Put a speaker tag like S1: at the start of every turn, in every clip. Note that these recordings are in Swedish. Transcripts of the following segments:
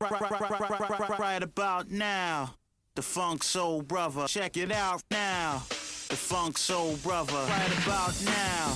S1: Right, right, right, right, right, right, right about now. The Funk Soul Brother. Check it out now. The Funk Soul Brother. Right about now.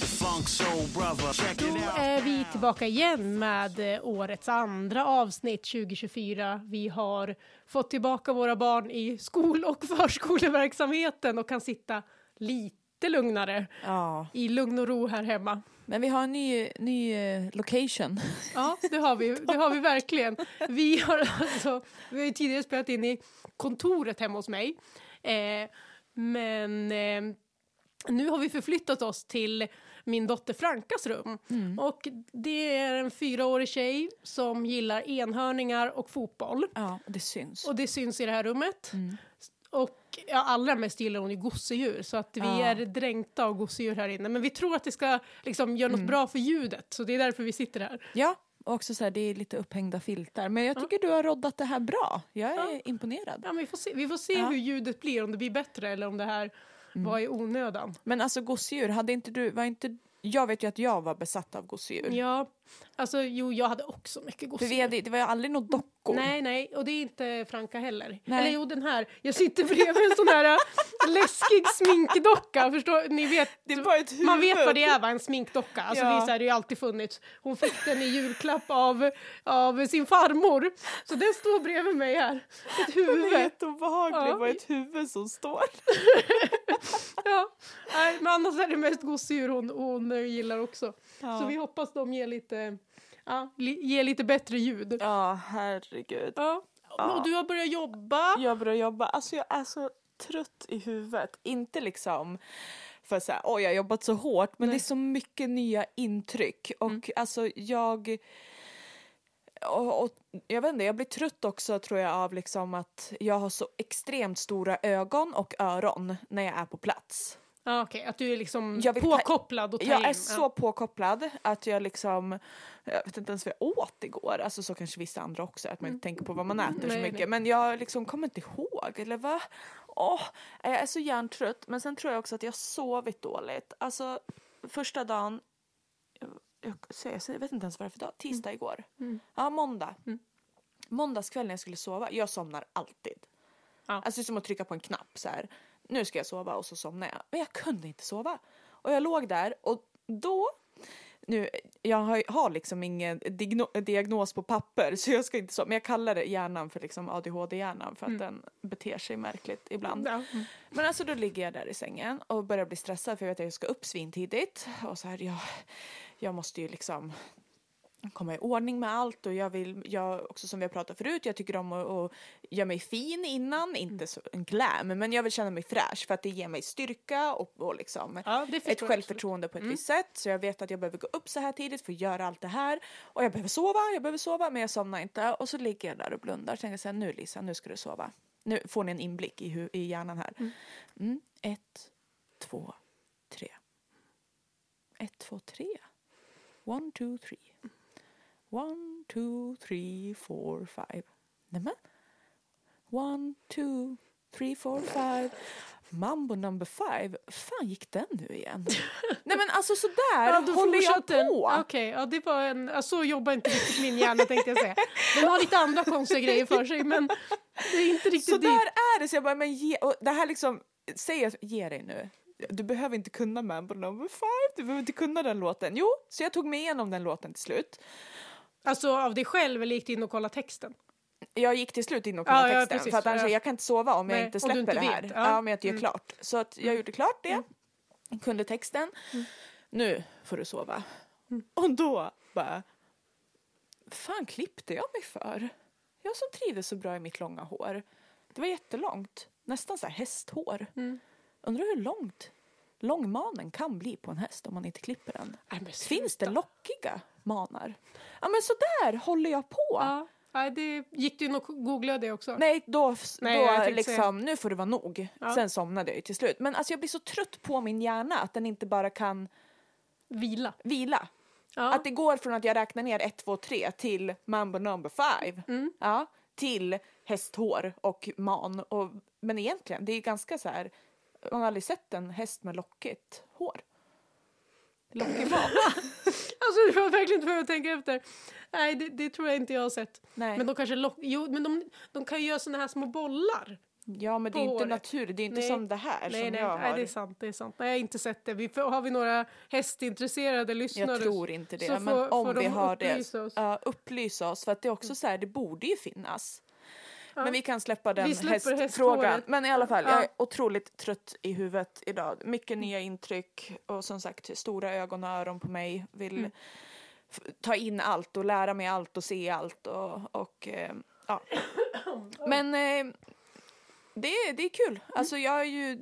S1: The Funk Soul Brother. Check it
S2: Då
S1: out.
S2: är vi tillbaka igen med eh, årets andra avsnitt 2024. Vi har fått tillbaka våra barn i skol och förskoleverksamheten och kan sitta lite lugnare
S3: Ja,
S2: i lugn och ro här hemma.
S3: men vi har en ny, ny eh, location.
S2: Ja, det har vi, det har vi verkligen. Vi har, alltså, vi har ju tidigare spelat in i kontoret hemma hos mig. Eh, men eh, nu har vi förflyttat oss till min dotter Frankas rum. Och det är en fyraårig tjej som gillar enhörningar och fotboll.
S3: Ja, och det syns.
S2: Och det syns i det här rummet. Och ja, allra mest gillar hon ju gosedjur, så att vi
S3: Ja.
S2: är dränkta av gosedjur här inne. Men vi tror att det ska liksom, göra något bra för ljudet, så det är därför vi sitter här.
S3: Ja, och också så här, det är lite upphängda filtar. Men jag tycker du har roddat det här bra. Jag är imponerad.
S2: Ja, men vi får se, vi får se
S3: Ja. Mm.
S2: hur ljudet blir, om det blir bättre eller om det här var i onödan.
S3: Men alltså gosedjur, hade inte du, var inte, jag vet ju att jag var besatt av gosedjur.
S2: Ja, alltså jo, jag hade också mycket
S3: För vi
S2: gosedjur.
S3: hade, det var ju aldrig några dockor.
S2: Nej, nej, och det är inte Franka heller.
S3: Nej.
S2: Eller jo, den här. Jag sitter bredvid en sån här äh, läskig sminkdocka, förstår ni? vet
S3: Det var ett huvud.
S2: Man vet vad det är, va? En sminkdocka. Alltså,
S3: Ja.
S2: det, är så här, det har ju alltid funnits. Hon fick den i julklapp av, av sin farmor. Så den står bredvid mig här. Ett
S3: Det är
S2: huvud.
S3: jätteobehagligt,
S2: Ja.
S3: det var ett huvud som står.
S2: Ja. Nej, men annars är det mest gosedjur hon, hon eh, gillar också.
S3: Ja.
S2: Så vi hoppas de ger lite, ja, li, ger lite bättre ljud. Ja.
S3: Ja, herregud. Ja.
S2: Och du har börjat jobba.
S3: Jag börjar jobba, alltså jag är så trött i huvudet. Inte liksom för så här, oj jag har jobbat så hårt men det är så mycket nya intryck och alltså jag och, och, jag vet inte, jag blir trött också tror jag av liksom att jag har så extremt stora ögon och öron när jag är på plats.
S2: Ja, okej, att du är liksom
S3: Jag vill ta-
S2: påkopplad och tar in.
S3: Jag är
S2: Ja.
S3: så påkopplad att jag liksom, jag vet inte ens vad jag åt igår, alltså så kanske vissa andra också, att man inte tänker på vad man äter så
S2: Mm. Nej,
S3: mycket.
S2: nej.
S3: Men jag liksom kommer inte ihåg, eller va? Åh, jag är så hjärntrött, men sen tror jag också att jag har sovit dåligt. Alltså första dagen, jag, jag, jag vet inte ens vad det är för dag, tisdag
S2: Mm.
S3: igår. Ja, måndag. Måndagskväll när jag skulle sova, jag somnar alltid.
S2: Ja.
S3: Alltså det är som att trycka på en knapp så här. Nu ska jag sova och så somnar jag. Men jag kunde inte sova. Och jag låg där och då nu, jag har, ju- har liksom ingen digno- diagnos på papper så jag ska inte så, men jag kallar det hjärnan för liksom ADHD-hjärnan för att den beter sig märkligt ibland.
S2: Mm. Ja. Mm.
S3: Men alltså då ligger jag där i sängen och börjar bli stressad för jag vet att jag ska upp svintidigt och så här, jag, jag måste ju liksom komma i ordning med allt och jag vill, jag också som vi har pratat förut, jag tycker om att, att göra mig fin
S2: Mm.
S3: innan, inte så en glam, men jag vill känna mig fräsch för att det ger mig styrka och, och liksom
S2: Ja, det förstår
S3: ett
S2: jag absolut. Mm.
S3: självförtroende på ett visst sätt. Så jag vet att jag behöver gå upp så här tidigt för att göra allt det här. Och jag behöver sova, jag behöver sova, men jag somnar inte. Och så ligger jag där och blundar och tänker så här, nu Lisa, nu ska du sova. Nu får ni en inblick i, hur, i hjärnan här. Mm. Ett, två, tre. Ett, två, tre. One, two, three. One, two, three, four, five. Nämen. One, two, three, four, five. Mambo number five. fan gick den nu igen? Nej men alltså sådär
S2: Ja, då
S3: håller jag
S2: fortsatte den.
S3: på.
S2: Okej, ja, det var en... Ja, så jobbar inte riktigt min hjärna tänkte jag säga. Den har lite andra konstiga grejer för sig men det är inte riktigt
S3: Så där
S2: dit.
S3: är det. Så jag bara, men ge, och det här liksom, säg att ge dig nu. Du behöver inte kunna Mambo number five, du behöver inte kunna den låten. Jo, så jag tog mig igenom den låten till slut.
S2: Alltså av dig själv eller gick du in och kollade texten?
S3: Jag gick till slut in och kollade
S2: Ja, ja,
S3: texten
S2: precis.
S3: för att annars
S2: Ja.
S3: jag kan inte sova om
S2: Nej,
S3: jag inte
S2: om du
S3: släpper
S2: inte
S3: det här.
S2: vet. Ja. Mm.
S3: Ja. om jag inte gör klart. Så att jag gjorde klart det, kunde texten.
S2: Mm.
S3: Nu får du sova. Och då bara, fan klippte jag mig för? Jag som trivdes så bra i mitt långa hår. Det var jättelångt, nästan så här hästhår.
S2: Mm.
S3: Undrar hur långt långmanen kan bli på en häst om man inte klipper den.
S2: Nej, men sluta.
S3: Finns det lockiga manar? Ja men sådär håller jag på.
S2: Ja. Nej, det, gick du in och googlade det också?
S3: Nej, då,
S2: Nej, jag
S3: då
S2: tänkte säga-
S3: liksom, nu får det vara nog.
S2: Ja.
S3: Sen somnade jag ju till slut. Men alltså jag blir så trött på min hjärna att den inte bara kan
S2: Vila.
S3: vila.
S2: Ja.
S3: Att det går från att jag räknar ner 1, 2, 3 till mambo number five.
S2: Mm.
S3: Ja, till hästhår och man. Och, men egentligen, det är ganska så här, man har aldrig sett en häst med lockigt hår.
S2: lockig mat. alltså det var verkligen inte vad jag tänker efter. Nej, det, det tror jag inte jag har sett.
S3: Nej.
S2: Men de kanske lock, jo, men de, de kan ju göra såna här små bollar.
S3: ja, men det
S2: på
S3: är inte
S2: håret.
S3: natur. Det är inte
S2: Nej.
S3: som det här
S2: Nej,
S3: som
S2: nej,
S3: jag
S2: nej,
S3: har.
S2: det är sant. Det är sant. Nej, jag har inte sett det. Vi, får- har vi några hästintresserade lyssnare?
S3: jag tror inte det.
S2: så
S3: Men
S2: får-
S3: om
S2: får
S3: vi
S2: de
S3: har det,
S2: upplysa oss.
S3: ja, eh, upplysa oss. För att det är
S2: Mm.
S3: också så här, det borde ju finnas. Men vi kan släppa den
S2: Vi släpper
S3: hästfrågan.
S2: hästhåret.
S3: Men i alla fall, jag
S2: Ja.
S3: är otroligt trött i huvudet idag. Mycket nya intryck och som sagt stora ögon och öron på mig. Vill
S2: Mm.
S3: f- ta in allt och lära mig allt och se allt och, och eh, ja. Men eh, det, är- det är kul.
S2: Mm.
S3: Alltså jag är ju,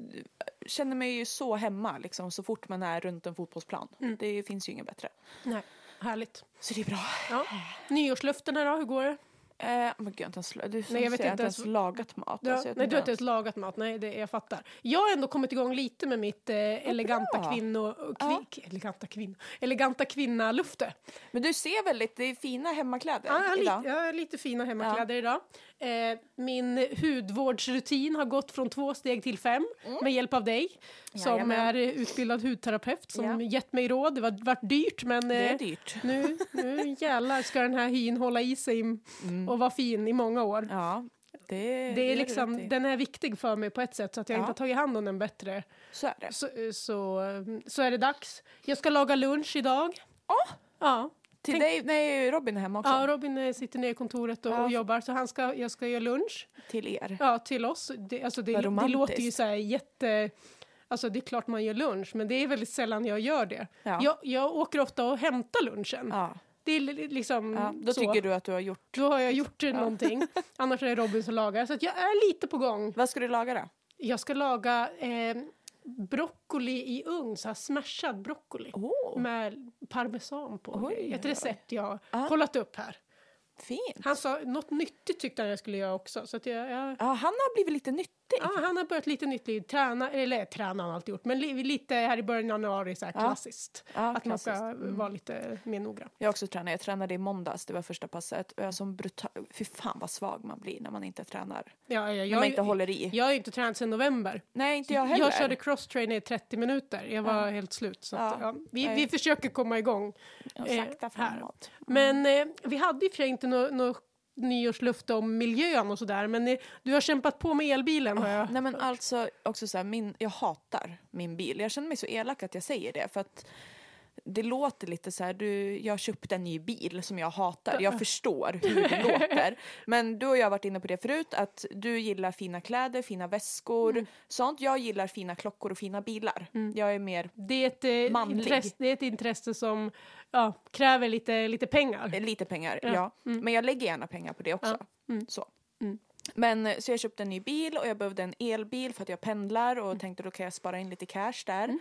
S3: känner mig ju så hemma liksom så fort man är runt en fotbollsplan.
S2: Mm.
S3: Det finns ju inget bättre.
S2: Nej, härligt.
S3: Så det är bra.
S2: Ja.
S3: Äh.
S2: Nyårslöftena då, hur går det?
S3: Eh, men gud, jag har inte ens, la- du,
S2: jag
S3: jag
S2: vet
S3: jag har
S2: inte
S3: inte
S2: ens-
S3: ens lagat mat.
S2: Du har,
S3: alltså, jag
S2: nej,
S3: tänkte
S2: du har inte ens lagat mat. Nej, det, jag fattar. Jag har ändå kommit igång lite med mitt eh, eleganta
S3: bra.
S2: kvinno... Kvi,
S3: Ja.
S2: Eleganta kvinno... Eleganta kvinna-lufte.
S3: Men du ser väldigt det är fina hemmakläder
S2: Ja, jag, har
S3: idag.
S2: lite, jag har lite fina hemmakläder idag. Eh, min hudvårdsrutin har gått från två steg till fem med hjälp av dig som
S3: Mm. Jajamän.
S2: är eh, utbildad hudterapeut som
S3: Ja.
S2: gett mig råd. Det var varit dyrt men
S3: Det är
S2: eh,
S3: dyrt.
S2: nu, nu jävlar ska den här hyn hålla i sig im- och vara fin i många år.
S3: Mm. Ja, det,
S2: Det är
S3: gör du
S2: liksom,
S3: rätt i.
S2: den är viktig för mig på ett sätt så att jag
S3: Ja.
S2: inte har tagit hand om den bättre.
S3: Så är det.
S2: Så, eh, så, så är det dags. Jag ska laga lunch idag.
S3: Åh!
S2: Ja.
S3: Till
S2: tänk-
S3: dig, nej Robin är hemma också.
S2: Ja, Robin eh, sitter nere i kontoret och,
S3: Ja.
S2: och jobbar så han ska, jag ska göra lunch.
S3: Till er.
S2: Ja, till oss. Det, alltså det,
S3: Vad
S2: det
S3: romantiskt.
S2: låter ju så här jätte... Alltså det är klart man gör lunch, men det är väldigt sällan jag gör det.
S3: Ja.
S2: Jag, jag åker ofta och hämtar lunchen.
S3: Ja.
S2: Det är li- liksom
S3: Ja, då
S2: så.
S3: tycker du att du har gjort...
S2: Då har jag gjort ja. någonting. Annars är det Robin som lagar. Så att jag är lite på gång.
S3: Vad ska du laga då?
S2: Jag ska laga eh, broccoli i ugn, så här smashad broccoli.
S3: Åh,
S2: Med parmesan på. och
S3: Oh. Oj,
S2: grejer. Ett
S3: oj, oj.
S2: recept jag
S3: Ja.
S2: kollat upp här.
S3: fint.
S2: Han sa något nyttigt tyckte han jag skulle göra också. Så att jag, jag
S3: Ja, han har blivit lite nyttig.
S2: Ja, han har börjat lite nytt liv. Träna, eller träna har han alltid gjort, men li, lite här i början av januari, så här
S3: Ja.
S2: klassiskt.
S3: Ja,
S2: att man ska
S3: klassiskt. Mm.
S2: vara lite mer noggrann.
S3: Jag har också tränat. Jag tränade i måndags, det var första passet. Och jag är som brutal... Fy fan vad svag man blir när man inte tränar.
S2: Ja, ja,
S3: När man
S2: jag,
S3: inte håller i.
S2: jag har ju inte tränat sedan november.
S3: Nej, inte jag heller.
S2: körde crosstrainer i 30 minuter, jag var helt slut. Så att,
S3: Ja.
S2: ja. Vi, vi
S3: Nej.
S2: försöker komma igång.
S3: Ja,
S2: eh,
S3: sakta
S2: här.
S3: framåt. Mm.
S2: Men eh, vi hade ju för sig inte något nå nyårslufte om miljön och sådär, men eh, du har kämpat på med elbilen har jag.
S3: Nej men alltså också så här, min, jag hatar min bil. Jag känner mig så elak att jag säger det för att det låter lite så här, du, jag köpte en ny bil som jag hatar. Jag förstår hur det låter. Men du och jag har varit inne på det förut att du gillar fina kläder, fina väskor, sånt. Jag gillar fina klockor och fina bilar. Jag är mer
S2: Det är ett, eh,
S3: Manlig.
S2: intresse, det är ett intresse som ja, kräver lite, lite pengar.
S3: Eh, Lite pengar, ja. Men jag lägger gärna pengar på det också. Så. Men, eh, så jag köpte en ny bil och jag behövde en elbil för att jag pendlar och tänkte då kan jag spara in lite cash där.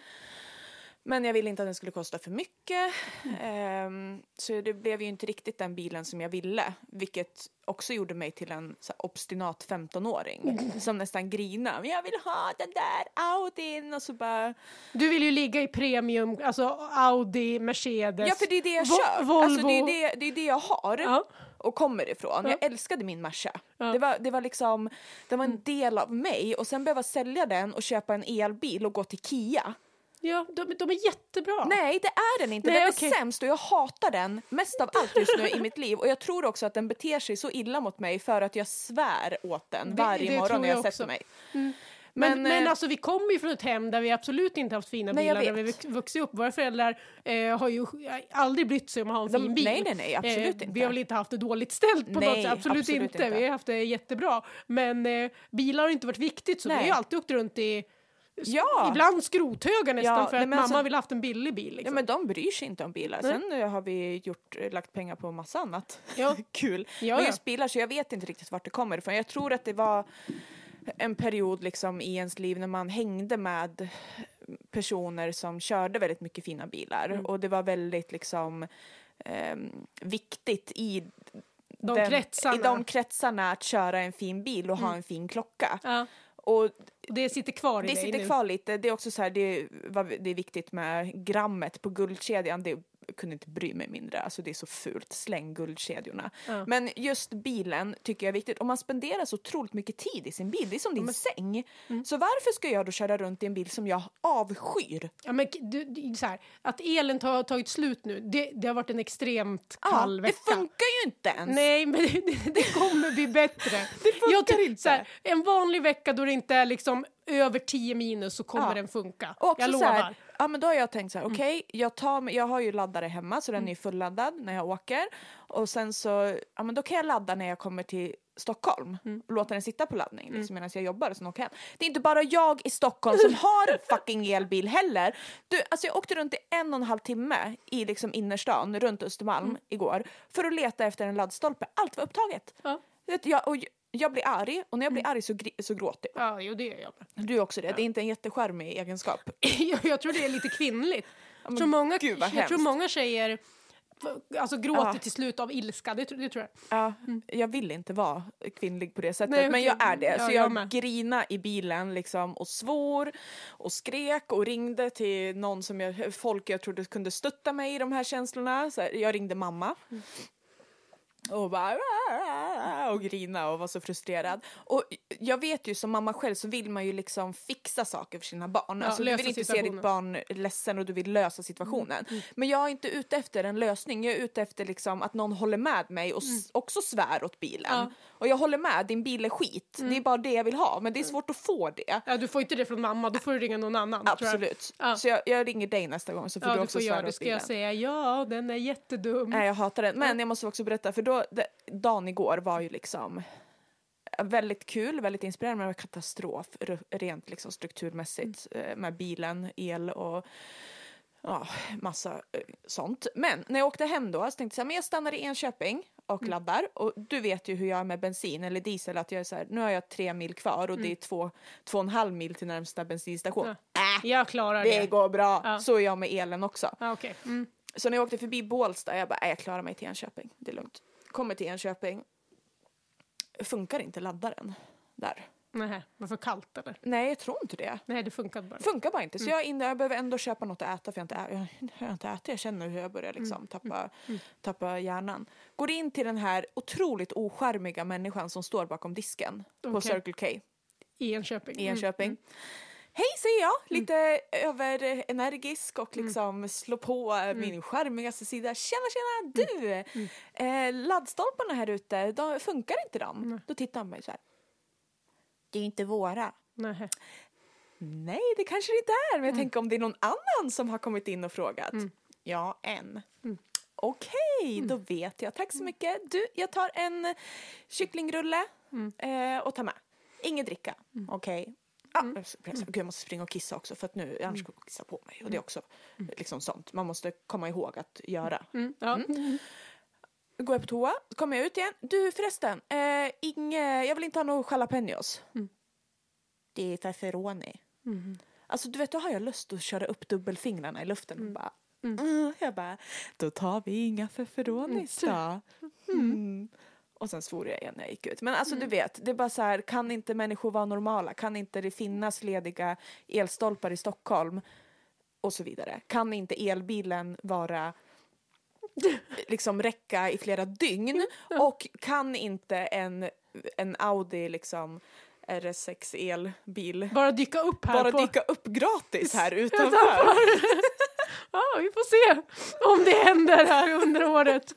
S3: Men jag ville inte att den skulle kosta för mycket. Ehm, så det blev ju inte riktigt den bilen som jag ville. Vilket också gjorde mig till en så här, obstinat 15-åring. Som nästan grinade. Men jag vill ha den där Audin! Och så bara...
S2: Du vill ju ligga i premium, alltså Audi, Mercedes.
S3: Ja för det är det jag
S2: Vo-
S3: kör.
S2: Volvo.
S3: Alltså, det, är det, det är det jag har
S2: Ja.
S3: och kommer ifrån.
S2: Ja.
S3: Jag älskade min Merca.
S2: Ja. Mm.
S3: Det, var, det var liksom, det var en del av mig och sen behöva sälja den och köpa en elbil och gå till Kia.
S2: Ja, de, de är jättebra.
S3: Nej det är den inte,
S2: Nej,
S3: den
S2: okej.
S3: är sämst och jag hatar den mest av allt just nu i mitt liv och jag tror också att den beter sig så illa mot mig för att jag svär åt den
S2: Det-
S3: varje
S2: det tror
S3: morgon när
S2: jag
S3: jag
S2: också. Mm.
S3: sätter mig.
S2: men men,
S3: men, eh,
S2: alltså vi kommer ju från ett hem där vi absolut inte haft fina
S3: Nej, jag
S2: bilar, där vi
S3: vet.
S2: vux- vuxit upp. Våra föräldrar eh, har ju aldrig brytt sig om att ha en
S3: De-
S2: fin bil. Eh,
S3: nej, nej, nej, absolut inte.
S2: Vi har väl inte haft det dåligt ställt på
S3: Nej,
S2: något sätt, absolut,
S3: absolut
S2: inte.
S3: inte.
S2: Vi har haft det jättebra. Men eh, bilar har inte varit viktigt, så vi
S3: Nej.
S2: har ju alltid åkt runt i
S3: Ja.
S2: Ibland skrothöga nästan
S3: Ja,
S2: för
S3: nej,
S2: att
S3: men
S2: mamma
S3: alltså-
S2: vill haft en billig bil.
S3: Ja,
S2: Liksom.
S3: men de bryr sig inte om bilar. Sen eh, har vi gjort, eh, lagt pengar på massa annat
S2: Ja.
S3: kul.
S2: Ja,
S3: men
S2: ja.
S3: just bilar, så jag vet inte riktigt vart det kommer ifrån. Jag tror att det var en period liksom i ens liv när man hängde med personer som körde väldigt mycket fina bilar.
S2: Mm.
S3: Och det var väldigt liksom ehm, viktigt i
S2: De kretsarna. Mm.
S3: i de kretsarna att köra en fin bil och ha en fin klocka.
S2: ja,
S3: Och
S2: det sitter kvar i
S3: det
S2: dig
S3: sitter
S2: nu.
S3: kvar lite. Det är också så här, det, är- vad- det är viktigt med grammet på guldkedjan. Det är kunde inte bry mig mindre. Alltså det är så fult. Släng guldkedjorna.
S2: Ja.
S3: Men just bilen tycker jag är viktigt. Och man spenderar så otroligt mycket tid i sin bil. Det är som din säng.
S2: Mm.
S3: Så varför ska jag då köra runt i en bil som jag avskyr?
S2: Ja, men, k- du, du, så här, att elen har tagit slut nu, det, det har varit en extremt
S3: Ja,
S2: kall
S3: det
S2: vecka.
S3: funkar ju inte ens.
S2: Nej, men det, det, det kommer bli bättre.
S3: Det funkar
S2: Jag tror-
S3: inte.
S2: Så här, en vanlig vecka då det inte är liksom över 10 minus så kommer
S3: Ja.
S2: den funka.
S3: Och också
S2: jag
S3: så
S2: lovar. Mm.
S3: här, ja, men då har jag tänkt så här, okej, jag tar jag, jag har ju laddare hemma så den är fulladdad när jag åker. Och sen så, ja men då kan jag ladda när jag kommer till Stockholm
S2: Mm.
S3: och låta den sitta på laddning liksom, medan jag jobbar och sen åker jag hem. Det är inte bara jag i Stockholm som har en fucking elbil heller. Du, alltså jag åkte runt i en och en halv timme i liksom innerstan runt Östermalm
S2: Mm.
S3: igår för att leta efter en laddstolpe. Allt var upptaget.
S2: Ja.
S3: Vet du, Jag, och jag blir arg och när jag blir
S2: Mm.
S3: arg så, gri- så gråter jag.
S2: Ja, jo, det gör jag. med.
S3: Du är också det, det är inte en jättecharmig egenskap.
S2: jag, jag tror det är lite kvinnligt. Jag tror många,
S3: gud, vad
S2: jag tror
S3: hemskt.
S2: många tjejer alltså, gråter
S3: Ja.
S2: till slut av ilska. Det, tr- det tror jag.
S3: Ja, jag vill inte vara kvinnlig på det sättet
S2: Mm. Nej,
S3: men
S2: okej.
S3: jag är det.
S2: Ja,
S3: så
S2: jag
S3: jag,
S2: med.
S3: grina i bilen liksom och svor och skrek och ringde till någon som jag, folk jag trodde kunde stötta mig i de här känslorna. Så här, jag ringde mamma. Och bara "Ah, och grina och var så frustrerad. Och jag vet ju som mamma själv så vill man ju liksom fixa saker för sina barn.
S2: Ja,
S3: alltså, du
S2: lösa
S3: vill inte se
S2: situationen. Mm,
S3: ditt barn ledsen och du vill lösa situationen. Men jag är inte ute efter en lösning. Jag är ute efter liksom att någon håller med mig och s- också svär åt bilen.
S2: Mm. Ja. Mm.
S3: Och jag håller med, din bil är skit. Det är bara det jag vill ha. Men det är svårt att få det.
S2: Ja, du får inte det från mamma, då får du ringa någon annan. Tror jag.
S3: Absolut.
S2: Ja.
S3: Så jag, jag ringer dig nästa gång så får
S2: Ja,
S3: du
S2: du
S3: också
S2: får göra
S3: svära
S2: det.
S3: åt
S2: Ska jag
S3: bilen.
S2: säga ja, den är jättedum.
S3: Nej, jag hatar den. Men jag måste också berätta, för då, det, dagen igår var ju liksom väldigt kul, väldigt inspirerande, men det var katastrof r- rent liksom strukturmässigt
S2: Mm.
S3: eh, med bilen, el och ja, massa eh, sånt. Men när jag åkte hem då så tänkte jag så här, men jag stannar i Enköping och
S2: Mm.
S3: laddar och du vet ju hur jag är med bensin eller diesel att jag är så här, nu har jag tre mil kvar och
S2: Mm.
S3: det är två, två och en halv mil till närmsta bensinstation. Äh,
S2: Jag klarar det.
S3: det går bra,
S2: Ja.
S3: så är jag med elen också.
S2: Ja, okej. mm.
S3: Så när jag åkte förbi Bålsta, jag bara, "Nej, jag klarar mig till Enköping. Det är lugnt. Kommer till Enköping. Funkar inte laddaren där?
S2: Nej, var för kallt eller?
S3: Nej, jag tror inte det.
S2: Nej, det funkade bara.
S3: Funkar bara inte. Så jag, är inne, jag behöver ändå köpa något att äta för jag inte, ä- jag har inte ätit. Jag känner hur jag börjar liksom tappa, tappa hjärnan. Går in till den här otroligt oskärmiga människan som står bakom disken på
S2: Okej.
S3: Circle K
S2: I Enköping. Mm.
S3: i Enköping. Hej säger jag, lite överenergisk och liksom slå på eh, min charmigaste sida. Tjena tjena du! Eh, laddstolparna här ute, de, funkar inte de? Då tittar han på mig så här. Det är inte våra.
S2: Mm. Nej.
S3: Nej, det kanske det inte är. Men jag tänker om det är någon annan som har kommit in och frågat. Ja, en. Okej, då vet jag. Tack så mycket. Du, jag tar en kycklingrulle eh, och tar med. Inget dricka. Okej. Ja, jag s- jag s- Gud, jag måste springa och kissa också för att nu, annars kommer jag kissa på mig. Och det är också liksom sånt. Man måste komma ihåg att göra.
S2: Mm. Ja.
S3: Då går jag på toa, så kommer jag ut igen. Du förresten, eh, inge, jag vill inte ha några jalapenos. Det är pepperoni. Alltså du vet, då har jag lust att köra upp dubbelfingrarna i luften och bara Mm. Jag bara, då tar vi inga pepperonis då. Mm. Och sen svor jag igen när jag gick ut. Men alltså du vet, det är bara så här, kan inte människor vara normala? Kan inte det finnas lediga elstolpar i Stockholm? Och så vidare. Kan inte elbilen vara liksom räcka i flera dygn och kan inte en, en Audi liksom RS6 elbil
S2: Bara dyka upp här.
S3: bara
S2: på...
S3: dyka upp gratis här utanför.
S2: utanför. ja, vi får se om det händer här under året.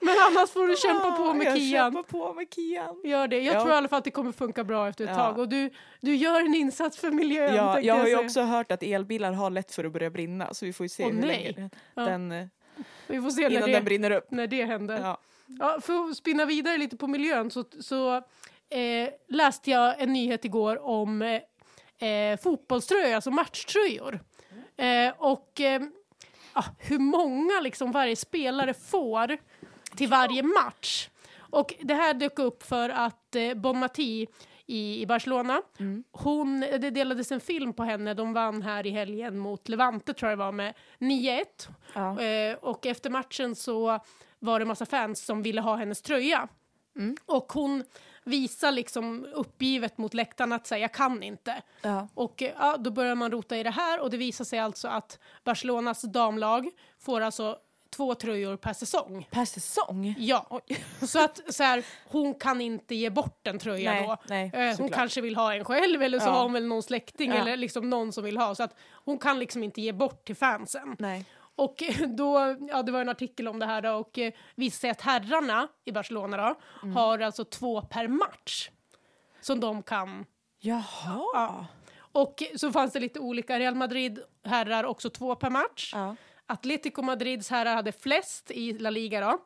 S2: Men annars får du kämpa på
S3: Ja,
S2: med
S3: jag
S2: Kian.
S3: kämpar på med Kian.
S2: Gör det. Jag
S3: Ja.
S2: tror i alla fall att det kommer funka bra efter ett
S3: Ja.
S2: tag. Och du, du gör en insats för miljön.
S3: Ja,
S2: tänkte
S3: jag har ju
S2: säga.
S3: också hört att elbilar har lätt för att börja brinna så vi får ju se
S2: Åh,
S3: hur
S2: nej.
S3: länge den,
S2: Ja.
S3: den, eh,
S2: Vi får se när
S3: innan
S2: det,
S3: den brinner upp.
S2: när det händer. Ja.
S3: Ja.
S2: för att spinna vidare lite på miljön så, så eh, läste jag en nyhet igår om eh, eh, fotbollströjor, alltså matchtröjor. Eh, och eh, ja, hur många liksom varje spelare får till varje match. Och det här dök upp för att eh, Bon Mati i, i Barcelona, hon, det delades en film på henne, de vann här i helgen mot Levante tror jag det var med 9-1.
S3: Ja.
S2: Eh, och efter matchen så var det massa fans som ville ha hennes tröja.
S3: Mm.
S2: Och hon visar liksom uppgivet mot läktaren att säga jag kan inte.
S3: Ja.
S2: Och eh, ja, då börjar man rota i det här och det visar sig alltså att Barcelonas damlag får alltså två tröjor per säsong.
S3: Per säsong?
S2: Ja,
S3: Oj.
S2: så att så här, hon kan inte ge bort en tröja
S3: Nej,
S2: då.
S3: nej,
S2: Eh, hon
S3: såklart.
S2: kanske vill ha en själv eller så
S3: Ja.
S2: har hon väl någon släkting
S3: Ja.
S2: eller liksom någon som vill ha. Så att hon kan liksom inte ge bort till fansen.
S3: Nej.
S2: Och eh, då, ja det var en artikel om det här då och eh, visade sig att herrarna i Barcelona då
S3: Mm.
S2: har alltså två per match som de kan.
S3: Jaha. Ja.
S2: Och så fanns det lite olika, Real Madrid herrar också två per match.
S3: Ja.
S2: Atletico Madrids herrar hade flest i La Liga då.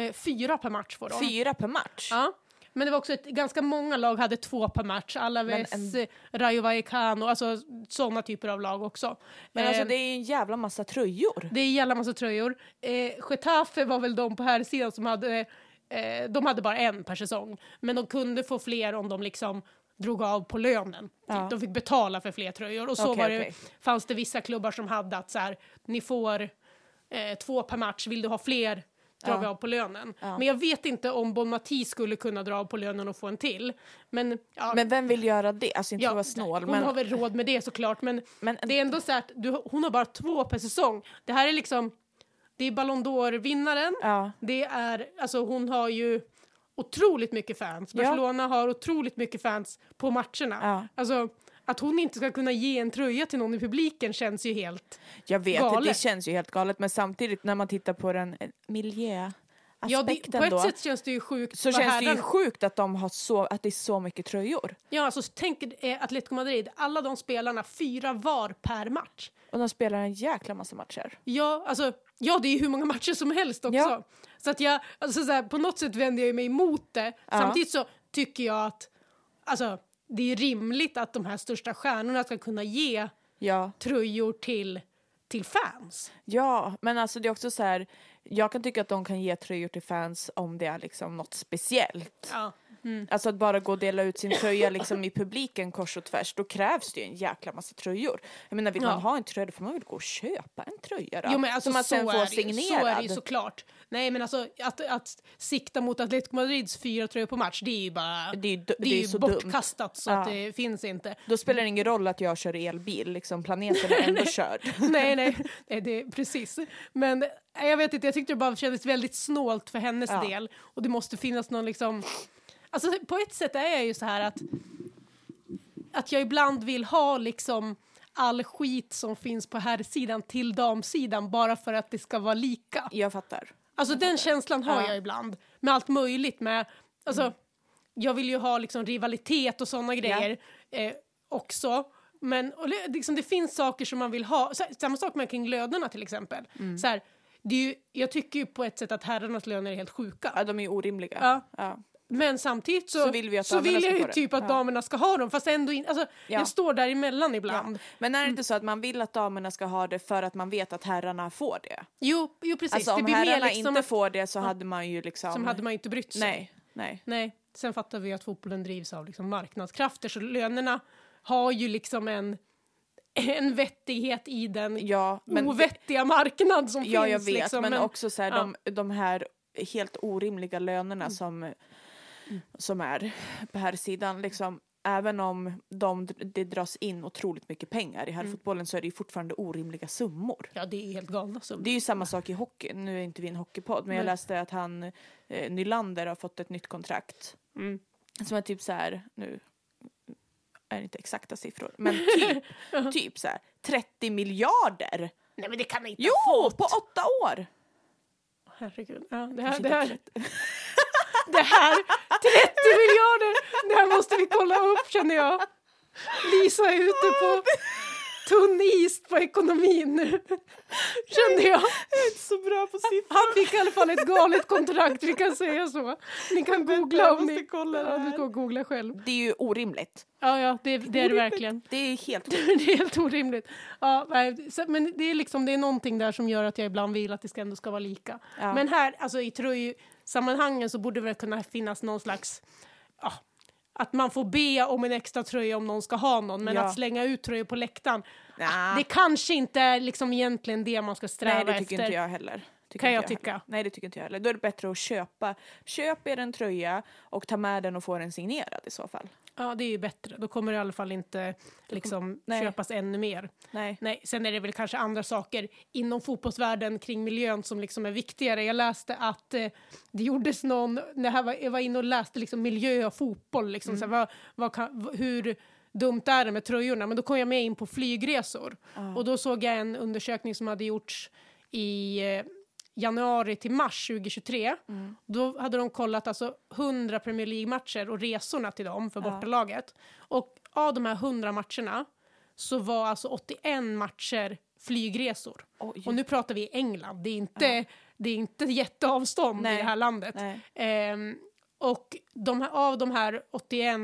S2: Eh, fyra per match får de.
S3: Fyra per match?
S2: Ja. Men det var också ett, ganska många lag hade två per match. Alaves,
S3: Men
S2: en... Rayo Vallecano, alltså sådana typer av lag också.
S3: Men alltså
S2: Eh,
S3: det är ju en jävla massa tröjor.
S2: det är en jävla massa tröjor. Eh, Getafe var väl de på här sidan som hade... Eh, de hade bara en per säsong. Men de kunde få fler om de liksom drog av på lönen.
S3: Ja.
S2: De fick betala för fler tröjor. Och så
S3: Okej,
S2: var det,
S3: okej.
S2: fanns det vissa klubbar som hade att så här, ni får eh, två per match, vill du ha fler drar vi av på lönen. Men jag vet inte om Bon Mati skulle kunna dra av på lönen och få en till. Men, ja,
S3: Men vem vill göra det? Alltså inte för att vara snål.
S2: hon
S3: Men...
S2: har väl råd med det såklart men,
S3: Men-
S2: det är ändå så att du, hon har bara två per säsong. Det här är liksom, det är Ballon d'Or-vinnaren,
S3: Ja.
S2: det är, alltså hon har ju otroligt mycket fans.
S3: Ja.
S2: Barcelona har otroligt mycket fans på matcherna.
S3: Ja.
S2: Alltså att hon inte ska kunna ge en tröja till någon i publiken känns ju helt...
S3: Jag vet, det
S2: Galet.
S3: känns ju helt galet. Men samtidigt när man tittar på den eh,
S2: Ja, det, på
S3: miljöaspekten
S2: ett
S3: då.
S2: sätt känns det ju sjukt.
S3: Så
S2: vad
S3: känns det ju
S2: herrarna-
S3: sjukt att, de har så, att det är så mycket tröjor.
S2: Ja, alltså tänk eh, Atletico Madrid, alla de spelarna, fyra var per match.
S3: Och de spelar en jäkla massa matcher.
S2: Ja, alltså, ja, det är ju hur många matcher som helst också.
S3: Ja.
S2: Så att jag, alltså, så här, på något sätt vänder jag ju mig emot det. Samtidigt så tycker jag att alltså, det är ju rimligt att de här största stjärnorna ska kunna ge
S3: Ja.
S2: tröjor till, till fans.
S3: Ja, men alltså det är också så här. Jag kan tycka att de kan ge tröjor till fans om det är liksom något speciellt.
S2: Ja.
S3: Alltså att bara gå och dela ut sin tröja liksom i publiken kors och tvärs, då krävs det ju en jäkla massa tröjor. Jag menar vill
S2: Ja.
S3: man ha en tröja då får man väl gå och köpa en tröja då?
S2: Jo, men alltså,
S3: Som man
S2: så,
S3: sen
S2: är
S3: får
S2: det, ju. så
S3: signerad.
S2: är det ju såklart. Nej, men alltså, att, att sikta mot Atletico Madrids fyra tröjor på match, det är ju bara
S3: Det är ju d- det är
S2: ju
S3: så dumt.
S2: bortkastat så
S3: Ja.
S2: att det finns inte.
S3: Då spelar det ingen roll att jag kör elbil, liksom planeten är ändå körd.
S2: nej, nej, nej det, precis. Men nej, jag vet inte, jag tyckte det bara kändes väldigt snålt för hennes
S3: Ja.
S2: del. Och det måste finnas någon liksom... Alltså på ett sätt är jag ju så här att, att jag ibland vill ha liksom all skit som finns på här sidan till damsidan bara för att det ska vara lika.
S3: Jag fattar.
S2: Alltså den känslan har
S3: Ja.
S2: jag ibland. Med allt möjligt. Med, alltså, Jag vill ju ha liksom, rivalitet och såna grejer eh, också. Men och, li- liksom, det finns saker som man vill ha. Så, samma sak med kring lönerna till exempel.
S3: Mm.
S2: Så här, det är ju, jag tycker ju på ett sätt att herrarnas löner är helt sjuka.
S3: Ja, de är ju orimliga.
S2: Ja.
S3: Ja.
S2: Men samtidigt så,
S3: Så vill vi att
S2: så
S3: damerna
S2: vill
S3: ska
S2: jag ju
S3: få det.
S2: typ att
S3: Ja.
S2: damerna ska ha dem. Fast ändå in, alltså,
S3: Ja.
S2: jag står däremellan ibland. Mm.
S3: Men är det inte så att man vill att damerna ska ha det för att man vet att herrarna får det?
S2: Jo, jo precis.
S3: Alltså
S2: det
S3: om
S2: blir mer
S3: herrarna
S2: liksom
S3: inte
S2: att,
S3: får det så hade man ju liksom...
S2: som hade man ju inte brytt sig.
S3: Nej, nej.
S2: Nej, sen fattar vi att fotbollen drivs av liksom marknadskrafter så lönerna har ju liksom en, en vettighet i den
S3: Ja, men
S2: ovettiga marknad som
S3: ja,
S2: finns.
S3: jag vet,
S2: liksom.
S3: men, också så här,
S2: ja. Mm.
S3: de, de här helt orimliga lönerna som, som är på här sidan liksom. Även om de, det dras in otroligt mycket pengar
S2: Mm.
S3: i här fotbollen så är det ju fortfarande orimliga summor.
S2: ja, det är helt galna summor.
S3: Det är ju samma sak i hockey. Nu är inte vi en hockeypodd, men jag
S2: Nej.
S3: läste att han eh, Nylander har fått ett nytt kontrakt.
S2: Mm.
S3: Som är typ så här, nu är det inte exakta siffror, men typ, typ så här 30 miljarder!
S2: Nej, men det kan ni inte
S3: Jo,
S2: ha fått!
S3: på åtta år!
S2: Herregud. Ja, det, här, det, här, det här, 30 miljarder! Det här måste vi kolla upp känner jag. Lisa är ute på tunn is på ekonomin nu, kände jag.
S3: Jag är inte så bra på siffror.
S2: Han fick i alla fall ett galet kontrakt, vi kan säga så. Ni kan googla
S3: jag
S2: om
S3: måste
S2: ni...
S3: kolla det
S2: ja, du
S3: här.
S2: ska googla själv.
S3: Det är ju orimligt.
S2: Ja, ja, det, det är det verkligen.
S3: Det är helt
S2: Det är helt orimligt. Ja, nej, så- men det är, liksom, det är någonting där som gör att jag ibland vill att det ska ändå ska vara lika.
S3: Ja.
S2: Men här, alltså i tröjsammanhangen så borde det väl kunna finnas någon slags... Ja, att man får be om en extra tröja om någon ska ha någon, men
S3: Ja.
S2: att slänga ut tröjor på läktaren. ah,
S3: Nja.
S2: Det kanske inte är liksom egentligen det man ska sträva
S3: Nej, det
S2: efter.
S3: tycker inte jag heller. Tycker
S2: Kan jag
S3: inte heller.
S2: tycka.
S3: Nej det tycker inte jag heller. Då är det bättre att köpa. Köp er en tröja och ta med den och få den signerad i så fall.
S2: Ja, det är ju bättre. Då kommer det i alla fall inte liksom,
S3: nej.
S2: köpas ännu mer.
S3: Nej.
S2: Nej, sen är det väl kanske andra saker inom fotbollsvärlden kring miljön som liksom är viktigare. Jag läste att eh, det gjordes någon, när jag var, jag var inne och läste liksom miljö och fotboll, liksom, så här, vad, vad kan, v- hur dumt är det med tröjorna? Men då kom jag med in på flygresor och då såg jag en undersökning som hade gjorts i eh, januari till mars 2023. Då hade de kollat alltså 100 Premier League-matcher och resorna till dem för bortalaget. Och av de här 100 matcherna så var alltså 81 matcher flygresor.
S3: Oj.
S2: Och nu pratar vi England, det är inte, det är inte jätteavstånd i
S3: Nej.
S2: det här landet.
S3: Nej.
S2: Ehm, och de här, av de här 81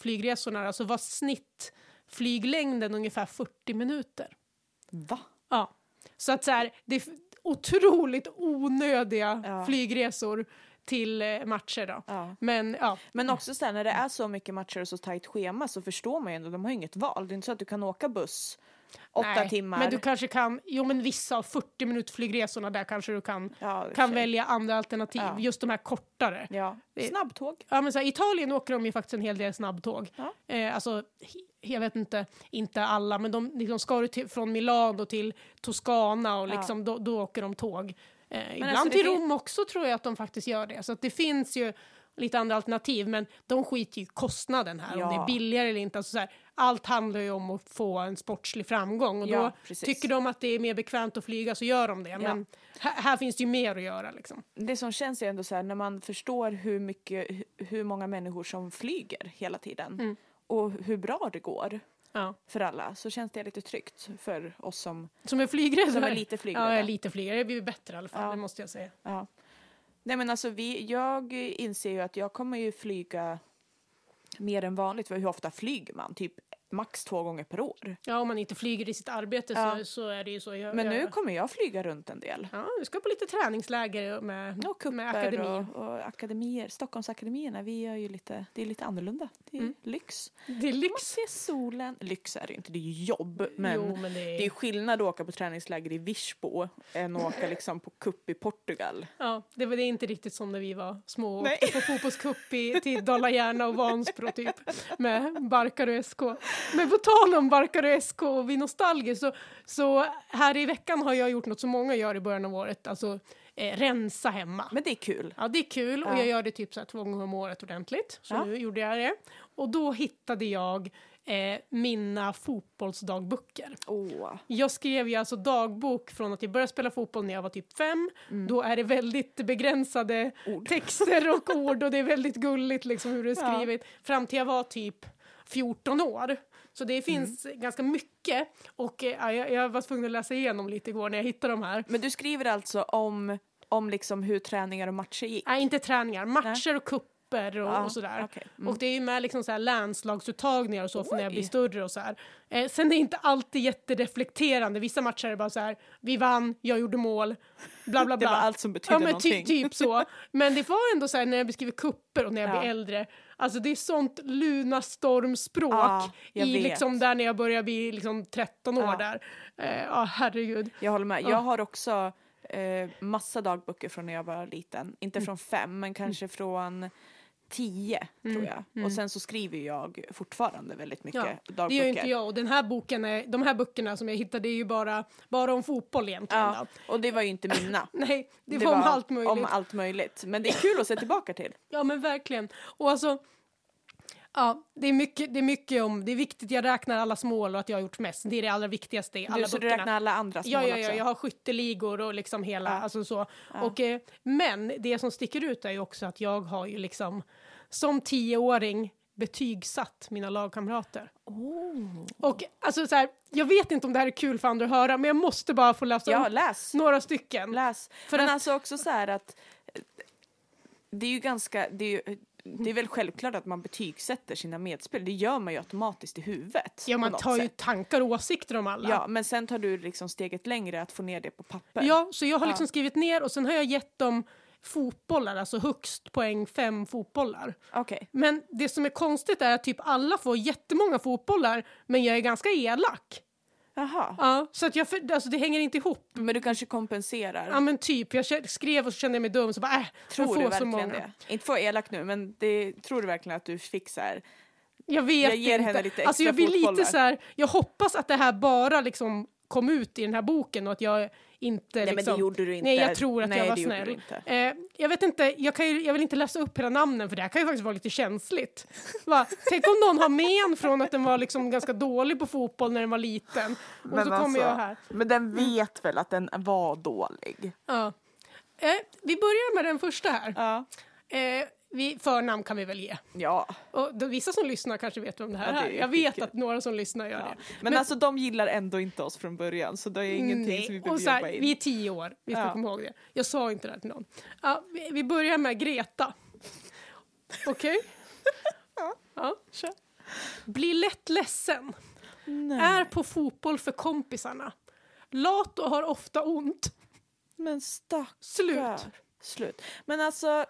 S2: flygresorna då, så var snittflyglängden ungefär 40 minuter.
S3: Va?
S2: Ja. Så att så här, det är f- otroligt onödiga
S3: Ja.
S2: flygresor till eh, matcher då.
S3: Ja.
S2: Men ja,
S3: Men också sen när det är så mycket matcher och så tajt schema så förstår man ju ändå, de har ju inget val. Det är inte så att du kan åka buss åtta
S2: nej.
S3: timmar.
S2: Men du kanske kan, jo men vissa av 40 minuters flygresorna där kanske du kan,
S3: Ja, i och för
S2: kan
S3: sig.
S2: välja andra alternativ,
S3: Ja.
S2: just de här kortare.
S3: Ja.
S2: Det-
S3: Snabbtåg.
S2: Ja, men så här, Italien åker de ju faktiskt en hel del snabbtåg.
S3: Ja.
S2: Eh, alltså, he- jag vet inte, inte alla, men de liksom ska du till, från Milano till Toscana och liksom, då, då åker de tåg. Eh, ibland
S3: alltså, det
S2: till
S3: fin-
S2: Rom också tror jag att de faktiskt gör det. Så att det finns ju lite andra alternativ, men de skiter ju i kostnaden här, om
S3: Ja.
S2: det är billigare eller inte. Alltså, så här, allt handlar ju om att få en sportslig framgång och
S3: Ja,
S2: då
S3: precis.
S2: tycker de att det är mer bekvämt att flyga så gör de det. Men här, här finns det ju mer att göra liksom.
S3: Det som känns är ändå så här när man förstår hur mycket, hu- hur många människor som flyger hela tiden och hur bra det går
S2: Ja.
S3: för alla så känns det lite tryggt för oss som,
S2: Som är flygrädd?
S3: som är lite flygrädda.
S2: Ja, jag är lite flygrädd. Jag blir bättre i alla fall,
S3: Ja.
S2: det måste jag säga.
S3: Ja. Nej men alltså vi, jag inser ju att jag kommer ju flyga mer än vanligt. För hur ofta flyger man? Typ max två gånger per år.
S2: Ja, om man inte flyger i sitt arbete så,
S3: Ja.
S2: så är det ju så. Jag,
S3: Men
S2: jag,
S3: nu kommer jag flyga runt en del.
S2: Ja, vi ska på lite träningsläger med,
S3: Och
S2: Mm. med
S3: cuper
S2: akademin.
S3: och, och akademier. Stockholmsakademierna, vi gör ju lite, det är lite annorlunda. Det
S2: Mm.
S3: är lyx.
S2: Det är
S3: Man
S2: lyx.
S3: ser solen. Lyx är det ju inte, det är ju jobb. Men,
S2: Mm, Jo, men det är-
S3: det är skillnad att åka på träningsläger i Virsbo än att åka liksom på cup i Portugal.
S2: Ja, det, var- det är inte riktigt som när vi var små och
S3: Nej.
S2: åkte på fotbollscup i- till Dala-Järna och Vansbro typ med Barkarö SK. Men på tal om Barkarö SK och vi nostalgier så, så här i veckan har jag gjort något som många gör i början av året, alltså eh, rensa hemma.
S3: Men det är kul.
S2: Ja, det är kul och
S3: Ja.
S2: jag gör det typ så här två gånger om året ordentligt. Så
S3: Ja.
S2: nu gjorde jag det. Och då hittade jag eh, mina fotbollsdagböcker.
S3: Åh.
S2: Jag skrev ju alltså dagbok från att jag började spela fotboll när jag var typ fem. Då är det väldigt begränsade
S3: Mm. Ord.
S2: texter och ord och det är väldigt gulligt liksom hur det är
S3: Ja.
S2: skrivet. Fram till jag var typ 14 år. Så det finns
S3: Mm.
S2: ganska mycket och eh, ja, jag, jag var tvungen att läsa igenom lite igår när jag hittade de här.
S3: Men du skriver alltså om, om liksom hur träningar och matcher gick?
S2: Nej, inte träningar. Matcher och kupper och,
S3: Ja,
S2: och sådär.
S3: okej. Mm.
S2: Och det är ju med liksom så här landslagsuttagningar och så för när jag
S3: Oj.
S2: blir större och så här. Eh, sen är det inte alltid jättereflekterande. Vissa matcher är bara så här, vi vann, jag gjorde mål, bla bla bla.
S3: Det var allt som betydde
S2: ja, men
S3: någonting.
S2: Typ, typ så. Men det var ändå så här när jag beskriver kupper och när jag
S3: Ja.
S2: blir äldre. Alltså det är sånt lunastormspråk
S3: Ja, jag
S2: i
S3: vet.
S2: liksom där när jag börjar bli liksom 13 år
S3: Ja.
S2: där. Eh, Ja, herregud.
S3: Jag håller med.
S2: Ja.
S3: Jag har också eh, massa dagböcker från när jag var liten. Inte
S2: Mm.
S3: från fem, men kanske från tio,
S2: Mm.
S3: tror jag. Och sen så skriver jag fortfarande väldigt mycket dagböcker.
S2: Det gör ju inte jag och den här boken är, de här böckerna som jag hittade är ju bara, bara om fotboll egentligen.
S3: Ja,
S2: då.
S3: och det var ju inte mina.
S2: Nej, det, var om allt möjligt.
S3: Om allt möjligt. Men det är kul att se tillbaka till.
S2: Ja men verkligen. Och alltså, ja, det, är mycket, det är mycket om, det är viktigt, jag räknar allas mål och att jag har gjort mest. Det är det allra viktigaste i alla
S3: du, så du
S2: böckerna.
S3: räknar alla andras
S2: Ja,
S3: mål
S2: ja, ja,
S3: också?
S2: jag har skytteligor och liksom hela, alltså så. Och, eh, men det som sticker ut är ju också att jag har ju liksom som tioåring betygsatt mina lagkamrater.
S3: Oh.
S2: Och alltså så här, jag vet inte om det här är kul för andra att höra, men jag måste bara få läsa
S3: Ja,
S2: upp
S3: läs.
S2: några stycken.
S3: Läs.
S2: För
S3: men
S2: att-
S3: alltså också så här att eh, det är ju ganska, det är, ju, det är väl självklart att man betygsätter sina medspel. Det gör man ju automatiskt i huvudet.
S2: ja,
S3: på
S2: man
S3: något
S2: tar ju
S3: sätt.
S2: tankar och åsikter om alla.
S3: Ja, men sen tar du liksom steget längre att få ner det på papper.
S2: Ja, så jag har liksom skrivit ner och sen har jag gett dem fotbollar, alltså högst poäng fem fotbollar.
S3: Okej.
S2: Men det som är konstigt är att typ alla får jättemånga fotbollar, men jag är ganska elak.
S3: Jaha.
S2: Ja, så att jag, för- alltså, det hänger inte ihop.
S3: Men du kanske kompenserar.
S2: Ja men typ, jag kä- skrev och så kände jag mig dum så bara äh, jag
S3: tror
S2: får
S3: du
S2: så
S3: verkligen
S2: många.
S3: det? Inte för att vara elak nu, men det, tror du verkligen att du fixar?
S2: Jag vet
S3: Jag ger
S2: inte.
S3: henne lite
S2: alltså,
S3: extra
S2: jag blir lite
S3: fotbollar.
S2: så här, jag hoppas att det här bara liksom kom ut i den här boken och att jag inte
S3: men det
S2: liksom,
S3: gjorde du inte.
S2: Nej jag tror att
S3: Nej,
S2: jag var
S3: det gjorde
S2: snäll.
S3: du
S2: Eh, jag vet inte, jag, kan ju, jag vill inte läsa upp hela namnen för det här kan ju faktiskt vara lite känsligt. Va? Tänk om någon har men från att den var liksom ganska dålig på fotboll när den var liten. Och så kommer jag här.
S3: alltså,
S2: Mm.
S3: men den vet väl att den var dålig?
S2: Ja. Eh, vi börjar med den första här.
S3: Ja.
S2: Eh, vi, förnamn kan vi väl ge.
S3: Ja.
S2: Och de, vissa som lyssnar kanske vet vem det här
S3: Ja, det
S2: är.
S3: är
S2: Jag vet
S3: skitkul.
S2: att några som lyssnar gör
S3: ja.
S2: det.
S3: Men, alltså de gillar ändå inte oss från början så det är ingenting som vi
S2: och
S3: behöver
S2: så här,
S3: jobba in.
S2: Vi är tio år, vi ska
S3: Ja.
S2: komma ihåg det. Jag sa inte det här till någon. Ja, vi, vi börjar med Greta. Okej? Ja.
S3: Kör.
S2: Blir lätt ledsen.
S3: Nej.
S2: Är på fotboll för kompisarna. Lat och har ofta ont.
S3: Men stackar.
S2: Slut.
S3: Slut. Men alltså,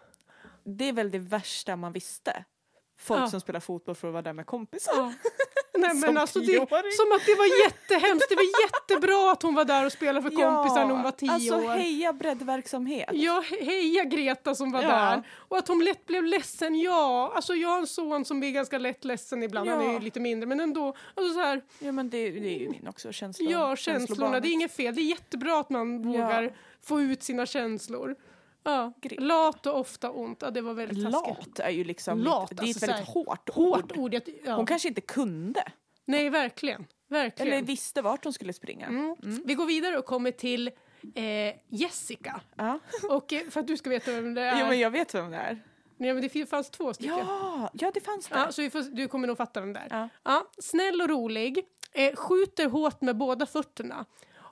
S3: det är väl det värsta man visste? Folk
S2: Ja.
S3: som spelar fotboll för att vara där med kompisar.
S2: Ja. Nej, men
S3: Som
S2: alltså, det,
S3: tioåring.
S2: som att det var jättehemskt. Det var jättebra att hon var där och spelade för kompisar när hon var tio
S3: alltså,
S2: år.
S3: heja breddverksamhet.
S2: Ja, he- heja Greta som var
S3: Ja.
S2: där. Och att hon lätt blev ledsen, ja. Alltså jag har en son som blir ganska lätt ledsen ibland, han är ju
S3: Ja.
S2: lite mindre, men ändå. Alltså så här,
S3: Ja men det, det är ju min också, känslor.
S2: ja, känslorna, det är inget fel. Det är jättebra att man vågar få ut sina känslor. Ja.
S3: Greta.
S2: Lat och ofta ont, ja det var väldigt taskigt.
S3: Lat är ju liksom,
S2: Lat,
S3: det är ett
S2: alltså
S3: väldigt
S2: så här,
S3: hårt,
S2: Hårt
S3: ord.
S2: ord, jag- ja.
S3: Hon kanske inte kunde,
S2: Nej, verkligen. Verkligen.
S3: eller visste vart hon skulle springa.
S2: Mm. Vi går vidare och kommer till eh, Jessica.
S3: Ja.
S2: Och eh, för att du ska veta vem det är.
S3: Jo men jag vet vem det är.
S2: Nej, men det fanns två stycken.
S3: Ja, ja det fanns
S2: Ja,
S3: det.
S2: så vi får, du kommer nog fatta den där. Ja.
S3: Ja.
S2: snäll och rolig, eh, skjuter hårt med båda fötterna.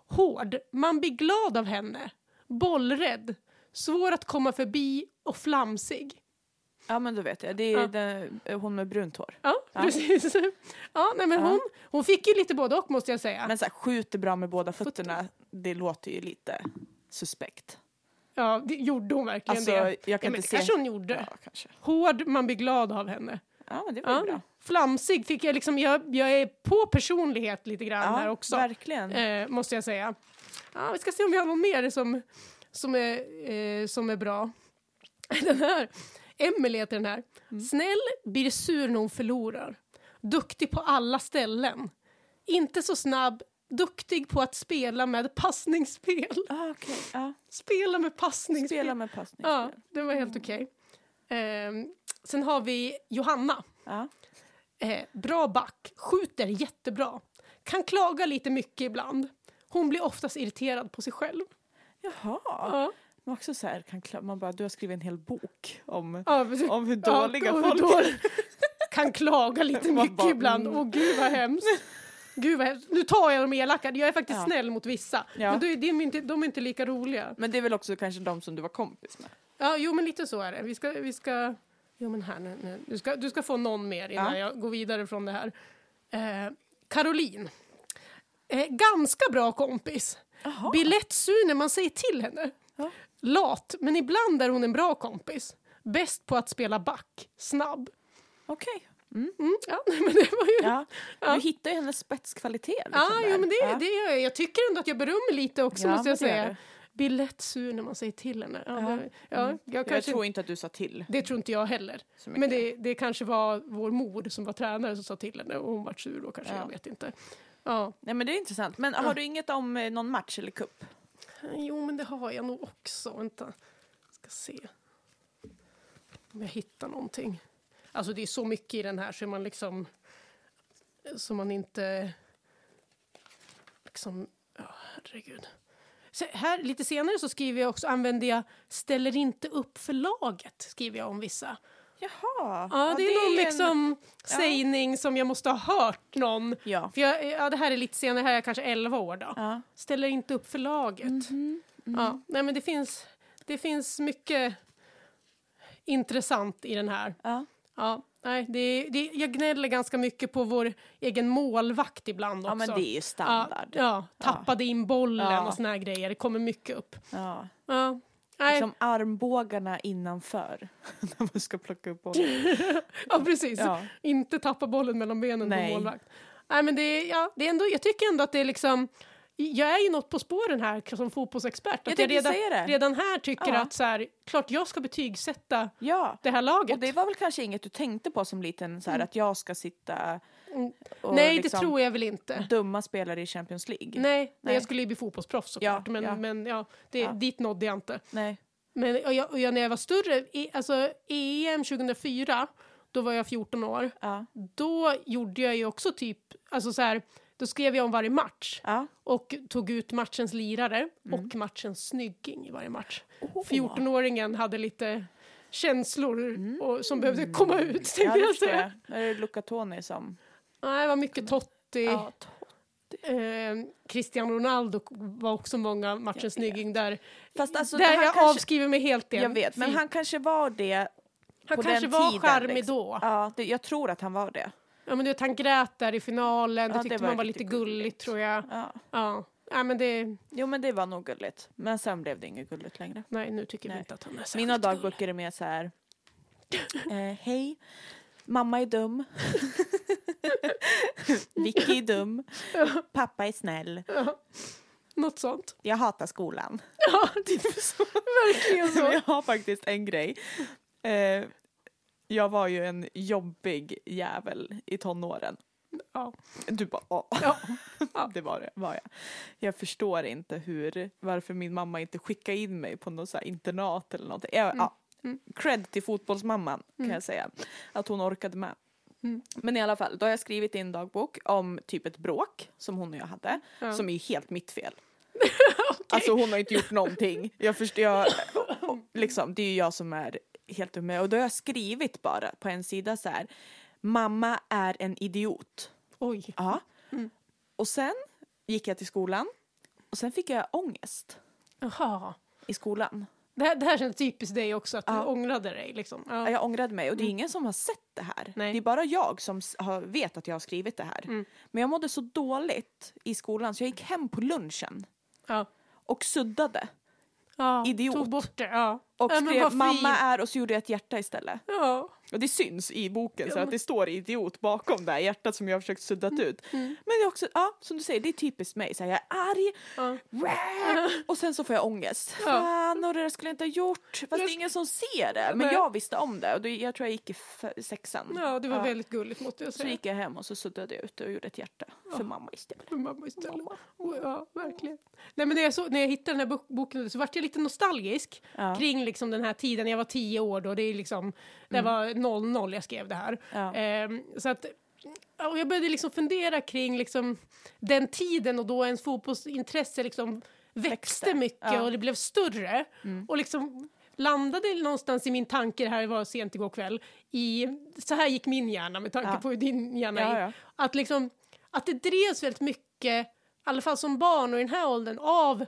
S2: Hård, man blir glad av henne. Bollrädd, svår att komma förbi och flamsig.
S3: Ja men då vet jag, det är
S2: Ja.
S3: den, eh, hon med brunt hår.
S2: Ja,
S3: Ja.
S2: precis. Ja, nej, men
S3: Ja.
S2: Hon, hon fick ju lite både och måste jag säga.
S3: Men så här, skjuter bra med båda fötterna, det låter ju lite suspekt.
S2: ja, det, gjorde hon verkligen
S3: Alltså,
S2: det?
S3: jag kan
S2: ja, men
S3: inte
S2: det
S3: se-
S2: kanske hon gjorde.
S3: Ja kanske.
S2: Hård, man blir glad av henne.
S3: Ja men det var ju
S2: Ja.
S3: bra.
S2: Flamsig fick jag liksom, jag, jag är på personlighet lite grann här också.
S3: verkligen.
S2: eh, måste jag säga. Ja, vi ska se om vi har någon mer som, som, är, eh, som är bra. Den här, Emelie heter den här.
S3: Mm.
S2: Snäll, blir sur när hon förlorar. Duktig på alla ställen. Inte så snabb, duktig på att spela med passningsspel.
S3: Ah, okej. ja.
S2: Spela med passningsspel.
S3: Spela med Mm. passning.
S2: Ja, den var helt okej. Eh, sen har vi Johanna.
S3: Ja.
S2: Eh, bra back, skjuter jättebra. Kan klaga lite mycket ibland. Hon blir oftast irriterad på sig själv.
S3: Jaha.
S2: Ja,
S3: Men också så här, kan kla- man bara, du har skrivit en hel bok om,
S2: ja, precis.
S3: om hur
S2: Ja,
S3: dåliga
S2: då-
S3: folk
S2: då- Kan klaga lite
S3: Man
S2: mycket
S3: bara,
S2: ibland.
S3: mm.
S2: Åh gud vad hemskt. Gud vad hemskt. Nu tar jag de elaka, jag är faktiskt
S3: Ja.
S2: snäll mot vissa.
S3: Ja.
S2: Men då är det är inte, de är inte lika roliga.
S3: Men det är väl också kanske de som du var kompis med?
S2: Ja, jo men lite så är det. Vi ska, vi ska... Jo men här nu, nu. Du, ska, du ska få någon mer innan
S3: Ja.
S2: jag går vidare från det här. Eh, Caroline. Eh, ganska bra kompis.
S3: Jaha.
S2: Blir lätt sur när man säger till henne.
S3: Ja.
S2: Lat, men ibland är hon en bra kompis. Bäst på att spela back. Snabb.
S3: Okej.
S2: Mm, ja, nej, men det var ju...
S3: Ja.
S2: Ja. Ah,
S3: Du hittar ju hennes spetskvalitet. Liksom
S2: Ja,
S3: där.
S2: jo, men det,
S3: Ja.
S2: det gör jag. Jag tycker ändå att jag berömmer lite också,
S3: Ja,
S2: måste jag
S3: men det gör
S2: säga.
S3: du.
S2: Blir lätt sur när man säger till henne. Ja,
S3: Ja. Mm.
S2: Det, ja, jag
S3: Jag
S2: kanske
S3: tror inte att du sa till.
S2: Det tror inte jag heller.
S3: Så mycket.
S2: Men det, det kanske var vår mor som var tränare som sa till henne och hon var sur då kanske,
S3: Ja.
S2: jag vet inte. Ja.
S3: Nej men det är intressant. Men har du inget om eh, någon match eller cup?
S2: Eh, Jo, men det har jag nog också. Vänta, ska se om jag hittar någonting. Alltså det är så mycket i den här så man liksom, så man inte liksom, ja herregud. Så här, lite senare så skriver jag också, använder jag ställer inte upp för laget, skriver jag om vissa.
S3: Jaha.
S2: Ja, det är någon
S3: ju en-
S2: liksom sägning som jag måste ha hört någon.
S3: Ja.
S2: För jag, ja, det här är lite senare, här är jag kanske 11 år då.
S3: ja.
S2: Ställer inte upp för laget.
S3: Mhm,
S2: Ja, nej men det finns, det finns mycket intressant i den här.
S3: ja.
S2: Ja, nej, det, det, jag gnäller ganska mycket på vår egen målvakt ibland också.
S3: Ja men det är ju standard.
S2: Ja,
S3: Ja.
S2: ja tappade in bollen
S3: Ja.
S2: och såna här grejer. Det kommer mycket upp. Ja. Nej,
S3: Liksom armbågarna innanför. När man ska plocka upp bollen.
S2: ja precis.
S3: Ja.
S2: Inte tappa bollen mellan benen
S3: Nej.
S2: på målvakt. Nej, men det, är- ja, det är ändå, jag tycker ändå att det är liksom... Jag är ju något på spåren här som fotbollsexpert.
S3: Jag
S2: Att jag
S3: tänkte
S2: redan,
S3: säga det.
S2: redan här tycker
S3: Ja.
S2: att så här, klart jag ska betygsätta
S3: Ja.
S2: det här
S3: Och
S2: laget.
S3: det var väl kanske inget du tänkte på som liten, så här, att jag ska sitta och
S2: Mm. Nej,
S3: liksom
S2: det tror jag väl inte.
S3: dumma spelare i Champions League.
S2: Nej, nej.
S3: Nej.
S2: jag skulle ju bli fotbollsproffs såklart,
S3: Ja,
S2: men,
S3: ja.
S2: men ja, det,
S3: Ja.
S2: dit nådde jag inte.
S3: Nej.
S2: Men och jag, och jag, när jag var större, i, alltså EM 2004, då var jag 14 år.
S3: Ja.
S2: Då gjorde jag ju också typ, alltså så här, då skrev jag om varje match.
S3: Ja.
S2: Och tog ut matchens lirare
S3: Mm.
S2: och matchens snygging i varje match. 14-åringen hade lite känslor och, som behövde komma ut, tänkte
S3: Mm. Ja, det
S2: jag
S3: förstår
S2: säga.
S3: jag. Nu är det Luca Toni som...
S2: Nej, det var mycket Totti.
S3: Ja,
S2: Eh, Cristiano Ronaldo var också många matchens snygging där.
S3: Fast alltså,
S2: där
S3: han
S2: jag
S3: kanske-
S2: avskriver mig helt det.
S3: Jag vet, men
S2: Fy-
S3: han kanske var det
S2: han
S3: på
S2: kanske
S3: den
S2: var
S3: tiden,
S2: charmig
S3: liksom.
S2: då. Ja.
S3: Ja, det, jag tror att han var det.
S2: men du vet, han grät där i finalen,
S3: Ja,
S2: det tyckte
S3: det var
S2: man var
S3: lite
S2: lite gulligt,
S3: gulligt.
S2: tror jag.
S3: Ja.
S2: Ja. ja, men det...
S3: Jo men det var nog gulligt. Men sen blev det inget gulligt längre.
S2: Nej, nu tycker
S3: Nej.
S2: vi inte att han är
S3: Mina
S2: särskilt gullig.
S3: dagböcker är mer så här. Eh, Hej, mamma är dum. Vicky är dum. Pappa är snäll.
S2: Något sånt.
S3: Jag hatar skolan.
S2: Ja, typ så. Verkligen
S3: Men
S2: så.
S3: jag har faktiskt en grej. Eh, jag var ju en jobbig jävel i tonåren.
S2: Ja.
S3: Du bara "Ja."
S2: Ja. Ja.
S3: Det var det, var jag. Jag förstår inte hur, varför min mamma inte skickade in mig på något så här internat eller något. Jag,
S2: Mm.
S3: ja. Cred till fotbollsmamman kan jag säga. Att hon orkade med.
S2: Mm.
S3: Men i alla fall, då har jag skrivit i en dagbok om typ ett bråk som hon och jag hade.
S2: Ja.
S3: Som är ju helt mitt fel. Alltså hon har inte gjort någonting. Jag förstår, jag, liksom, det är ju jag som är helt dum. Och då har jag skrivit bara på en sida så här. Mamma är en idiot.
S2: Oj.
S3: Ja. Mm. Och sen gick jag till skolan och sen fick jag ångest
S2: Jaha.
S3: i skolan.
S2: Det här, det här känns typiskt dig också, att du
S3: Ja.
S2: ångrade dig. Liksom. Ja.
S3: Jag ångrade mig och det är ingen som har sett det här.
S2: Nej.
S3: Det är bara jag som s- har, vet att jag har skrivit det här. Men jag mådde så dåligt i skolan så jag gick hem på lunchen
S2: Ja.
S3: och suddade.
S2: Ja.
S3: Idiot.
S2: Tog bort det. Ja.
S3: Och
S2: ja, men vad
S3: skrev
S2: fint.
S3: mamma är och så gjorde jag ett hjärta istället.
S2: Ja.
S3: Och det syns i boken så
S2: Ja.
S3: att det står idiot bakom det här hjärtat som jag har försökt suddat ut. Men det är också, ja som du säger, det är typiskt mig. Så här, jag är arg,
S2: Ja.
S3: Rah! Och sen så får jag ångest. Fan, och det där skulle jag inte ha gjort. Fast det är ingen som ser det. Men
S2: Nej.
S3: jag visste om det och då, jag tror jag gick i f- sexan.
S2: ja, det var väldigt gulligt måste jag
S3: Så
S2: säga.
S3: gick jag hem och så suddade jag ut och gjorde ett hjärta för mamma istället.
S2: för mamma istället. Och Ja, verkligen. Nej, men när, jag så, när jag hittade den här bok- boken så vart jag lite nostalgisk
S3: Ja.
S2: kring liksom den här tiden. Jag var tio år då, det, är liksom, det
S3: Mm.
S2: var 00 jag skrev det här.
S3: Ja.
S2: Ehm, så att, ja, och jag började liksom fundera kring liksom den tiden och då ens fotbollsintresse liksom växte,
S3: Växte.
S2: mycket
S3: Ja. Mm.
S2: och det blev större. Och liksom landade någonstans i min tanke, det här var sent igår kväll, i, så här gick min hjärna med tanke
S3: Ja.
S2: på hur din hjärna gick.
S3: Ja, ja.
S2: Att, liksom, att det drevs väldigt mycket, i alla fall som barn och i den här åldern, av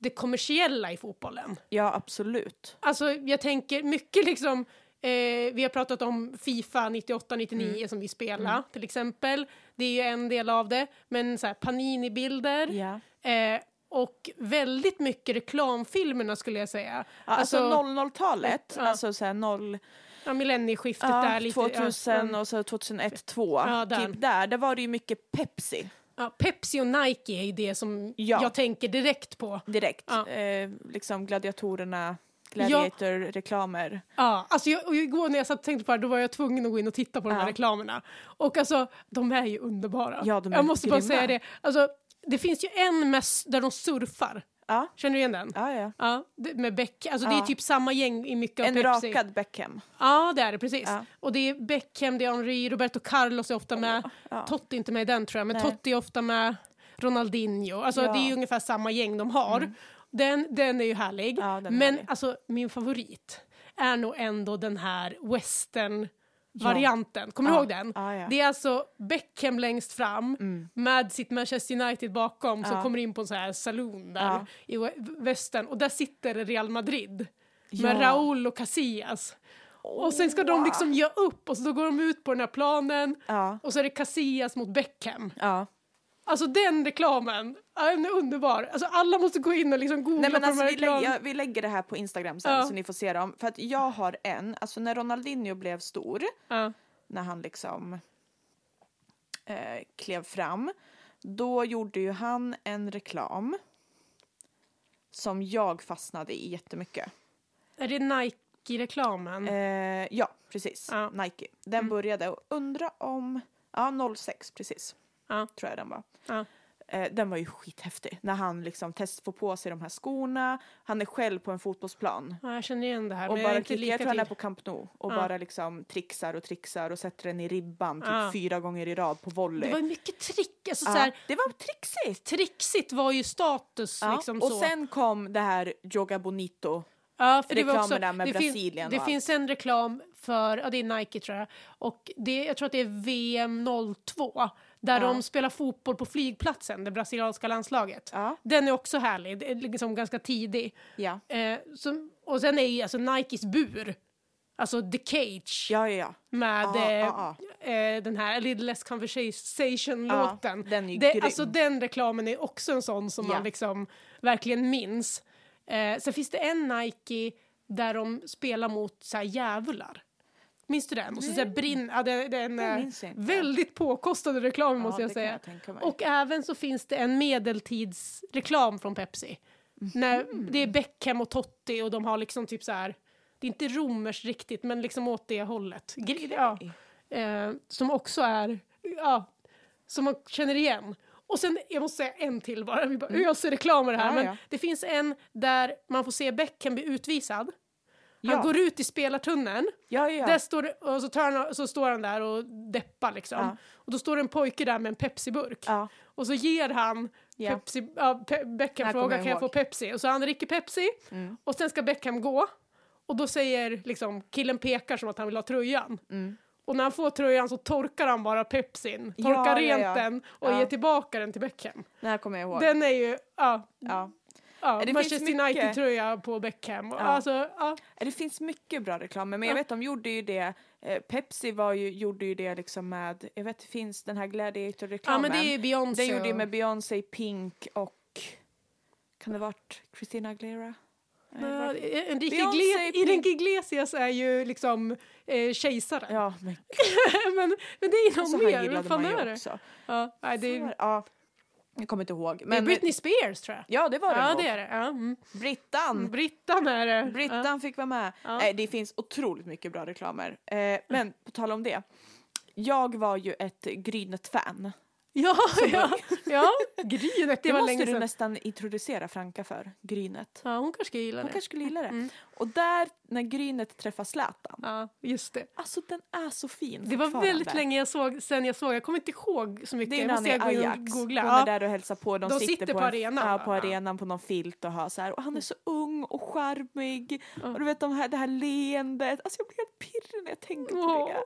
S2: det kommersiella i fotbollen.
S3: Ja, absolut.
S2: Alltså jag tänker mycket liksom, eh, vi har pratat om Fifa 98-99
S3: Mm.
S2: som vi spelade till exempel. Det är ju en del av det, men så här, Panini-bilder.
S3: Ja.
S2: Eh, och väldigt mycket reklamfilmerna skulle jag säga.
S3: Alltså,
S2: Alltså,
S3: 00-talet,
S2: Ja.
S3: alltså så här 0,
S2: ja, millennieskiftet
S3: ja,
S2: där. Lite,
S3: 2000
S2: ja,
S3: och så 2001, 2.
S2: Ja, där.
S3: Typ där, där var det ju mycket Pepsi
S2: ja, Pepsi och Nike är ju det som
S3: Ja.
S2: jag tänker direkt på.
S3: direkt.
S2: Ja.
S3: Eh, liksom gladiatorerna, gladiator-reklamer.
S2: Ja, alltså jag, och igår när jag satt och tänkte på det här, då var jag tvungen att gå in och titta på de här
S3: Ja.
S2: reklamerna. Och alltså, de är ju underbara.
S3: Ja, de är
S2: jag måste bara
S3: grymma.
S2: säga det. Alltså, det finns ju en med, s- där de surfar.
S3: Ja.
S2: Känner du igen den?
S3: Ja, ja.
S2: Ja, det- med Beck. Alltså det är
S3: Ja.
S2: typ samma gäng i mycket av
S3: En
S2: Pepsi.
S3: rakad Beckham.
S2: Ja, det är det precis.
S3: Ja.
S2: Och det är Beckham, det är Henry, Roberto Carlos är ofta med.
S3: ja.
S2: Totti är inte med i den tror jag, men
S3: Nej.
S2: Totti är ofta med. Ronaldinho, alltså
S3: Ja. Mm.
S2: det är ju ungefär samma gäng de har. Den, den är ju härlig.
S3: Ja, den är
S2: men
S3: härlig.
S2: alltså min favorit är nog ändå den här western varianten. Kommer du
S3: Ja.
S2: ihåg den?
S3: Ja, ja.
S2: Det är alltså Beckham längst fram med sitt Manchester United bakom som
S3: Ja.
S2: kommer in på en sån här saloon där
S3: Ja.
S2: i we- västern och där sitter Real Madrid med
S3: Ja.
S2: Raúl och Casillas. Och sen ska de liksom ge upp och så då går de ut på den här planen
S3: Ja.
S2: och så är det Casillas mot Beckham.
S3: Ja.
S2: Alltså den reklamen, ja, den är underbar. Alltså alla måste gå in och liksom googla
S3: Nej, men
S2: på de
S3: alltså,
S2: här
S3: vi,
S2: reklamen.
S3: lägger, vi lägger det här på Instagram sen
S2: Ja.
S3: så ni får se dem. För att jag har en, alltså när Ronaldinho blev stor,
S2: Ja.
S3: när han liksom eh, klev fram, då gjorde ju han en reklam som jag fastnade i jättemycket.
S2: Är det Nike-reklamen?
S3: Eh, ja, precis.
S2: Mm. Ja. Mm.
S3: Nike. Den började och undra om... Ja, 06 precis.
S2: Ja.
S3: Tror jag den var.
S2: Ja.
S3: Eh, den var ju skithäftig. När han liksom test får på sig de här skorna. Han är själv på en fotbollsplan.
S2: Ja, jag känner igen det här,
S3: Och
S2: men jag är
S3: bara
S2: inte
S3: klickar, jag
S2: lika
S3: tror han är
S2: till.
S3: på Camp Nou. Och
S2: Ja.
S3: bara liksom trixar och trixar och sätter den i ribban typ
S2: Ja.
S3: fyra gånger i rad på volley.
S2: Det var ju mycket trick. Alltså,
S3: Ja,
S2: så här,
S3: det var trixigt!
S2: trixigt var ju status.
S3: Ja.
S2: Liksom,
S3: och
S2: så.
S3: sen kom det här Joga Bonito.
S2: ja, för det var
S3: reklamen
S2: också,
S3: där med
S2: det
S3: Brasilien
S2: Finns,
S3: och
S2: det
S3: allt.
S2: finns en reklam för, ja det är Nike tror jag, och det, jag tror att det är VM 02. Där de spelar fotboll på flygplatsen, det brasilianska landslaget.
S3: Ja.
S2: Den är också härlig, det är liksom ganska tidig.
S3: Ja.
S2: Eh, som, och sen är ju alltså Nikes bur, alltså The Cage.
S3: Ja, ja, ja.
S2: med
S3: Ja,
S2: eh,
S3: ja,
S2: Eh, den här A Little Less Conversation-låten.
S3: Ja, den är ju
S2: det,
S3: grym.
S2: alltså den reklamen är också en sån som
S3: Ja.
S2: man liksom verkligen minns. Eh, sen finns det en Nike där de spelar mot så här djävular. Minns du den? Och så, så här brinn, ja, den, den
S3: Den
S2: är
S3: Mm.
S2: eh,
S3: minns jag inte.
S2: väldigt påkostade reklam måste jag
S3: det kan
S2: säga.
S3: jag tänka mig.
S2: Och även så finns det en medeltidsreklam från Pepsi. När
S3: Mhm.
S2: det är Beckham och Totti och de har liksom typ så här det är inte romers riktigt, men liksom åt det hållet. Gre- Ja. Eh, som också är, ja, som man känner igen. Och sen, jag måste säga en till bara, vi bara öser reklamer här.
S3: Mm. Ja,
S2: men
S3: ja.
S2: det finns en där man får se Beckham bli utvisad. Han
S3: Ja.
S2: går ut i spelartunneln.
S3: Ja, ja,
S2: Där
S3: ja.
S2: står, det- och så, tar han, så står han där och deppar liksom.
S3: Ja.
S2: Och då står det en pojke där med en Pepsi-burk.
S3: ja.
S2: Och så ger han
S3: Ja.
S2: Pepsi, ja, Pe- Beckham
S3: här kommer
S2: frågar
S3: jag
S2: kan jag få
S3: ihåg." Mm.
S2: Pepsi? Och så han dricker Pepsi och sen ska Beckham gå. Och då säger liksom, killen pekar som att han vill ha tröjan. Och när han får tröjan så torkar han bara Pepsin,
S3: Mm. Ja,
S2: torkar
S3: ja,
S2: rent
S3: ja.
S2: den och
S3: Ja.
S2: ger tillbaka den till Beckham.
S3: Den här kommer jag ihåg.
S2: Den är ju, ja,
S3: Ja.
S2: ja
S3: Det finns
S2: Manchester
S3: mycket.
S2: United-tröja på Beckham. Alltså, ja.
S3: Det finns mycket bra reklam, men jag
S2: Ja.
S3: vet de gjorde ju det, eh, Pepsi var ju, gjorde ju det liksom med, jag vet det finns den här
S2: ja,
S3: Gladiator-reklamen.
S2: men det är ju Beyoncé.
S3: Den gjorde ju
S2: och-
S3: med Beyoncé, Pink och, kan det ha varit Christina Aguilera? Nej, det
S2: Ja,
S3: var-
S2: Enrique
S3: Beyoncé,
S2: Iglesias,
S3: Pink-
S2: Enrique Iglesias är ju liksom eh, kejsaren.
S3: Ja, men
S2: men, men det är
S3: så
S2: någon
S3: här
S2: mer, vad
S3: gillade
S2: fan
S3: man
S2: är
S3: ju
S2: det?
S3: också.
S2: Ja, nej, det, är,
S3: Det var- Ja, jag kommer inte ihåg.
S2: det är
S3: Men,
S2: Britney Spears tror jag.
S3: Ja, det var det
S2: Ja,
S3: nog.
S2: det är det. Ja. Mm.
S3: Brittan!
S2: Brittan är det.
S3: Brittan fick vara med. Nej, det finns otroligt mycket bra reklamer. Eh, men på tal om det, jag var ju ett Grynet-fan.
S2: Ja, ja, ja. Grynet, det,
S3: Det,
S2: var
S3: måste
S2: länge
S3: du
S2: sedan.
S3: nästan introducera Franka för, Grynet.
S2: Ja, hon kanske ska gilla
S3: Hon
S2: det. Mm.
S3: kanske skulle gilla det. Och där, när Grynet träffar Zlatan,
S2: Ja, just det.
S3: alltså den är så fin
S2: Det var
S3: fortfarande.
S2: väldigt länge jag såg, sen jag såg, jag kommer inte ihåg så mycket.
S3: Det är när
S2: jag
S3: han är i
S2: gå in och
S3: Ajax.
S2: googla.
S3: Hon är
S2: Ja.
S3: där och hälsar på. De,
S2: De
S3: sitter,
S2: sitter på
S3: en-
S2: arenan,
S3: Ja,
S2: va? Mm.
S3: på
S2: Ja.
S3: arenan på någon filt och har så här. Och han är så ung och charmig. Och du vet de här, det här leendet. Alltså jag blir helt pirrig när jag tänker på
S2: Åh.
S3: det.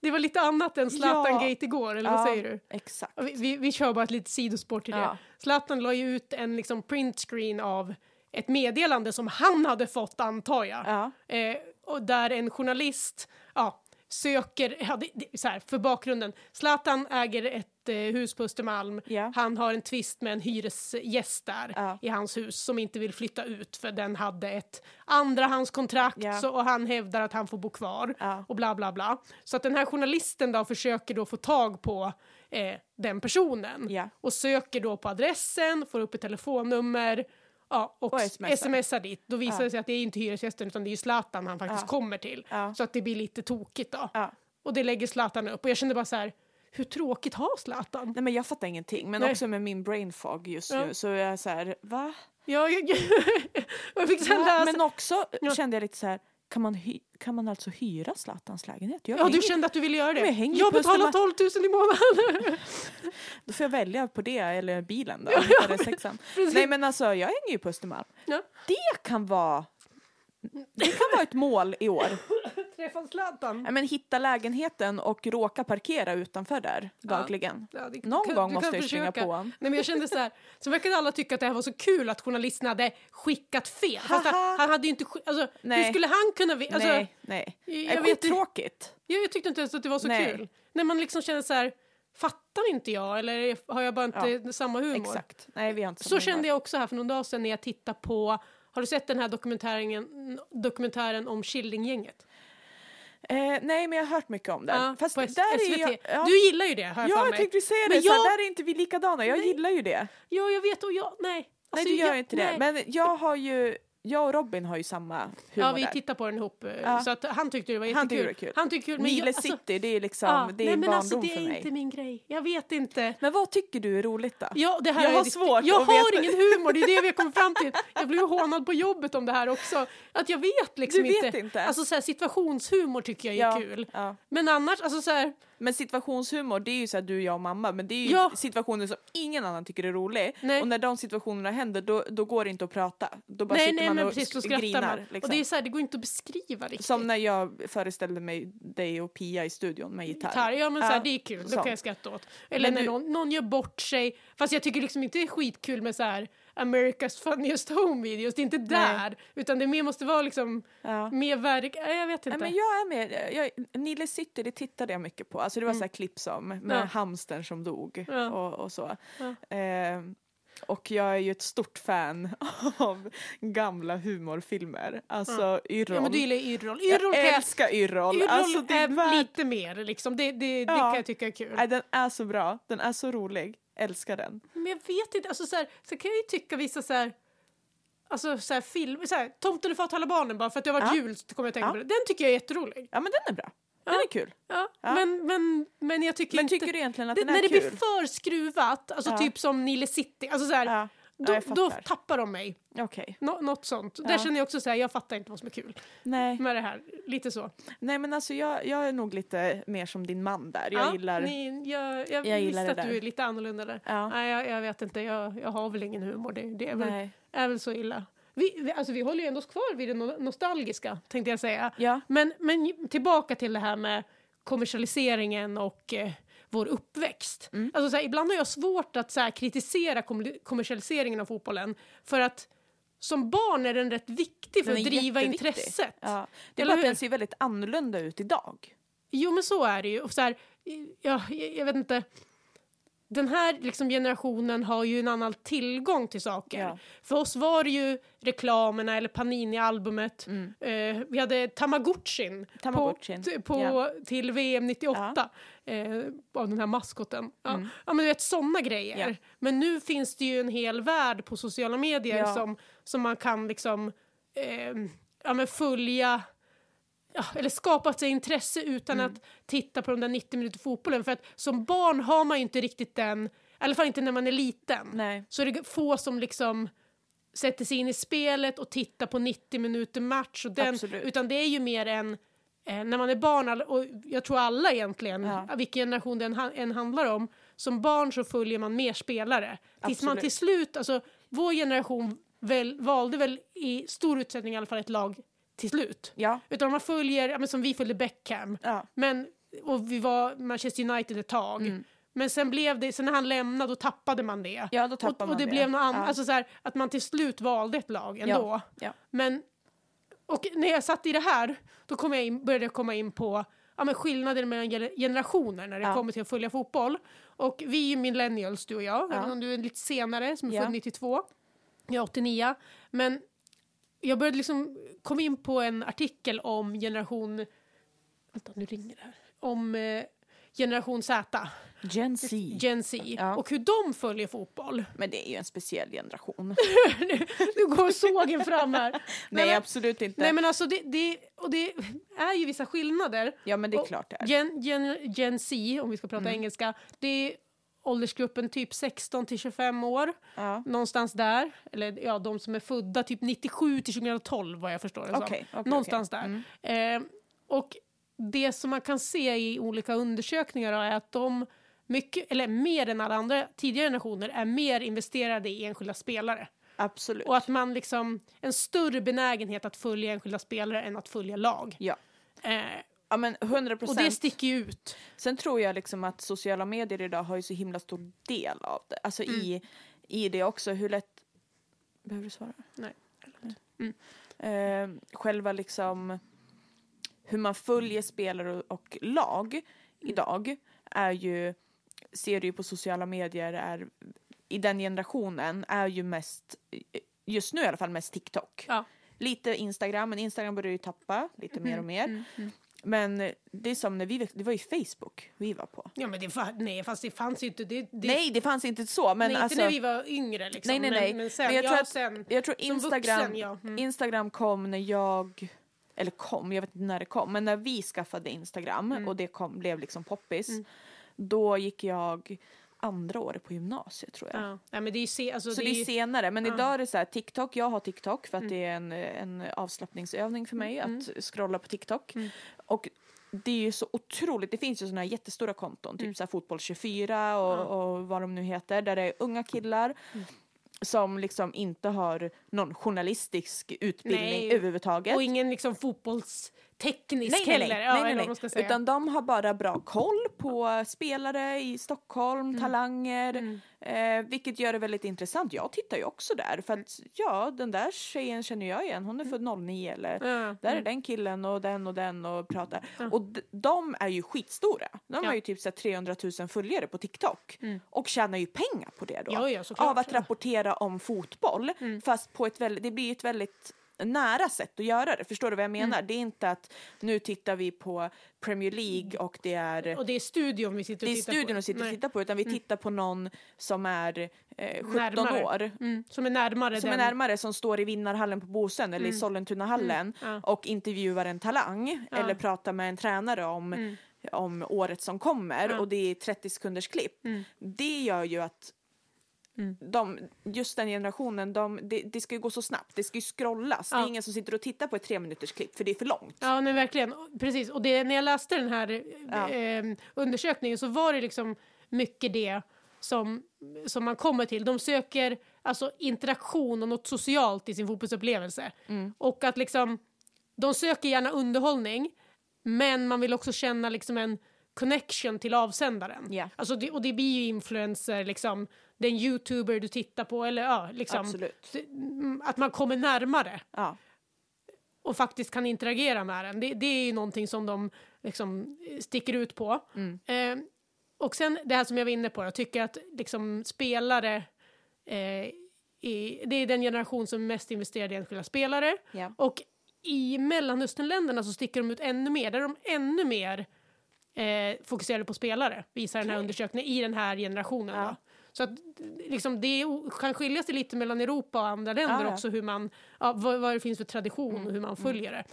S2: Det var lite annat än Zlatan-gate
S3: Ja.
S2: igår, eller vad
S3: Ja,
S2: säger du?
S3: Exakt.
S2: Ja, Vi, vi, vi kör bara ett litet sidospår till det.
S3: Ja.
S2: Zlatan la ju ut en liksom printscreen av ett meddelande som han hade fått, antar jag.
S3: Ja.
S2: Eh, och där en journalist ja, söker, ja, det, det, så här, för bakgrunden, Zlatan äger ett eh, hus på Östermalm,
S3: Ja.
S2: han har en tvist med en hyresgäst där
S3: Ja.
S2: i hans hus som inte vill flytta ut för den hade ett andrahandskontrakt
S3: Ja.
S2: så, och han hävdar att han får bo kvar
S3: Ja.
S2: och bla bla bla. Så att den här journalisten då försöker då få tag på eh, den personen
S3: Ja.
S2: och söker då på adressen, får upp ett telefonnummer ja, och,
S3: Och smsar.
S2: smsar. dit. Då visar det sig att det är inte hyresgästen utan det är ju Zlatan han faktiskt
S3: Ja.
S2: kommer till.
S3: Ja.
S2: Så att det blir lite tokigt då.
S3: Ja.
S2: Och det lägger Zlatan upp och jag kände bara så här, hur tråkigt har Zlatan?
S3: Nej men jag fattar ingenting. Men
S2: Nej.
S3: också med min brain fog just
S2: Ja.
S3: nu så är jag så här, va?
S2: Ja, jag, jag fick sen
S3: Ja,
S2: läsa...
S3: men också eh,
S2: Ja.
S3: kände jag lite så här, kan man, hy- kan man alltså hyra Zlatans lägenhet? Jag
S2: Ja,
S3: hänger-
S2: du kände att du ville göra det.
S3: Men jag hänger
S2: jag
S3: på
S2: betalar
S3: Östermalm.
S2: 12 000 i månaden.
S3: Då får jag välja på det eller bilen då. eller sexan. Nej men alltså jag hänger ju på Östermalm.
S2: Ja.
S3: Det kan vara det kan vara ett mål i år.
S2: Träffa Zlatan.
S3: Ja, men hitta lägenheten och råka parkera utanför där dagligen.
S2: Ja, det-
S3: Någon
S2: du kan-
S3: gång
S2: du
S3: måste
S2: kan
S3: jag ju springa
S2: försöka.
S3: på honom.
S2: Nej, men jag kände så här, så verkade alla tycka att det här var så kul att journalisten hade skickat fel. Fast
S3: Haha.
S2: han, han hade ju inte... skick- Alltså, hur
S3: Nej.
S2: skulle han kunna... vi- Alltså,
S3: nej, nej.
S2: jag
S3: Jag
S2: vet-
S3: vet tråkigt.
S2: jag, jag tyckte inte ens att det var så
S3: Nej.
S2: kul. När man liksom kände så här, fattar inte jag eller har jag bara inte samma humor?
S3: Exakt. Nej, vi har inte
S2: Så kände jag också här för någon dag sedan när jag tittade på har du sett den här dokumentären, dokumentären om Killinggänget?
S3: Eh, nej, men jag har hört mycket om den.
S2: Ja,
S3: Fast
S2: på
S3: där
S2: S-
S3: är
S2: SVT.
S3: jag, ja,
S2: Du gillar ju det, har jag
S3: ja,
S2: för
S3: jag
S2: mig.
S3: tänkte säga det.
S2: Men
S3: Så här,
S2: jag-
S3: där är inte vi likadana. Jag gillar ju det.
S2: Ja, jag vet och jag, nej.
S3: Nej,
S2: Alltså,
S3: du gör
S2: jag-
S3: inte
S2: nej.
S3: det. Men jag har ju, jag och Robin har ju samma humor
S2: Ja, vi
S3: där.
S2: tittar på den ihop. eh,
S3: Ja.
S2: Så att han tyckte det var jättekul.
S3: Han tyckte det var kul.
S2: Han tyckte kul men
S3: Nile
S2: jag, alltså,
S3: City, det är liksom,
S2: ja,
S3: det är
S2: nej,
S3: en
S2: men
S3: barndom
S2: alltså, det
S3: för
S2: är
S3: mig.
S2: inte min grej. Jag vet inte.
S3: Men vad tycker du är roligt då?
S2: Ja, det här
S3: Jag
S2: är
S3: har
S2: riktigt-
S3: svårt
S2: Jag
S3: att
S2: har
S3: veta.
S2: ingen humor, det är det vi har kommit fram till. Jag blev ju hånad på jobbet om det här också. Att jag vet liksom
S3: Du vet
S2: inte.
S3: inte.
S2: Alltså så här, situationshumor tycker jag är
S3: Ja,
S2: kul.
S3: ja.
S2: Men annars, alltså så här,
S3: Men situationshumor, det är ju så här, du, jag och mamma, men det är ju
S2: Ja.
S3: situationer som ingen annan tycker är rolig.
S2: Nej.
S3: Och när de situationerna händer, då, då går det inte att prata. Då bara
S2: nej
S3: sitter
S2: nej
S3: man
S2: men
S3: och
S2: precis, då
S3: sk-
S2: skrattar
S3: grinar.
S2: man.
S3: Liksom.
S2: Och det är så här, det går inte att beskriva riktigt.
S3: Som när jag föreställde mig dig och Pia i studion med gitarr.
S2: gitarr. Ja men så här,
S3: Ja,
S2: det är kul, då
S3: sånt.
S2: kan jag skratta åt. Eller
S3: Men
S2: när
S3: du-
S2: någon, någon gör bort sig. Fast jag tycker liksom inte det är skitkul med så här America's funniest home videos, det är inte där. Utan det mer måste vara liksom,
S3: Ja.
S2: mer verk... Nej, Jag vet
S3: Nej,
S2: inte.
S3: men jag är med. Jag, Nile City, det tittade jag mycket på. Alltså det var så här klipp som, med
S2: Mm. Ja.
S3: hamstern som dog
S2: Ja.
S3: och, och så.
S2: Ja.
S3: Ehm, och jag är ju ett stort fan av gamla humorfilmer. Alltså Yrrol.
S2: ja men du gillar ju Yrrol. Yrrol
S3: jag
S2: kan jag
S3: älskar Yrrol.
S2: Yrrol
S3: Alltså, det är
S2: är
S3: värd...
S2: lite mer liksom, det, det, det
S3: Ja.
S2: kan jag tycka är kul.
S3: Nej, den är så bra. Den är så rolig. Älskar den.
S2: Men jag vet inte, alltså så, här, så kan jag ju tycka vissa så här, alltså så här filmer, så här, Tomten och fatala barnen bara för att det har varit
S3: Ja.
S2: jul så kommer jag att tänka
S3: Ja.
S2: på det. Den tycker jag är jätterolig.
S3: Ja men den är bra. Den
S2: Ja.
S3: är kul.
S2: Ja.
S3: Ja.
S2: Men, men, men jag tycker
S3: Men
S2: inte...
S3: tycker du egentligen att
S2: det,
S3: den är
S2: när det
S3: kul?
S2: blir för skruvat, alltså
S3: Ja.
S2: typ som Nile City, alltså så här,
S3: Ja.
S2: då,
S3: ja, jag
S2: då
S3: fattar.
S2: tappar de mig.
S3: Okej.
S2: Nå, något sånt.
S3: Ja.
S2: Där känner jag också så här, jag fattar inte vad som är kul
S3: Nej.
S2: med det här. Lite så.
S3: Nej men alltså jag, jag är nog lite mer som din man där. Jag
S2: Ja,
S3: gillar...
S2: Ni, jag jag,
S3: Jag
S2: visste
S3: gillar det
S2: att du
S3: där.
S2: är lite annorlunda där.
S3: Ja.
S2: Nej, jag, jag vet inte, jag, jag har väl ingen humor. Det, det är, väl,
S3: Nej.
S2: är väl så illa. Vi, vi, alltså, vi håller ju ändå oss kvar vid det no- nostalgiska, tänkte jag säga.
S3: Ja.
S2: Men, men tillbaka till det här med kommersialiseringen och eh, vår uppväxt.
S3: Mm.
S2: Alltså, så här, ibland har jag svårt att så här, kritisera kom- kommersialiseringen av fotbollen för att som barn är den rätt viktig för
S3: Den
S2: att
S3: är
S2: driva
S3: jätteviktig.
S2: intresset.
S3: Ja. Det är
S2: Eller
S3: bara att
S2: hur?
S3: den ser väldigt annorlunda ut idag.
S2: Jo men så är det ju. Och så här, ja, jag, jag vet inte. Den här liksom generationen har ju en annan tillgång till saker.
S3: Ja.
S2: För oss var det ju reklamerna eller Panini-albumet.
S3: Mm.
S2: Eh, vi hade Tamagotchin,
S3: Tamagotchin,
S2: På, t- på,
S3: ja.
S2: till VM 98 eh, av den här maskoten. Ja. ja men du vet sådana grejer.
S3: Mm. Ja.
S2: Men nu finns det ju en hel värld på sociala medier
S3: Ja.
S2: som, som man kan liksom eh, ja, men följa ja, eller skapat sig intresse utan
S3: Mm.
S2: att titta på de där 90 minuter fotbollen. För att som barn har man ju inte riktigt den, i alla fall inte när man är liten.
S3: Nej.
S2: Så är det få som liksom sätter sig in i spelet och tittar på 90 minuter match. Och den,
S3: Absolut.
S2: utan det är ju mer en, eh, när man är barn, all- och jag tror alla egentligen,
S3: Ja.
S2: vilken generation det än han- än handlar om, som barn så följer man mer spelare. Tills man
S3: Absolut.
S2: till slut, alltså vår generation väl, valde väl i stor utsträckning i alla fall ett lag till slut.
S3: Ja.
S2: Utan man följer, ja, men som vi följde Beckham.
S3: Ja.
S2: Men, och vi var Manchester United ett tag. Men sen, blev det, sen när han lämnade då tappade man det.
S3: Mm. Ja, då tappar
S2: och,
S3: man
S2: och det,
S3: det.
S2: blev något annat.
S3: Ja.
S2: Alltså så här, att man till slut valde ett lag ändå.
S3: Ja.
S2: Men, och när jag satt i det här då kom jag in, började jag komma in på ja, men skillnader mellan gener- generationer när det
S3: Ja.
S2: kommer till att följa fotboll. Och vi är ju millennials du och jag, även om du är lite senare som är
S3: Ja.
S2: född 92. Jag är 89. Men jag började liksom kom in på en artikel om generation... Vänta, nu ringer det här. Om eh, generation Z,
S3: Gen Z.
S2: Gen Z,
S3: Ja.
S2: och hur de följer fotboll.
S3: Men det är ju en speciell generation.
S2: nu går sågen fram här.
S3: Nej,
S2: men-
S3: absolut inte.
S2: Nej men alltså det, det, och det är ju vissa skillnader.
S3: Ja men det är
S2: Och
S3: klart det är.
S2: Gen,
S3: Mm.
S2: gen, gen Z, om vi ska prata engelska, det är åldersgruppen typ 16 till 25 år.
S3: Ja.
S2: Någonstans där. Eller ja, de som är födda typ 97 till 2012 vad jag förstår det som.
S3: Okej, okej, Mm.
S2: Någonstans där. Eh, och det som man kan se i olika undersökningar då är att de mycket, eller mer än alla andra tidigare generationer är mer investerade i enskilda spelare.
S3: Absolut.
S2: Och att man liksom, en större benägenhet att följa enskilda spelare än att följa lag.
S3: Ja.
S2: Eh,
S3: ja men 100
S2: och det
S3: procent.
S2: sticker ju ut.
S3: Sen tror jag liksom att sociala medier idag har ju så himla stor del av det. Alltså i, i det också hur lätt... Behöver du svara?
S2: Nej.
S3: eh, själva liksom hur man följer spelare och- och lag idag är ju, ser du ju på sociala medier är, i den generationen är ju mest, just nu i alla fall mest TikTok.
S2: Ja. Mm,
S3: Lite Instagram, men Instagram börjar ju tappa lite mer och mer. Men det är som när vi, det var ju Facebook vi var på.
S2: Ja, men det, fa- nej, fast det fanns ju inte. Det, det,
S3: nej, det fanns inte så. Men
S2: nej,
S3: alltså,
S2: inte när vi var yngre liksom.
S3: nej, nej, nej.
S2: Men, men sen,
S3: jag, tror
S2: ja,
S3: att,
S2: sen.
S3: jag tror
S2: som vuxen,
S3: Instagram,
S2: ja. Mm.
S3: Instagram kom när jag, eller kom, jag vet inte när det kom, men när vi skaffade Instagram
S2: Mm.
S3: och det kom, blev liksom poppis, då gick jag andra året på gymnasiet tror jag.
S2: Ja. Nej, men det är ju se, alltså,
S3: Så
S2: det är ju, Mm.
S3: senare, men idag är det så här TikTok, jag har TikTok för att det är en, en avslappningsövning för mig att scrolla på TikTok.
S2: Mm.
S3: Och det är ju så otroligt, det finns ju sådana här jättestora konton,
S2: Mm.
S3: typ så här fotboll24 och, och vad de nu heter, där det är unga killar
S2: Mm.
S3: som liksom inte har någon journalistisk utbildning
S2: Nej.
S3: överhuvudtaget.
S2: och ingen liksom fotbollsteknisk
S3: Nej, nej, nej.
S2: heller. Ja,
S3: nej,
S2: eller
S3: nej,
S2: vad man ska
S3: nej.
S2: säga.
S3: Utan de har bara bra koll på spelare i Stockholm,
S2: Mm.
S3: talanger, Eh, vilket gör det väldigt intressant. Jag tittar ju också där, för att ja, den där tjejen känner jag igen, hon är född 09 eller
S2: Mm. Ja.
S3: där är den killen och den och den och pratar. Och d- de är ju skitstora. De har
S2: Ja. Mm.
S3: ju typ så här 300 000 följare på TikTok och tjänar ju pengar på det då.
S2: Ja, ja, såklart. Mm.
S3: av att
S2: Ja.
S3: rapportera om fotboll, fast på ett väldigt, det blir ett väldigt nära sätt att göra det. Förstår du vad jag
S2: Mm.
S3: menar? Det är inte att nu tittar vi på Premier League och det är
S2: Och det är studion vi sitter
S3: det
S2: och
S3: är
S2: tittar
S3: studion
S2: på.
S3: vi sitter och
S2: Nej. Mm.
S3: tittar på utan vi tittar på någon som är eh, 17
S2: Närmare.
S3: år
S2: Mm. Som är närmare
S3: som är
S2: den. Mm.
S3: närmare som står i vinnarhallen på Bosön eller i Sollentunahallen och intervjuar en talang eller pratar med en tränare om,
S2: Mm.
S3: om året som kommer och det är 30 sekunders klipp.
S2: Mm.
S3: Det gör ju att de, just den generationen, de, det, det ska ju gå så snabbt, det ska ju scrollas. Det
S2: Ja.
S3: är ingen som sitter och tittar på ett tre minuters klipp för det är för långt.
S2: Ja, men verkligen. Precis. Och det, när jag läste den här eh,
S3: Ja.
S2: eh, undersökningen så var det liksom mycket det som, som man kommer till. De söker alltså, interaktion och något socialt i sin fotbollsupplevelse.
S3: Mm.
S2: Och att liksom, de söker gärna underhållning, men man vill också känna liksom en connection till avsändaren.
S3: Ja.
S2: Alltså det, och det blir ju influencer, liksom, den youtuber du tittar på. Eller, ja, liksom,
S3: Absolut.
S2: Det- mm, Att man kommer närmare
S3: Ja.
S2: och faktiskt kan interagera med den. Det, det är ju någonting som de liksom sticker ut på. Eh, och sen det här som jag var inne på, jag tycker att liksom spelare eh, i, det är den generation som är mest investerade i enskilda spelare.
S3: Ja.
S2: Och i Mellanösternländerna så sticker de ut ännu mer. Där är de ännu mer eh, fokuserade på spelare, visar den här undersökningen, i den här generationen.
S3: Ja.
S2: Då. Så att liksom, det är, o- kan skilja sig lite mellan Europa och andra länder
S3: Ja, Mm. ja.
S2: också, hur man, ja, vad, vad det finns för tradition och hur man följer det.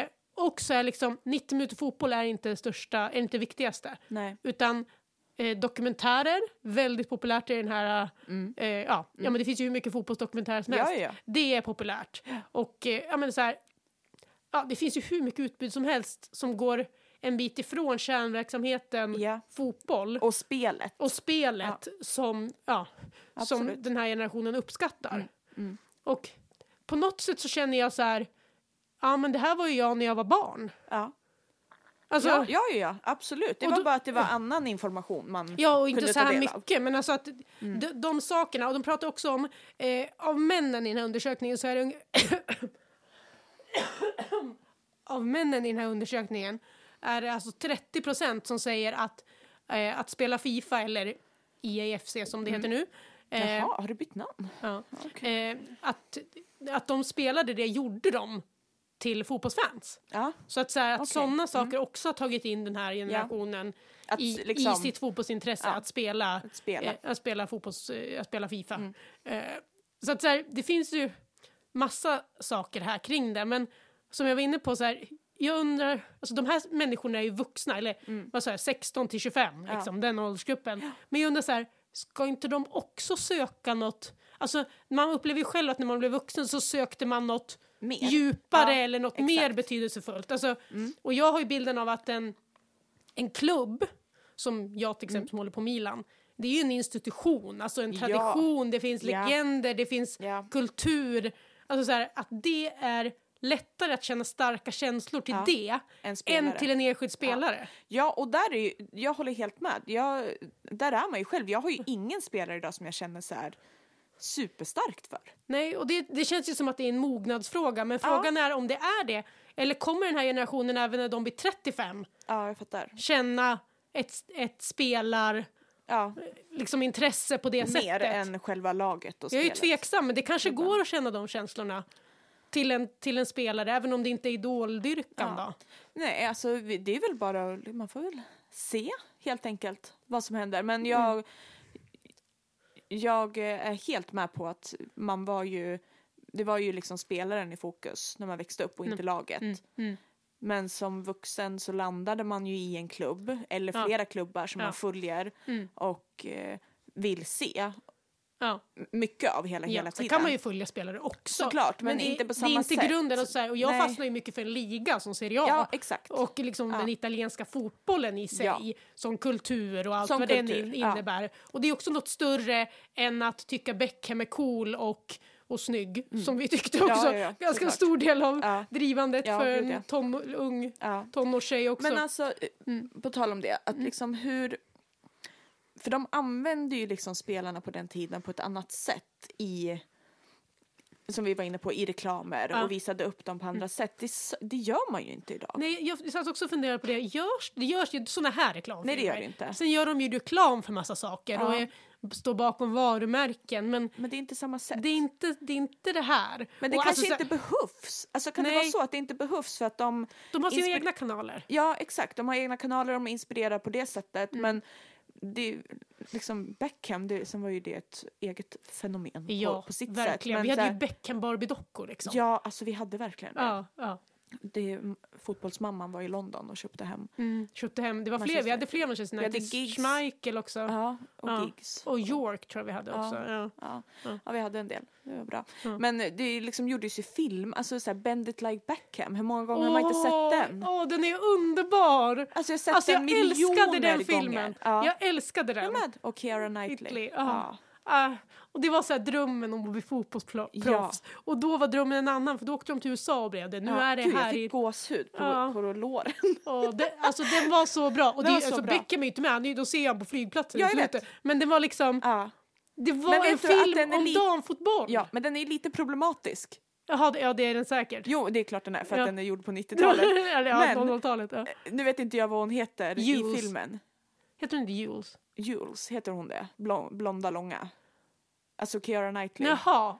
S2: Eh, och så är liksom, 90 minuter fotboll är inte det största, är inte det viktigaste.
S3: Nej.
S2: Utan eh, dokumentärer, väldigt populärt i den här... Eh, ja, ja, men det finns ju hur mycket fotbollsdokumentärer som
S3: Mm. Ja,
S2: helst.
S3: ja, ja.
S2: Det är populärt. Och eh, ja, men så här, ja, det finns ju hur mycket utbud som helst som går en bit ifrån kärnverksamheten
S3: Ja.
S2: fotboll och,
S3: Och spelet.
S2: spelet som, ja, som
S3: Absolut. Mm.
S2: den här generationen uppskattar. Och på något sätt så känner jag så här, ja men det här var ju jag när jag var barn.
S3: Ja.
S2: Alltså,
S3: ja, ja, ja, ja, absolut. Det
S2: Och
S3: var
S2: då-
S3: bara att det var annan information man
S2: Ja, och
S3: kunde
S2: inte så
S3: ta
S2: här
S3: del av. Mm.
S2: mycket. Men alltså att de, de sakerna, och de pratar också om, eh, av männen i den här undersökningen så är det ung- Av männen i den här undersökningen är det alltså 30 procent som säger att, eh, att spela Fifa eller E IAFC som det heter nu. eh,
S3: Mm. Jaha, har du bytt namn?
S2: ja,
S3: Okej.
S2: eh, att, att de spelade det gjorde de till fotbollsfans.
S3: Ja.
S2: Så att, så här, att
S3: Okej. Mm.
S2: sådana saker också har tagit in den här generationen
S3: Att
S2: i,
S3: liksom-
S2: i sitt fotbollsintresse,
S3: Ja.
S2: att spela,
S3: Att spela. Mm.
S2: Eh, att spela, fotbolls, eh, att spela Fifa. Eh, så att så här, det finns ju massa saker här kring det, men som jag var inne på, så här, jag undrar, alltså de här människorna är ju vuxna, eller
S3: Mm.
S2: vad sa jag, 16 till 25, liksom, den åldersgruppen. Men jag undrar så här, ska inte de också söka något? Alltså, man upplever ju själv att när man blev vuxen så sökte man något
S3: Mer.
S2: djupare
S3: Ja,
S2: eller något
S3: exakt.
S2: mer betydelsefullt. Alltså, Och jag har ju bilden av att en, en klubb, som jag till exempel som håller på Milan, det är ju en institution, alltså en
S3: Ja.
S2: tradition, det finns
S3: Ja.
S2: legender, det finns
S3: Ja.
S2: kultur. Alltså så här, att det är lättare att känna starka känslor till
S3: Ja.
S2: det
S3: En spelare.
S2: än till en enskild spelare.
S3: Ja, och där är ju, jag håller helt med. Jag, där är man ju själv. Jag har ju ingen spelare idag som jag känner så här superstarkt för.
S2: Nej, och det, det känns ju som att det är en mognadsfråga, men frågan är om det är det. Eller kommer den här generationen, även när de blir 35,
S3: Ja, jag fattar.
S2: känna ett, ett spelar,
S3: Ja,
S2: liksom intresse på det
S3: mer
S2: sättet?
S3: än själva laget och
S2: Jag är ju
S3: spelet. Mm.
S2: tveksam, men det kanske går att känna de känslorna till en, till en spelare, även om det inte är idoldyrkan
S3: Ja.
S2: då.
S3: Nej, alltså vi- det är väl bara, man får väl se helt enkelt vad som händer. Men jag, jag eh, är helt med på att man var ju, det var ju liksom spelaren i fokus när man växte upp och inte laget. Mm. Men som vuxen så landade man ju i en klubb eller
S2: Ja.
S3: flera klubbar som
S2: Ja. Mm.
S3: man följer och eh, vill se
S2: Ja.
S3: mycket av hela,
S2: Ja,
S3: hela
S2: sen
S3: tiden.
S2: kan man ju följa spelare också.
S3: Såklart, men
S2: det är-
S3: inte på samma
S2: Det är inte
S3: sätt.
S2: grunden. Och, så här, och jag
S3: Nej.
S2: fastnar ju mycket för en liga som Serie A.
S3: Ja, exakt.
S2: Och liksom den italienska fotbollen i sig,
S3: Ja.
S2: som kultur och allt
S3: Som
S2: vad den
S3: kultur,
S2: in-
S3: ja.
S2: innebär. Och det är också något större än att tycka Beckham är cool och, och snygg, som vi tyckte också.
S3: Mm. ja, ja,
S2: Ganska
S3: såklart.
S2: stor del av
S3: Ja.
S2: drivandet
S3: Ja,
S2: för
S3: gud,
S2: en
S3: ja.
S2: tom, ung
S3: Ja.
S2: tonårstjej också.
S3: Men alltså, eh,
S2: Mm.
S3: på tal om det, att liksom hur... För de använde ju liksom spelarna på den tiden på ett annat sätt i som vi var inne på, i reklamer
S2: Ja. Mm.
S3: och visade upp dem på andra sätt. Det, s- det gör man ju inte idag.
S2: Nej, jag satt också och funderade på det. Görs, det görs ju såna här reklamfilmer.
S3: Nej, det gör det inte.
S2: Sen gör de ju reklam för massa saker
S3: Ja.
S2: och är, står bakom varumärken. Men
S3: Men det är inte samma sätt.
S2: det är inte det, är inte det här.
S3: men det
S2: Och
S3: kanske
S2: alltså, så-
S3: inte behövs. Alltså kan det
S2: Nej.
S3: vara så att det inte behövs för att de...
S2: De har sina
S3: inspir-
S2: egna kanaler.
S3: Ja, exakt. De har egna kanaler, de är inspirerade på det sättet.
S2: Mm.
S3: Men det, är- liksom Beckham, det, sen var ju det ett eget fenomen
S2: Ja,
S3: på, på sitt
S2: verkligen.
S3: sätt.
S2: Vi
S3: Men så
S2: hade
S3: här-
S2: ju Beckham-Barbie-dockor liksom.
S3: Ja, alltså vi hade verkligen det.
S2: ja, ja.
S3: det. Fotbollsmamman var i London och köpte hem.
S2: Mm. Köpte hem. Det var fler.
S3: Manchester
S2: Vi hade
S3: United.
S2: fler Manchester
S3: Vi hade
S2: United.
S3: Giggs.
S2: Schmeichel också.
S3: Ja, och
S2: Ja.
S3: gigs.
S2: Och York tror jag vi hade
S3: Ja.
S2: också. Ja.
S3: Ja.
S2: Ja.
S3: Ja. vi hade en del. Det var bra.
S2: Ja.
S3: Men det liksom gjordes ju film, alltså så här, Bend it like Beckham. Hur många gånger har man inte sett den?
S2: Åh, den är underbar!
S3: Alltså jag har sett
S2: alltså
S3: den
S2: jag
S3: miljoner
S2: älskade den
S3: gånger.
S2: filmen.
S3: Ja.
S2: Jag älskade den.
S3: Jag med. Och Keira Knightley.
S2: Knightley, ja.
S3: Ja.
S2: Ah, och det var så här drömmen om att bli fotbollsproffs.
S3: Ja.
S2: Och då var drömmen en annan, för då åkte de till USA och blev det. Nu
S3: Ja,
S2: är det
S3: Gud, jag
S2: här
S3: fick
S2: i...
S3: gåshud på,
S2: Ja.
S3: på låren.
S2: Och det, alltså den var så bra. Och det,
S3: Den var så
S2: alltså,
S3: bra.
S2: Beckham är ju inte med, han är, ju- då ser jag honom på flygplatsen.
S3: Ja,
S2: i
S3: jag vet.
S2: slutet. Men det var liksom,
S3: Ja.
S2: det
S3: Men
S2: var en
S3: vet du att
S2: film
S3: den är
S2: om
S3: li-
S2: damfotboll.
S3: ja, men den är lite problematisk.
S2: Jaha, det- ja det är den säkert.
S3: Jo, det är klart den är för att
S2: Ja.
S3: den är gjord på
S2: Eller
S3: 90-talet.
S2: ja,
S3: Men-
S2: 00-talet. Ja.
S3: Nu vet inte jag vad hon heter i
S2: Jules.
S3: filmen.
S2: Heter den inte Jules?
S3: Jules, heter hon det? Blon, blonda, långa. Alltså Keira Knightley.
S2: Jaha.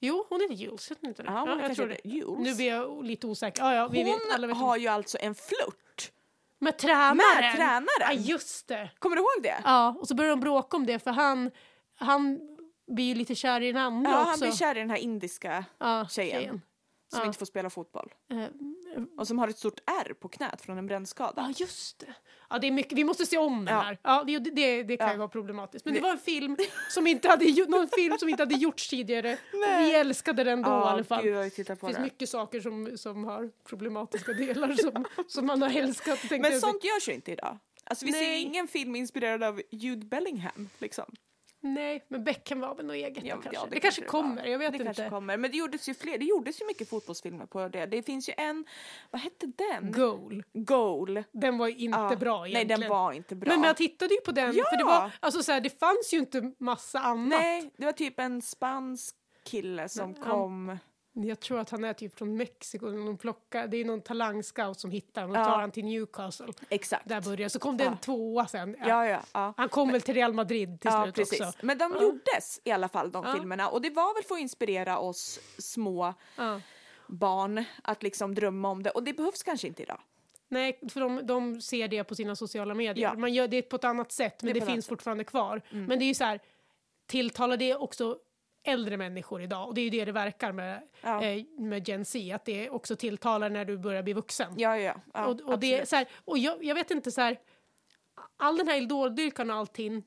S2: Jo, hon heter Jules, heter hon inte det?
S3: Ja, hon
S2: jag
S3: kanske
S2: tror
S3: heter
S2: det.
S3: Jules.
S2: Nu blir jag lite osäker. Ja, ja, vi vet, alla
S3: Hon
S2: vet.
S3: har ju alltså en flört
S2: Med tränaren!
S3: med tränaren.
S2: Ja, just det.
S3: Kommer du ihåg det?
S2: Ja, och så börjar de bråka om det för han, han blir ju lite kär i den andra
S3: Ja,
S2: också.
S3: han blir kär i den här indiska
S2: ja,
S3: tjejen. som
S2: Ja.
S3: inte får spela fotboll.
S2: Eh,
S3: Och som har ett stort ärr på knät från en brännskada.
S2: Ja, just det. Ja, det är mycket. Vi måste se om den
S3: Ja.
S2: här. Ja, det, det, det kan ju
S3: Ja.
S2: vara problematiskt. Men det var en film som inte hade, gjo- någon film som inte hade gjorts tidigare. Och vi älskade den då i alla fall.
S3: gud vad vi tittar på
S2: Det
S3: det.
S2: finns mycket saker som, som har problematiska delar som, som man har älskat. tänkte
S3: Men
S2: jag.
S3: sånt görs ju inte idag. Alltså vi ser ju
S2: Nej.
S3: ingen film inspirerad av Jude Bellingham liksom.
S2: Nej, men Beckham var väl något eget då kanske. det, kanske
S3: var.
S2: kommer, jag vet
S3: det
S2: inte.
S3: Kanske kommer. Men det gjordes ju fler, det gjordes ju mycket fotbollsfilmer på det. Det finns ju en, vad hette den?
S2: Goal.
S3: Goal.
S2: Den var ju inte
S3: Ja.
S2: bra egentligen.
S3: Nej, den var inte bra.
S2: Men jag tittade ju på den,
S3: Ja!
S2: för det, var, alltså, så här, det fanns ju inte massa annat.
S3: Nej, det var typ en spansk kille som
S2: Men han-
S3: kom.
S2: Jag tror att han är typ från Mexiko, de plockar, det är någon talangscout som hittar honom och
S3: Ja.
S2: tar han till Newcastle.
S3: Exakt.
S2: Där börjar Så kom det en
S3: Ja.
S2: tvåa sen. Ja.
S3: Ja, ja, ja.
S2: Han kom väl till Real Madrid till
S3: Ja,
S2: slut
S3: precis.
S2: också.
S3: Men de
S2: Ja.
S3: gjordes i alla fall, de
S2: Ja.
S3: filmerna. Och det var väl för att inspirera oss små
S2: Ja.
S3: barn att liksom drömma om det. Och det behövs kanske inte idag.
S2: Nej, för de, de ser det på sina sociala medier.
S3: Ja.
S2: Man gör det på ett annat sätt, men
S3: Det
S2: det,
S3: är på ett annat
S2: finns
S3: sätt. Mm.
S2: fortfarande kvar. Men det är ju så här, tilltalar det också äldre människor idag? Och det är ju det det verkar med,
S3: Ja.
S2: eh, med Gen Z, att det också tilltalar när du börjar bli vuxen.
S3: Ja, ja, ja.
S2: och, och, det, är
S3: absolut.
S2: så här, och jag, jag vet inte, så här, all den här idoldyrkan och allting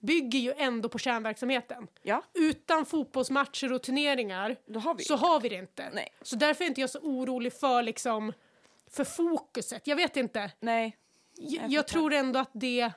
S2: bygger ju ändå på kärnverksamheten.
S3: ja,
S2: Utan fotbollsmatcher och turneringar
S3: då har vi
S2: så har vi det inte.
S3: Nej.
S2: Så därför är inte jag så orolig för, liksom, för fokuset. Jag vet inte.
S3: Nej.
S2: Jag,
S3: Jag
S2: jag
S3: fattar.
S2: tror ändå att det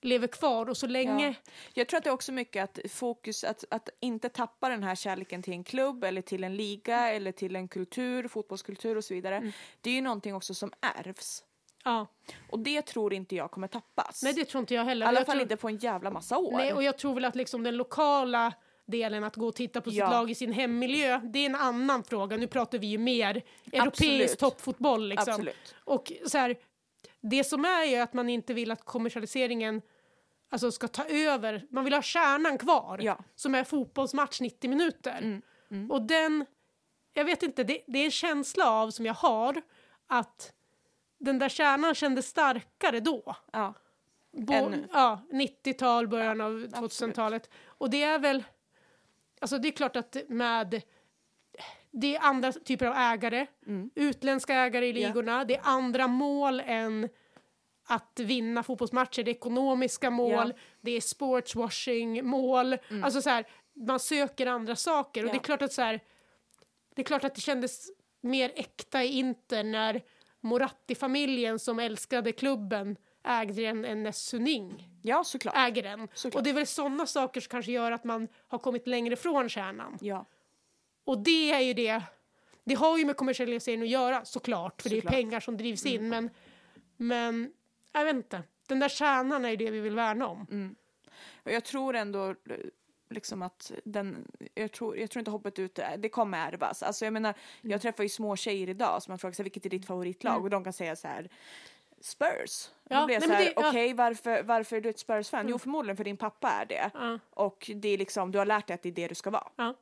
S2: lever kvar och så länge...
S3: Ja. Jag tror att det är också mycket att fokus, att, att inte tappa den här kärleken till en klubb eller till en liga
S2: Mm.
S3: eller till en kultur, fotbollskultur och så vidare. Det är ju någonting också som ärvs.
S2: Ja.
S3: Och det tror inte jag kommer tappas.
S2: Nej, det tror inte jag
S3: I
S2: heller.
S3: alla
S2: jag
S3: fall
S2: tror,
S3: inte på en jävla massa år.
S2: nej, och jag tror väl att liksom den lokala delen, att gå och titta på sitt
S3: Ja.
S2: lag i sin hemmiljö, det är en annan fråga. Nu pratar vi ju mer europeisk
S3: Absolut.
S2: toppfotboll. Liksom.
S3: Absolut.
S2: Och så här, det som är ju att man inte vill att kommersialiseringen alltså, ska ta över. Man vill ha kärnan kvar,
S3: Ja. Mm,
S2: som är fotbollsmatch 90 minuter. Och den jag vet inte, det, det är en känsla av som jag har att den där kärnan kändes starkare då.
S3: Ja.
S2: Bo,
S3: Än nu.
S2: Ja, 90-tal, början av 2000-talet. Och det är väl, alltså det är klart att med, det är andra typer av ägare, utländska ägare i
S3: Ja.
S2: ligorna, det är andra mål än att vinna fotbollsmatcher, det är ekonomiska mål, det är sportswashing mål, alltså så här, man söker andra saker och
S3: Mm. Ja.
S2: det är klart att så här, det är klart att det kändes mer äkta i Inter när Moratti-familjen som älskade klubben ägde den än när Suning
S3: ja, såklart.
S2: äger den.
S3: Såklart.
S2: Och det är väl sådana saker som kanske gör att man har kommit längre från kärnan.
S3: Ja.
S2: Och det är ju det, det har ju med kommersialisering att göra såklart, för det
S3: Såklart. Mm.
S2: är pengar som drivs in. Men, men jag vet inte, den där kärnan är ju det vi vill värna om.
S3: Mm. Och jag tror ändå eh, liksom att den, jag tror, jag tror inte hoppet ut, eh, det kommer ärvas. Alltså jag menar,
S2: Mm.
S3: jag träffar ju små tjejer idag som man frågar sig vilket är ditt favoritlag och de kan säga så här Spurs.
S2: Ja,
S3: Då blir
S2: nej,
S3: jag så
S2: men
S3: här,
S2: det- ja. Mm.
S3: okej varför, varför är du ett Spurs-fan? Jo förmodligen för din pappa är det.
S2: Ja.
S3: Och det är liksom, du har lärt dig att det är det du ska vara.
S2: Ja.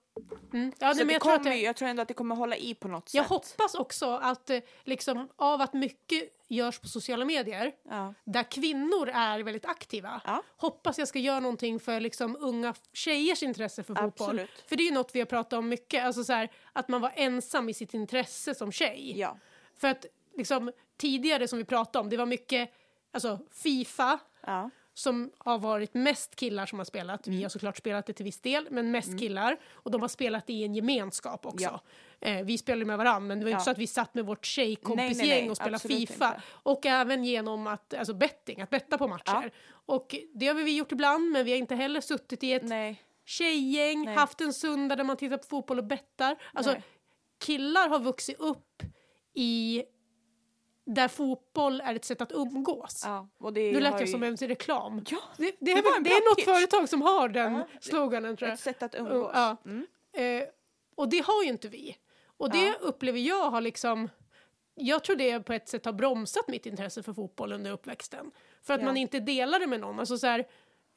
S2: Mm. Ja, nej,
S3: så
S2: men
S3: det
S2: jag tror
S3: kommer,
S2: att det-
S3: ju- jag tror ändå att det kommer hålla i på något
S2: Jag
S3: sätt.
S2: hoppas också att eh, liksom, av att mycket görs på sociala medier
S3: Ja.
S2: där kvinnor är väldigt aktiva.
S3: Ja.
S2: Hoppas jag ska göra någonting för liksom, unga tjejers intresse för fotboll.
S3: Absolut.
S2: För det är ju något vi har pratat om mycket. Alltså, så här, att man var ensam i sitt intresse som tjej.
S3: Ja.
S2: För att liksom, tidigare som vi pratade om, det var mycket alltså, Fifa
S3: Ja.
S2: som har varit mest killar som har spelat.
S3: Mm.
S2: Vi har såklart spelat det till viss del, men mest killar. Och de har spelat det i en gemenskap också. Eh, vi spelade med varandra, men det var
S3: Ja.
S2: inte så att vi satt med vårt
S3: Nej, nej, nej.
S2: tjejkompisgäng och spelade
S3: Absolut
S2: Fifa.
S3: inte.
S2: Och även genom att, alltså betting, att betta på matcher. Och det har vi gjort ibland, men vi har inte heller suttit i ett
S3: Nej.
S2: tjejgäng,
S3: Nej.
S2: haft en söndag där man tittar på fotboll och bettar. Alltså,
S3: Nej.
S2: killar har vuxit upp i där fotboll är ett sätt att umgås.
S3: Ja. Och det
S2: Nu lät
S3: har
S2: jag
S3: ju
S2: som en reklam.
S3: Ja,
S2: det, det,
S3: det var
S2: är,
S3: en
S2: väl- det
S3: bra
S2: är något
S3: pitch.
S2: företag som har den
S3: Ja,
S2: sloganen tror jag.
S3: ett sätt att
S2: Och,
S3: umgås.
S2: ja. eh, och det har ju inte vi. Och det
S3: Ja.
S2: upplever jag har liksom... Jag tror det på ett sätt har bromsat mitt intresse för fotboll under uppväxten. För att
S3: Ja.
S2: man inte delar det med någon. Alltså så här,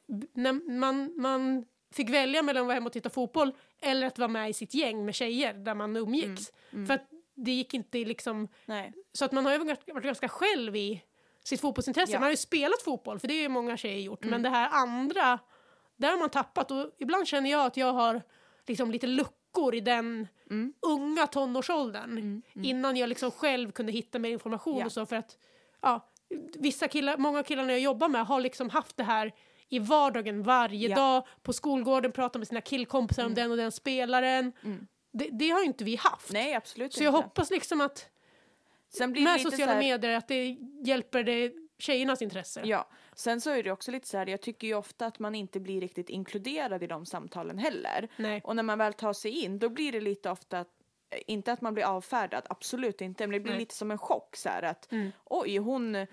S2: b- när man, man fick välja mellan att vara hemma och titta fotboll eller att vara med i sitt gäng med tjejer där man
S3: Mm,
S2: umgicks. För att det gick inte liksom...
S3: Nej.
S2: Så att man har ju varit varit ganska själv i sitt fotbollsintresse.
S3: Ja. Mm.
S2: Man har ju spelat fotboll, för det är ju många tjejer gjort. Men det här andra, där har man tappat. Och ibland känner jag att jag har liksom lite luckor i den
S3: Mm.
S2: unga tonårsåldern. Innan jag liksom själv kunde hitta mer information
S3: Ja.
S2: och så. För att, ja, vissa killar, många av killarna jag jobbar med har liksom haft det här i vardagen varje
S3: Ja. Mm.
S2: dag. På skolgården pratar med sina killkompisar om den och den spelaren. Det, det har ju inte vi haft.
S3: Nej, absolut
S2: så jag
S3: inte.
S2: hoppas liksom att
S3: Sen blir det
S2: med
S3: lite
S2: sociala
S3: så här-
S2: medier, att det hjälper det tjejernas intresse.
S3: Ja, sen så är det också lite så här, jag tycker ju ofta att man inte blir riktigt inkluderad i de samtalen heller.
S2: Nej.
S3: Och när man väl tar sig in, då blir det lite ofta att inte att man blir avfärdad, absolut inte, men det blir
S2: Nej. Mm.
S3: lite som en chock så här att oj, hon,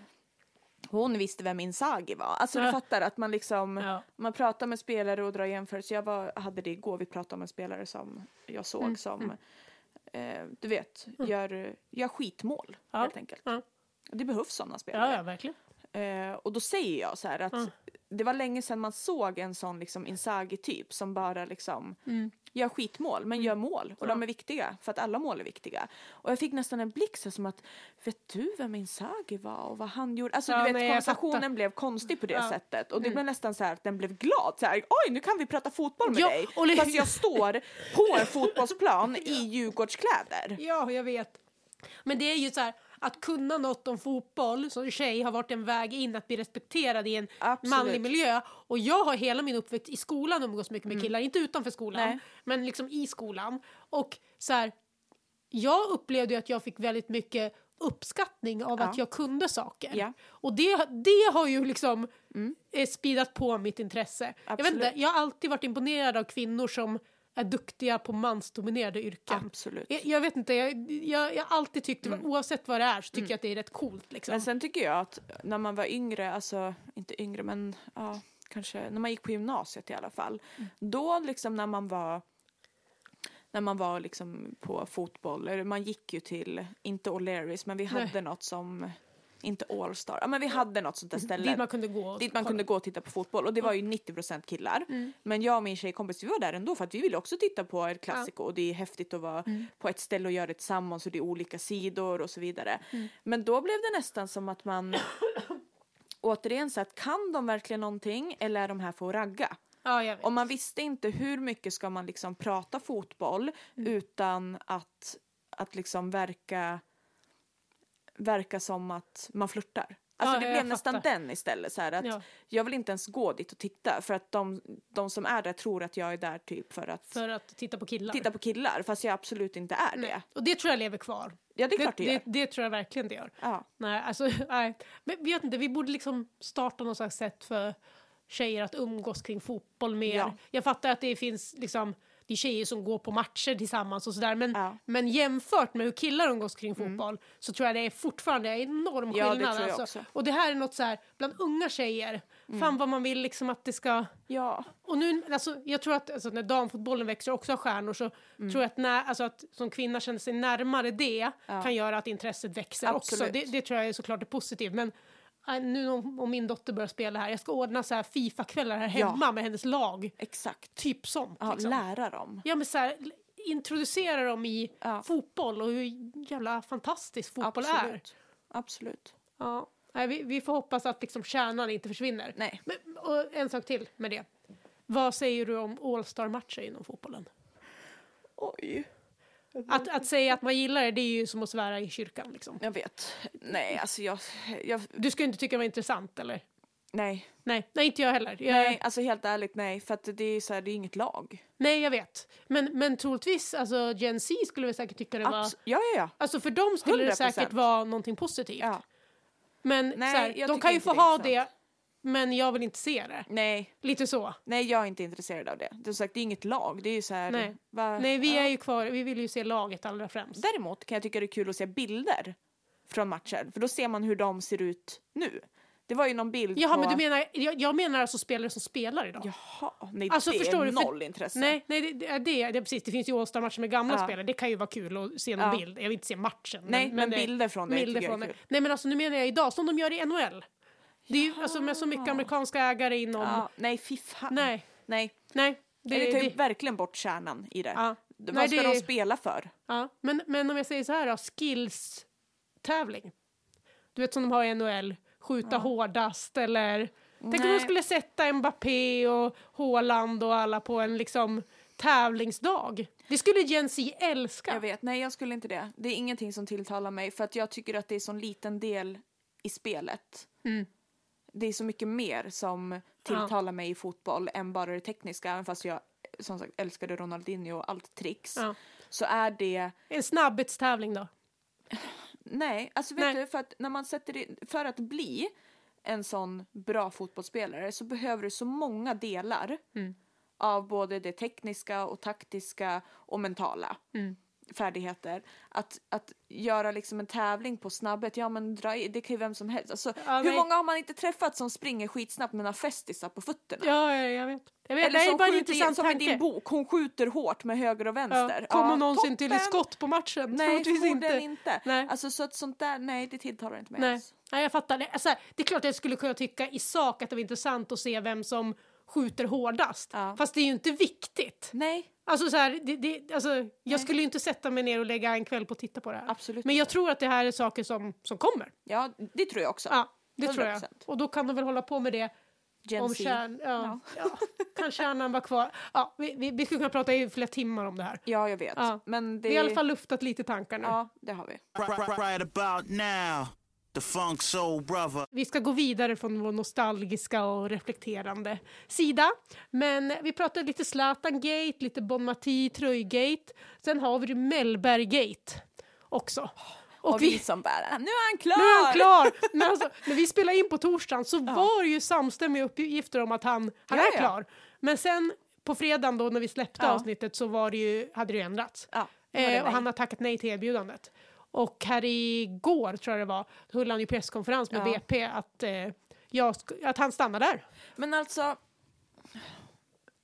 S3: hon visste vem Inzaghi var. Alltså du
S2: Ja.
S3: fattar att man liksom,
S2: Ja.
S3: man pratar med spelare och drar jämförelser. Jag var, hade det igår, vi pratade om en spelare som jag såg
S2: Mm,
S3: som, Eh, du vet, gör, gör skitmål
S2: Ja.
S3: helt enkelt.
S2: Ja,
S3: Det behövs sådana spelare.
S2: ja, ja verkligen.
S3: Eh, och då säger jag så här att
S2: Ah.
S3: det var länge sedan man såg en sån liksom Inzaghi-typ som bara liksom
S2: Mm.
S3: gör skitmål, men gör mål. Och de är viktiga, för att alla mål är viktiga. Och jag fick nästan en blick så som att, vet du vem Inzaghi var och vad han gjorde? Alltså
S2: Ja,
S3: du vet,
S2: nej, jag fattar.
S3: konversationen blev konstig på det
S2: Ja. Mm.
S3: sättet. Och det blev nästan så här att den blev glad. Så här, Oj, nu kan vi prata fotboll med
S2: Ja,
S3: dig!
S2: och det-
S3: Fast jag står på en fotbollsplan i Djurgårdskläder.
S2: Ja, jag vet. Men det är ju så här, att kunna något om fotboll som tjej har varit en väg in att bli respekterad i en
S3: Absolut.
S2: manlig miljö. Och jag har hela min uppväxt i skolan umgås mycket med killar, inte utanför skolan,
S3: Mm. Nej.
S2: men liksom i skolan. Och så här, jag upplevde ju att jag fick väldigt mycket uppskattning av
S3: Ja.
S2: att jag kunde saker.
S3: Ja. Mm.
S2: Och det, det har ju liksom eh, speedat på mitt intresse. Jag,
S3: Absolut.
S2: vet inte, jag har alltid varit imponerad av kvinnor som är duktiga på mansdominerade yrken.
S3: Absolut.
S2: Jag, jag vet inte, jag, jag, jag har alltid tyckt, oavsett vad det är, så tycker jag att det är rätt coolt. Liksom.
S3: Mm. Men sen tycker jag att när man var yngre, alltså inte yngre men ja, kanske när man gick på gymnasiet i alla fall. Då liksom när man var när man var liksom på fotboll, eller man gick ju till, inte O'Learys, men vi hade något som Inte Allstar. Ja, men vi hade något sånt där ställe.
S2: Dit man kunde gå och
S3: dit man
S2: kolla.
S3: kunde gå och titta på fotboll och det var ju 90% killar. Men jag och min tjejkompis vi var där ändå för att vi ville också titta på El Clasico och det är häftigt att vara på ett ställe och göra det tillsammans och det är olika sidor och så vidare. Men då blev det nästan som att man återigen så att kan de verkligen någonting eller är de här för att ragga?
S2: Ja, jag vet.
S3: Och man visste inte hur mycket ska man liksom prata fotboll
S2: Mm.
S3: utan att, att liksom verka, verka som att man flörtar. Alltså
S2: Ja,
S3: det
S2: ja,
S3: blev
S2: jag
S3: nästan
S2: fattar.
S3: den istället. Så här, att
S2: Ja.
S3: Jag vill inte ens gå dit och titta för att de, de som är där tror att jag är där typ för att
S2: För att titta på killar.
S3: titta på killar fast jag absolut inte är det.
S2: Nej. Och det tror jag lever kvar.
S3: Ja det är klart det,
S2: det,
S3: gör.
S2: det, det tror jag verkligen det gör.
S3: Ja.
S2: Nej, alltså, nej. Men vi vet inte, vi borde liksom starta något slags sätt för tjejer att umgås kring fotboll mer.
S3: Ja.
S2: Jag fattar att det finns liksom, det är tjejer som går på matcher tillsammans och sådär, men,
S3: Ja. Mm.
S2: men jämfört med hur killar umgås kring fotboll så tror jag det är fortfarande en enorm
S3: Ja, det
S2: skillnad.
S3: tror jag
S2: alltså.
S3: också. Mm.
S2: Och det här är något så här, bland unga tjejer, fan vad man vill liksom att det ska
S3: ja.
S2: och nu, alltså, jag tror att alltså, när damfotbollen växer och också har stjärnor så
S3: Mm.
S2: tror jag att, när, alltså, att som kvinna känner sig närmare det kan göra att intresset växer också.
S3: Absolut.
S2: Det, det tror jag är såklart är positivt. Men eh, nu om, om min dotter börjar spela här, jag ska ordna så här Fifa-kvällar här
S3: Ja.
S2: hemma med hennes lag.
S3: Exakt.
S2: Typ sånt.
S3: Ja,
S2: liksom.
S3: Lära dem.
S2: ja, men så här, introducera dem i
S3: Ja.
S2: fotboll och hur jävla fantastisk fotboll är.
S3: Absolut. Absolut.
S2: Ja. Nej, vi, vi får hoppas att liksom kärnan inte försvinner.
S3: Nej.
S2: Men, och en sak till med det. Vad säger du om All-star-matcher inom fotbollen?
S3: Oj.
S2: Att, att säga att man gillar det, det är ju som att svära i kyrkan. Liksom.
S3: Jag vet. Nej alltså jag, jag
S2: Du skulle inte tycka det var intressant, eller?
S3: nej.
S2: Nej, nej inte jag heller. Jag,
S3: Nej, alltså helt ärligt nej. För att det är ju så här, det är inget lag.
S2: nej, jag vet. Men, men troligtvis, alltså, Gen Z skulle väl säkert tycka det var...
S3: Abs- ja, ja, ja.
S2: Alltså för dem skulle det
S3: 100%.
S2: säkert vara någonting positivt.
S3: ja.
S2: Men
S3: Nej,
S2: så här,
S3: jag
S2: de
S3: tycker
S2: kan ju
S3: inte
S2: få
S3: det är
S2: ha det, men jag vill inte se det.
S3: Nej,
S2: Lite så.
S3: nej, jag är inte intresserad av det. Det är, som sagt, det är inget lag. Det är ju så här,
S2: Nej.
S3: va-
S2: Nej, vi
S3: ja.
S2: är ju kvar, vi vill ju se laget allra främst.
S3: Däremot kan jag tycka det är kul att se bilder från matcher. För då ser man hur de ser ut nu. Det var ju någon bild
S2: Jaha,
S3: på...
S2: men du menar, jag, jag menar alltså spelare som spelar idag?
S3: Jaha, nej
S2: Alltså,
S3: det
S2: förstår
S3: är
S2: du, för-
S3: noll intresse.
S2: Nej, nej det, det, det, det, precis. Det finns ju All-star-matcher med gamla
S3: Ja.
S2: spelare. Det kan ju vara kul att se någon
S3: Ja.
S2: bild. Jag vill inte se matchen.
S3: Nej, men
S2: det-
S3: bilder från det
S2: bilder
S3: tycker jag är
S2: från det.
S3: kul.
S2: Nej, men alltså nu menar jag idag, som de gör i NHL. Det är ju alltså, med så mycket amerikanska ägare inom...
S3: Ja, nej, fy fan.
S2: Nej,
S3: nej.
S2: nej. Det,
S3: Det, tar ju
S2: det,
S3: verkligen bort kärnan i det.
S2: Ja.
S3: Vad
S2: Nej,
S3: ska
S2: det-
S3: de spela för?
S2: ja. men, men om jag säger så här då, skills-tävling. Du vet som de har i NHL, skjuta hårdast eller... Tänk om de
S3: Nej.
S2: skulle sätta Mbappé och Haaland och alla på en liksom tävlingsdag. Det skulle Gen Z älska.
S3: Jag vet, nej jag skulle inte det. Det är ingenting som tilltalar mig för att jag tycker att det är sån liten del i spelet. Det är så mycket mer som tilltalar mig i fotboll än bara det tekniska. Även fast jag som sagt älskade Ronaldinho och allt tricks.
S2: Ja.
S3: Så är det,
S2: En snabbhetstävling då.
S3: nej, alltså vet
S2: Nej.
S3: du för att när man sätter in, för att bli en sån bra fotbollsspelare så behöver du så många delar
S2: Mm.
S3: av både det tekniska och taktiska och mentala
S2: Mm.
S3: färdigheter. Att, att göra liksom en tävling på snabbhet, ja men dra i, det kan ju vem som helst. Alltså,
S2: Ja,
S3: hur
S2: nej.
S3: många har man inte träffat som springer skitsnabbt men har festisar på fötterna?
S2: Ja, ja, jag vet. Jag vet.
S3: Eller
S2: det är
S3: som
S2: bara en
S3: skjuter-
S2: intressant
S3: som i
S2: tanke.
S3: din bok, hon skjuter hårt med höger och vänster.
S2: ja. Kommer
S3: Ja,
S2: hon någonsin till
S3: toppen.
S2: ett skott på matchen?
S3: Nej,
S2: Troligtvis
S3: förmodligen
S2: inte.
S3: inte.
S2: Nej.
S3: Alltså så att sånt där, nej det tilltalar inte mig
S2: Nej.
S3: alls.
S2: Nej, jag fattar. Det. Alltså, det är klart att jag skulle kunna tycka i sak att det var intressant att se vem som skjuter hårdast.
S3: Ja.
S2: Fast det är ju inte viktigt.
S3: Nej,
S2: Alltså, så här, det, det, alltså, jag skulle ju inte sätta mig ner och lägga en kväll på att titta på det här.
S3: Absolut
S2: Men jag tror att det här är saker som, som kommer.
S3: ja det tror jag också.
S2: Ja, det tror jag.
S3: 100%.
S2: Och då kan de väl hålla på med det
S3: Gen
S2: om
S3: Z.
S2: kärn... Ja, ja. Kan kärnan vara kvar? Ja, vi, vi, vi skulle kunna prata i flera timmar om det här.
S3: Ja, jag vet.
S2: Ja.
S3: Men det...
S2: Vi har i alla fall luftat lite tankar nu.
S3: Ja, det har vi.
S1: Right about now, the funk soul brother.
S2: Vi ska gå vidare från vår nostalgiska och reflekterande sida. Men vi pratade lite Zlatan-gate, lite Bon Mati, Tröj-gate. Sen har vi Mellberg-gate också. Och,
S3: Och vi som bara, nu är han klar!
S2: Nu är han klar! Men alltså, när vi spelade in på torsdagen så var det ju samstämmiga uppgifter om att han, han
S3: Ja,
S2: är
S3: ja.
S2: klar. Men sen på fredagen då när vi släppte
S3: Ja.
S2: avsnittet så var det ju, hade det ju ändrats.
S3: Ja, det var det
S2: eh, och
S3: nej.
S2: han har tackat nej till erbjudandet. Och här igår tror jag det var, då höll han ju presskonferens med
S3: Ja.
S2: BP att, eh, jag sk- att han stannar där.
S3: Men alltså,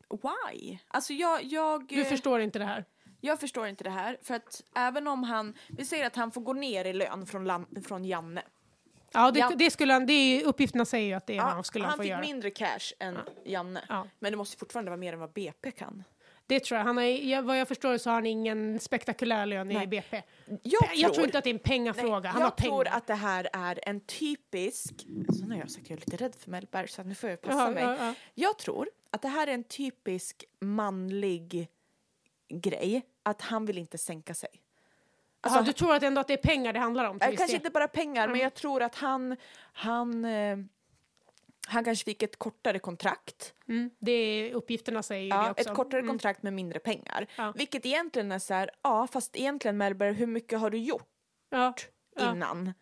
S3: why? Alltså jag, jag, eh,
S2: Du förstår inte det här.
S3: jag förstår inte det här. För att även om han, vi säger att han får gå ner i lön från, Lan- från Janne.
S2: Ja, det,
S3: Ja.
S2: det skulle han, det är, uppgifterna säger ju att det är vad han skulle han
S3: han
S2: få
S3: fick
S2: göra.
S3: mindre cash än Janne.
S2: Ja.
S3: Men det måste fortfarande vara mer än vad BP kan.
S2: Det tror jag. Han har, jag- vad jag förstår så har han ingen spektakulär lön i
S3: Nej.
S2: BP.
S3: Jag
S2: Pe- jag tror
S3: tror-
S2: inte att det är en pengafråga. han
S3: jag
S2: har
S3: tror
S2: pengar.
S3: att det här är en typisk... Så nu har jag sagt att jag är lite rädd för Mellberg så nu får jag passa
S2: Ja,
S3: mig.
S2: ja, ja.
S3: Jag tror att det här är en typisk manlig grej. Att han vill inte sänka sig. Alltså,
S2: ja, du tror att ändå att det är pengar det handlar om? till
S3: Eh,
S2: viss
S3: kanske
S2: del.
S3: inte bara pengar,
S2: Mm.
S3: men jag tror att han... Han, eh, han kanske fick ett kortare kontrakt.
S2: Mm, det är, uppgifterna säger ju det
S3: Ja,
S2: också. Mm.
S3: ett kortare kontrakt med mindre pengar.
S2: Ja.
S3: Vilket egentligen är så här, ja fast egentligen Mellberg, hur mycket har du gjort
S2: ja, ja,
S3: innan?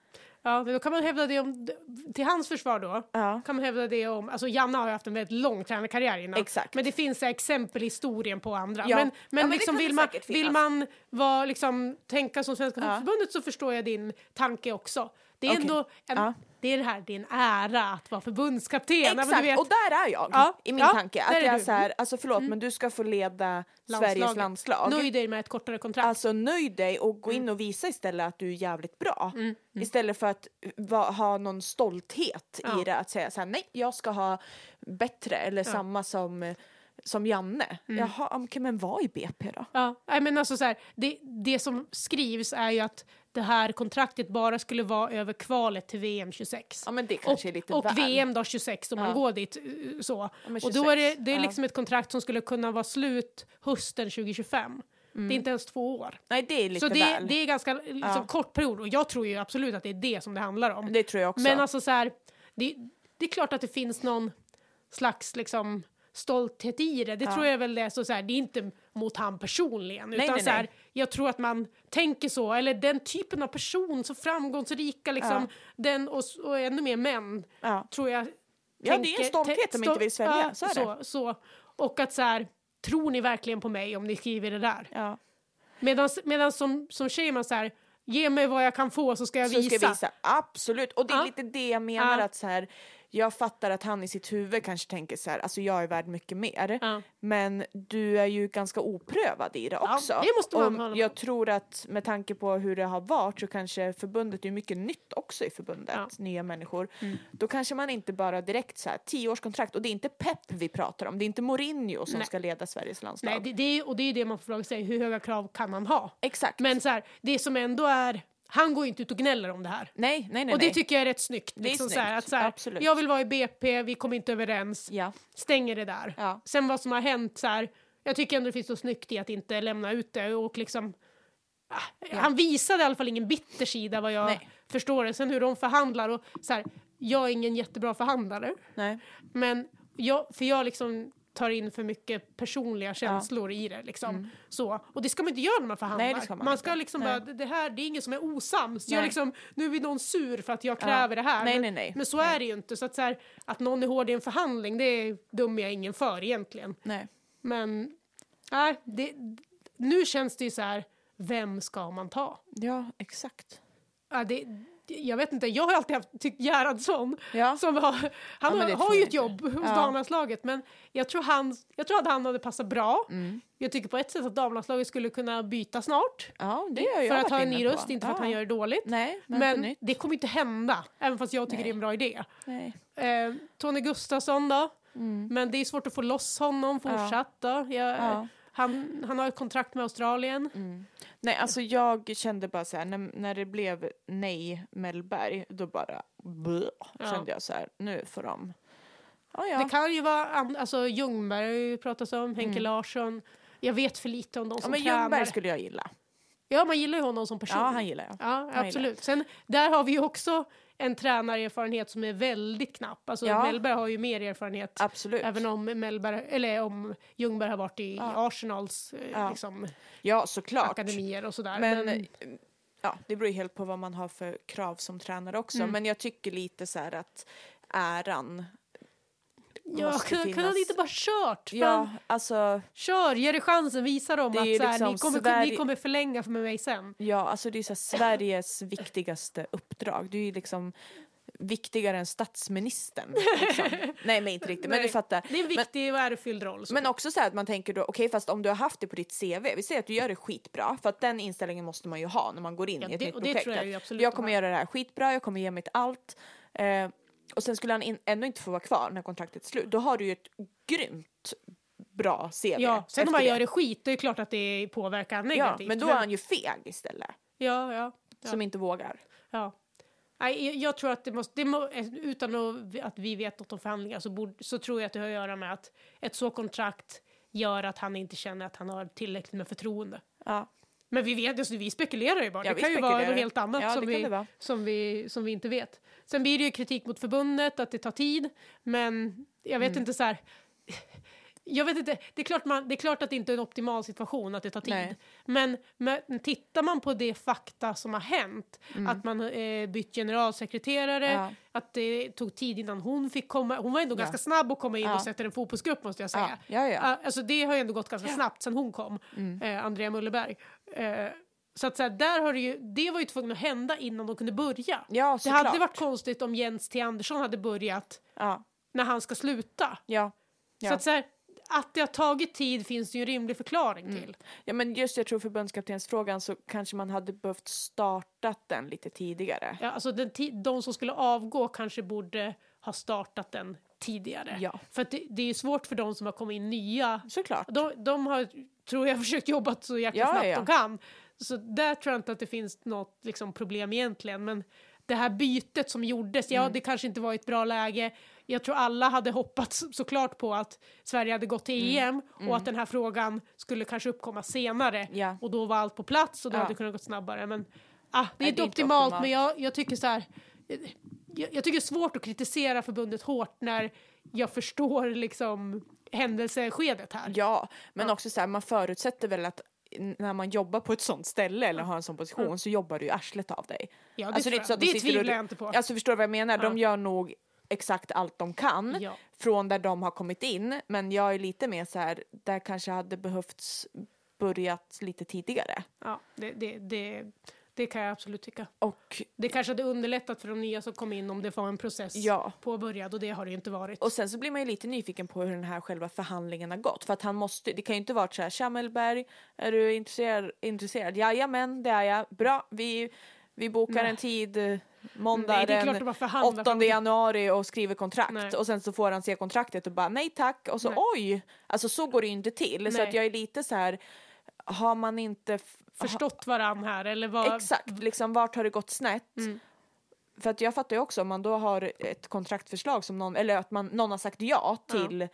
S2: ja, men då kan man hävda det om, till hans försvar då.
S3: Ja.
S2: Kan man hävda det om, alltså Janne har ju haft en väldigt lång tränarkarriär innan.
S3: Exakt.
S2: Men det finns så här exempel i historien på andra.
S3: Ja.
S2: Men,
S3: Ja,
S2: men,
S3: men det
S2: liksom
S3: kan
S2: vill,
S3: det
S2: man,
S3: säkert
S2: vill
S3: finnas.
S2: man vara, liksom, tänka som Svenska
S3: Ja.
S2: Fotbollförbundet så förstår jag din tanke också. Det är
S3: Okej.
S2: ändå en,
S3: Ja.
S2: det är det här, det är en ära att vara förbundskapten. Ja, men
S3: Exakt,
S2: du vet,
S3: och där är jag
S2: Ja,
S3: i min
S2: ja,
S3: tanke.
S2: där
S3: Att
S2: är
S3: jag
S2: du. Mm.
S3: är så här, alltså förlåt men du ska få leda Sveriges
S2: landslaget.
S3: landslag.
S2: Nöj dig med ett kortare kontrakt.
S3: Alltså nöj dig och gå
S2: Mm.
S3: in och visa istället att du är jävligt bra. Istället för att eh, va, ha någon stolthet
S2: Ja.
S3: i det. Att säga så här, nej jag ska ha bättre eller samma som, eh, som Janne.
S2: Mm.
S3: Jaha, okej, men vad i BP då?
S2: Ja, nej, men alltså så här, det, det som skrivs är ju att det här kontraktet bara skulle vara över kvalet till VM 26.
S3: Ja men det kanske
S2: och,
S3: är lite
S2: och
S3: väl.
S2: VM då 26 om man
S3: Ja.
S2: går dit. eh, Så.
S3: men
S2: och då är det,
S3: 26,
S2: det är
S3: ja.
S2: liksom ett kontrakt som skulle kunna vara slut hösten 2025. Det är inte ens två år.
S3: Nej det är Mm. lite
S2: så det,
S3: väl.
S2: det är ganska liksom, kort period och jag tror ju absolut att det är det som det handlar om.
S3: Det tror jag också.
S2: Men alltså så här, det, det är klart att det finns någon slags liksom stolthet i det. Det tror jag väl det är så, så här, det är inte mot han personligen. utan
S3: nej,
S2: så här,
S3: nej.
S2: jag tror att man tänker så, eller den typen av person, så framgångsrika liksom, den och, s- och ännu mer män,
S3: Ja.
S2: tror jag.
S3: det är en stolthet
S2: te-
S3: de inte vill svälja,
S2: ja,
S3: så är
S2: så,
S3: det.
S2: så. Och att så här, tror ni verkligen på mig om ni skriver det där?
S3: ja.
S2: Medan som, som tjej är man så här, ge mig vad jag kan få så ska jag
S3: Så
S2: visa.
S3: ska jag visa. Absolut, och det är
S2: Ja.
S3: lite det jag menar
S2: Ja.
S3: att så här, jag fattar att han i sitt huvud kanske tänker så här, alltså jag är värd mycket mer.
S2: Ja.
S3: Men du är ju ganska oprövad i det också.
S2: det måste man
S3: och
S2: hålla med om.
S3: jag tror att med tanke på hur det har varit så kanske förbundet, det är mycket nytt också i förbundet,
S2: Ja. Mm.
S3: nya människor. Då kanske man inte bara direkt så här, tioårskontrakt, och det är inte Pep vi pratar om, det är inte Mourinho som
S2: Nej.
S3: ska leda Sveriges landslag.
S2: Nej, det, det, är- och det är det man får fråga sig, hur höga krav kan man ha?
S3: Exakt.
S2: Men så här, det som ändå är, han går ju inte ut och gnäller om det här.
S3: nej, nej, nej.
S2: och det
S3: nej.
S2: tycker jag är rätt snyggt.
S3: är
S2: liksom Så
S3: snyggt,
S2: här, att så här,
S3: absolut.
S2: jag vill vara i BP, vi kom inte överens,
S3: Ja.
S2: stänger det där.
S3: Ja.
S2: Sen vad som har hänt, så här, jag tycker ändå det finns något snyggt i att inte lämna ut det. Och liksom, ah, Han visade i alla fall ingen bitter sida vad jag
S3: Nej.
S2: förstår det. Sen hur de förhandlar, och så här, jag är ingen jättebra förhandlare.
S3: nej.
S2: Men jag, för jag liksom tar in för mycket personliga känslor i det. Liksom. Så. Och det ska man inte göra när man förhandlar.
S3: Mm. Nej, det ska man
S2: ska
S3: inte.
S2: liksom
S3: Nej.
S2: bara, det här, det är ingen som är osams. Jag
S3: Nej.
S2: liksom, nu är någon sur för att jag kräver det här.
S3: Nej,
S2: men,
S3: nej, nej.
S2: men så är det ju inte. Så att, så här, att någon är hård i en förhandling, det är dum jag ingen för egentligen.
S3: nej.
S2: Men nej, det, nu känns det ju så här, vem ska man ta?
S3: Ja, exakt.
S2: Ja, det, jag vet inte, jag har alltid haft, tyckt Gerhardsson,
S3: Ja.
S2: som har, han
S3: men
S2: har,
S3: det
S2: har
S3: tror
S2: ju
S3: jag
S2: ett
S3: inte.
S2: jobb hos
S3: Ja.
S2: damlandslaget men jag tror, han, jag tror att han hade passat bra. Jag tycker på ett sätt att damlandslaget skulle kunna byta snart.
S3: Ja, det har jag
S2: för att
S3: varit
S2: ha en ny
S3: inne på.
S2: röst, inte för att
S3: Ja.
S2: han gör det dåligt.
S3: Nej, men, inte
S2: men
S3: nytt.
S2: det kommer inte hända, även fast jag tycker det är en bra idé.
S3: Nej.
S2: Eh, Tony Gustafsson då? Men det är svårt att få loss honom fortsatt. Då. Jag,
S3: Mm. Ja.
S2: han, han har ett kontrakt med Australien.
S3: nej, alltså jag kände bara så här, när, när det blev nej Mellberg, då bara blå,
S2: Ja.
S3: kände jag så här, nu får de... Ja, ja. Mm.
S2: Det kan ju vara, an- alltså Ljungberg har ju pratats om, Henke Larsson. Jag vet för lite om de
S3: ja
S2: som
S3: men
S2: tränar.
S3: Ljungberg skulle jag gilla.
S2: Ja, man gillar ju honom som person.
S3: Ja, han gillar jag.
S2: Ja,
S3: gillar
S2: absolut. Sen, där har vi ju också en tränarerfarenhet som är väldigt knapp. Alltså
S3: Ja.
S2: Mellberg har ju mer erfarenhet.
S3: Absolut.
S2: Även om, Mellberg, eller om Ljungberg har varit i
S3: Ja.
S2: Arsenals eh,
S3: Ja.
S2: liksom,
S3: Ja, såklart.
S2: akademier och sådär.
S3: Men, ja, det beror ju helt på vad man har för krav som tränare också.
S2: Mm.
S3: Men jag tycker lite så här att äran...
S2: ja,
S3: måste
S2: kunde han
S3: finnas-
S2: inte bara kört? Fan,
S3: Ja, alltså,
S2: Kör, ge det chansen, visa dem
S3: Det är
S2: att
S3: ju
S2: så här,
S3: liksom
S2: ni, kommer, ni
S3: Sverige-
S2: kommer förlänga med mig sen.
S3: ja, alltså det är så här Sveriges viktigaste uppdrag. Det är ju liksom viktigare än statsministern. Liksom. Nej men inte riktigt, men
S2: Nej.
S3: du fattar.
S2: Det är en viktig och ärofylld roll. Så.
S3: Men också så här att man tänker då, okej fast om du har haft det på ditt CV, vi säger att du gör det skitbra, för att den inställningen måste man ju ha när man går in
S2: Ja,
S3: i ett
S2: det-
S3: nytt
S2: och det
S3: projekt.
S2: tror jag
S3: att
S2: ju absolut
S3: jag
S2: de
S3: kommer
S2: har.
S3: göra det här skitbra, jag kommer ge mitt allt. Eh, och sen skulle han in, ändå inte få vara kvar när kontraktet är slut. Då har du ju ett grymt bra CV.
S2: ja, sen om man
S3: efter
S2: gör det skit, det är klart att det påverkar
S3: Ja,
S2: negativt.
S3: men då är han ju feg istället,
S2: Ja, ja. ja.
S3: som inte vågar.
S2: Ja. Nej, jag- jag tror att det måste, det må, utan att- att vi vet något om förhandlingar så, borde, så tror jag att det har att göra med att ett så kontrakt gör att han inte känner att han har tillräckligt med förtroende.
S3: Ja.
S2: Men vi vet alltså, vi spekulerar ju bara.
S3: Ja,
S2: det
S3: vi
S2: kan ju vara
S3: spekulerar.
S2: något helt annat
S3: Ja,
S2: som,
S3: det kan
S2: vi,
S3: det vara.
S2: som, vi, som vi inte vet. Sen blir det ju kritik mot förbundet, att det tar tid, men jag
S3: Mm.
S2: vet inte så här... Jag vet inte, det är, klart man, det är klart att det inte är en optimal situation att det tar tid.
S3: Nej.
S2: Men, men tittar man på det fakta som har hänt, att man eh, bytt generalsekreterare,
S3: Mm. Ja.
S2: att det tog tid innan hon fick komma, hon var ändå
S3: Ja.
S2: ganska snabb att komma in
S3: Ja.
S2: och sätta en fotbollsgrupp måste jag säga.
S3: Ja, ja, Mm. ja.
S2: Ah, Alltså det har ju ändå gått ganska snabbt sen hon kom, eh, Andrea Mulleberg. Eh, så att så här, där har det ju, det var ju tvungen att hända innan de kunde börja.
S3: Ja,
S2: det hade
S3: såklart.
S2: varit konstigt om Jens T. Andersson hade börjat
S3: Ja,
S2: när han ska sluta.
S3: ja. Ja.
S2: Så att så här, att det har tagit tid finns det ju en rimlig förklaring
S3: Mm.
S2: till.
S3: ja men just jag tror förbundskaptensfrågan så kanske man hade behövt startat den lite tidigare.
S2: Ja, alltså den ti- de som skulle avgå kanske borde ha startat den tidigare.
S3: Ja.
S2: För att det, det är ju svårt för de som har kommit in nya.
S3: Såklart.
S2: De, de har, tror jag, försökt jobba så jäkla
S3: Ja, ja,
S2: snabbt
S3: ja.
S2: de kan. Så där tror jag inte att det finns något liksom, problem egentligen. Men det här bytet som gjordes,
S3: Mm.
S2: ja det kanske inte var i ett bra läge. Jag tror alla hade hoppats såklart på att Sverige hade gått till
S3: Mm.
S2: EM och att den här frågan skulle kanske uppkomma senare.
S3: Ja.
S2: Och då var allt på plats och det
S3: Ja.
S2: hade kunnat gå snabbare. Men ah, det är
S3: Nej,
S2: inte
S3: det är inte
S2: optimalt,
S3: optimalt.
S2: men jag, jag tycker så här. Jag, jag tycker det är svårt att kritisera förbundet hårt när jag förstår liksom händelseskedet här.
S3: Ja, men också så här, man förutsätter väl att n- när man jobbar på ett sånt ställe eller har en sån position så jobbar du ju arslet av dig.
S2: Ja, det
S3: alltså,
S2: tror
S3: är inte så
S2: jag.
S3: att de
S2: Det
S3: sitter och-
S2: tvivlar jag inte på.
S3: Alltså förstår du vad jag menar? De
S2: Ja.
S3: gör nog exakt allt de kan
S2: Ja.
S3: från där de har kommit in. Men jag är lite mer så här, där kanske hade behövts börjat lite tidigare.
S2: Ja, det, det, det, det kan jag absolut tycka.
S3: Och,
S2: Det kanske hade underlättat för de nya som kom in om det var en process
S3: Ja.
S2: påbörjad och det har det ju inte varit.
S3: och sen så blir man ju lite nyfiken på hur den här själva förhandlingen har gått. För att han måste, det kan ju inte varit så här, Kjammelberg, är du intresserad? intresserad? Jajamän, det är jag. Bra, vi, vi bokar en tid eh,
S2: Nej,
S3: måndag
S2: det är klart
S3: den
S2: att man förhandlar
S3: 8
S2: fram till-
S3: januari och skriver kontrakt.
S2: Nej.
S3: Och sen så får han se kontraktet och bara nej tack. Och så
S2: Nej.
S3: oj, alltså så går det ju inte till. Så
S2: Nej.
S3: att jag är lite så här, har man inte f-
S2: Förstått varann här eller vad...
S3: Exakt, liksom vart har det gått snett?
S2: Mm.
S3: För att jag fattar ju också om man då har ett kontraktförslag som någon, eller att man, någon har sagt ja till,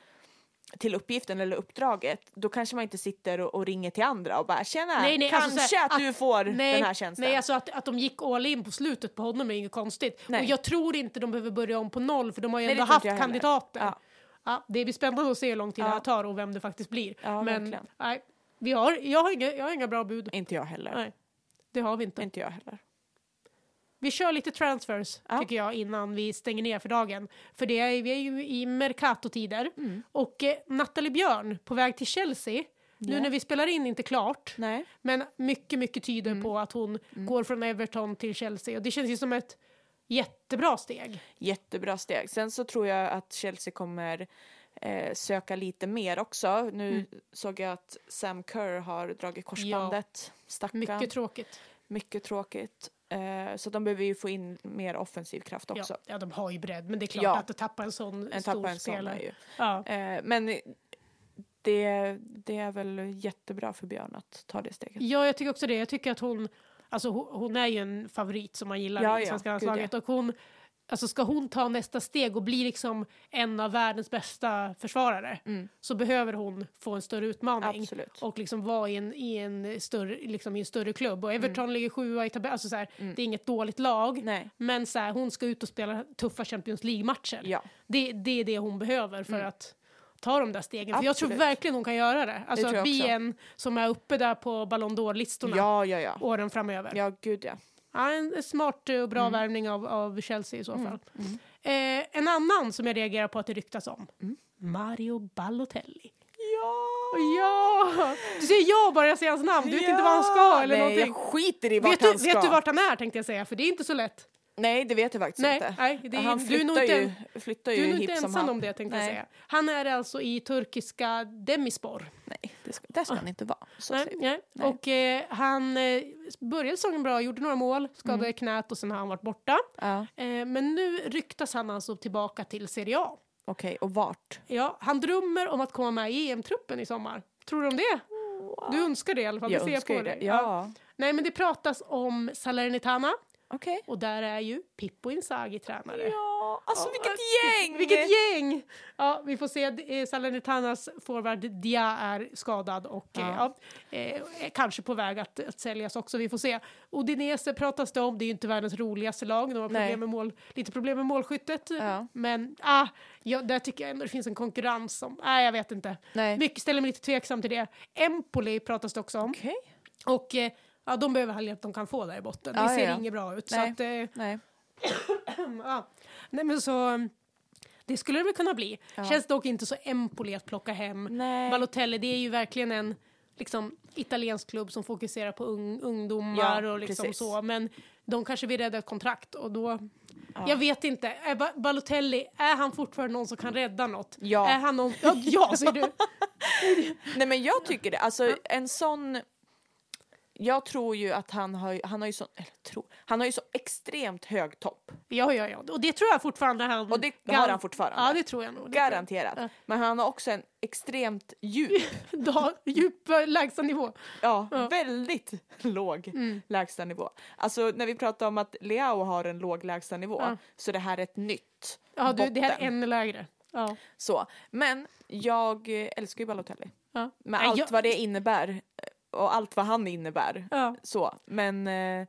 S3: till uppgiften eller uppdraget, då kanske man inte sitter och, och ringer till andra och bara tjena,
S2: Nej, nej,
S3: kanske
S2: alltså så här,
S3: att, du får den här tjänsten.
S2: Nej, alltså att, att de gick all in på slutet på honom är inget konstigt.
S3: Nej.
S2: Och jag tror inte de behöver börja om på noll för de har ju
S3: Nej,
S2: ändå
S3: det tror
S2: haft
S3: inte jag heller.
S2: kandidater. Ja.
S3: Ja.
S2: det blir spännande att se hur lång tid
S3: Ja.
S2: det här tar och vem det faktiskt blir.
S3: Ja,
S2: Men
S3: verkligen.
S2: nej, vi har, jag, har inga, jag har inga bra bud.
S3: Inte jag heller.
S2: Nej, det har vi inte.
S3: Inte jag heller.
S2: Vi kör lite transfers
S3: Ja.
S2: tycker jag innan vi stänger ner för dagen. För det är, vi är ju i Mercato-tider.
S3: Mm.
S2: Och eh, Nathalie Björn på väg till Chelsea, nu när vi spelar in inte klart.
S3: Nej. Mm.
S2: Men mycket, mycket tyder på att hon går från Everton till Chelsea. Och det känns ju som ett jättebra steg.
S3: Jättebra steg. Sen så tror jag att Chelsea kommer eh, söka lite mer också. Nu
S2: Mm.
S3: såg jag att Sam Kerr har dragit korsbandet. Stackarn.
S2: Mycket tråkigt.
S3: Mycket tråkigt. Eh, så de behöver ju få in mer offensiv kraft
S2: Ja,
S3: också.
S2: ja, de har ju bredd, men det är klart
S3: Ja.
S2: att att tappa en sån
S3: En
S2: stor
S3: tappar en sån
S2: spelare.
S3: är ju.
S2: Ja.
S3: Eh, men det, det är väl jättebra för Björn att ta det steget.
S2: Ja, jag tycker också det. Jag tycker att hon, alltså hon, hon är ju en favorit som man gillar
S3: Ja,
S2: i
S3: ja.
S2: svenska
S3: Gud,
S2: landslaget. Och hon, alltså ska hon ta nästa steg och bli liksom en av världens bästa försvarare så behöver hon få en större utmaning.
S3: Mm. Absolut.
S2: Och liksom vara i en, i en, större, liksom i en större klubb. Och Everton ligger sjua i tabellen. Alltså så här, Det är inget dåligt lag.
S3: Mm. Nej.
S2: Men så här, hon ska ut och spela tuffa Champions League-matcher.
S3: Ja.
S2: Det, det är det hon behöver för att ta de där stegen. För jag tror
S3: Mm. Absolut.
S2: verkligen hon kan göra det. Alltså
S3: tror jag
S2: att bli
S3: också.
S2: en som är uppe där på Ballon d'Or-listorna
S3: Ja, ja, ja.
S2: åren framöver. Ja.
S3: Ja, Mm. gud ja.
S2: en smart eh, och bra värvning av, av Chelsea i så
S3: Mm.
S2: fall. Eh, en annan som jag reagerar på att det ryktas om.
S3: Mm.
S2: Mario Balotelli.
S3: Ja!
S2: Ja! Du säger ja bara jag säger hans namn, du vet inte vad han ska eller
S3: Nej,
S2: någonting.
S3: jag skiter i vart
S2: Vet
S3: han
S2: du,
S3: ska.
S2: vet du vart han är tänkte jag säga, för det är inte så lätt.
S3: Nej, det vet jag faktiskt
S2: Nej,
S3: inte.
S2: nej, det är-
S3: Han
S2: du är
S3: flyttar
S2: nog inte
S3: ju, flyttar
S2: Du
S3: ju
S2: är nog
S3: hipp
S2: inte
S3: som
S2: ensam
S3: han.
S2: om det tänkte jag
S3: Nej.
S2: säga. Han är alltså i turkiska Demispor.
S3: Nej, det ska, där ska han inte vara. Så
S2: Nej,
S3: säger vi.
S2: nej.
S3: Nej.
S2: Och eh, han eh, började säsongen bra, gjorde några mål, skadade
S3: Mm.
S2: knät och sen har han varit borta.
S3: Ja,
S2: Eh, men nu ryktas han alltså tillbaka till Serie A.
S3: Okej, och vart?
S2: Ja, han drömmer om att komma med i EM-truppen i sommar. Tror du om det? Du önskar det i alla fall,
S3: Jag
S2: det ser jag
S3: önskar
S2: på
S3: ju
S2: dig.
S3: det. Ja.
S2: Nej, men det pratas om Salernitana
S3: Okej.
S2: och där är ju Pippo Inzaghi tränare.
S3: Ja, alltså
S2: Ja.
S3: vilket gäng!
S2: Vilket gäng! Ja, vi får se. Eh, Salernitanas forward Dia är skadad och
S3: Ja.
S2: Eh, ja, eh, är kanske på väg att, att säljas också. Vi får se. Udinese pratas det om. Det är ju inte världens roligaste lag. De har
S3: Nej.
S2: problem med mål, lite problem med målskyttet.
S3: Ja.
S2: Men ah, ja, där tycker jag ändå det finns en konkurrens. Som, nej, jag vet inte.
S3: Nej.
S2: Mycket ställer mig lite tveksam till det. Empoli pratas det också om.
S3: Okej.
S2: Och eh, ja, de behöver all hjälp de kan få där i botten.
S3: Ja,
S2: det ser
S3: ja, ja.
S2: inget bra ut.
S3: Nej.
S2: Så att, eh,
S3: Nej.
S2: Ja. Nej men så, um, det skulle det väl kunna bli.
S3: Ja.
S2: Känns dock inte så Empoli att plocka hem.
S3: Nej.
S2: Balotelli, det är ju verkligen en liksom, italiensk klubb som fokuserar på ung, ungdomar
S3: Ja,
S2: och liksom
S3: precis.
S2: så. Men de kanske vill rädda ett kontrakt och då... Jag vet inte. Är ba Balotelli, är han fortfarande någon som kan rädda något?
S3: Ja.
S2: Är han någon... Ja, ja säger du.
S3: Nej men jag tycker det, alltså en sån jag tror ju att han har, ju- han har ju så, eller tror, han har ju så extremt hög topp.
S2: Ja, ja, ja. Och det tror jag fortfarande han...
S3: Och det
S2: gar-
S3: har han fortfarande.
S2: Mm. Ja, det tror jag nog. Det tror jag.
S3: Garanterat.
S2: Ja.
S3: Men han har också en extremt djup,
S2: Da, djup eh, lägstanivå.
S3: ja, väldigt låg
S2: Mm.
S3: lägstanivå. Alltså när vi pratar om att Leao har en låg lägstanivå
S2: Ja.
S3: så det här är ett nytt
S2: Ja, du, det här är
S3: botten.
S2: ännu lägre. Ja.
S3: Så. Men jag eh, älskar ju Balotelli.
S2: Ja.
S3: Med
S2: Nej,
S3: allt
S2: jag-
S3: vad det innebär eh, och allt vad han innebär.
S2: Ja.
S3: Så. Men eh,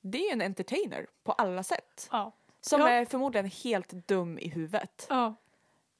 S3: det är ju en entertainer på alla sätt.
S2: Ja.
S3: Som
S2: Ja.
S3: är förmodligen helt dum i huvudet.
S2: ja.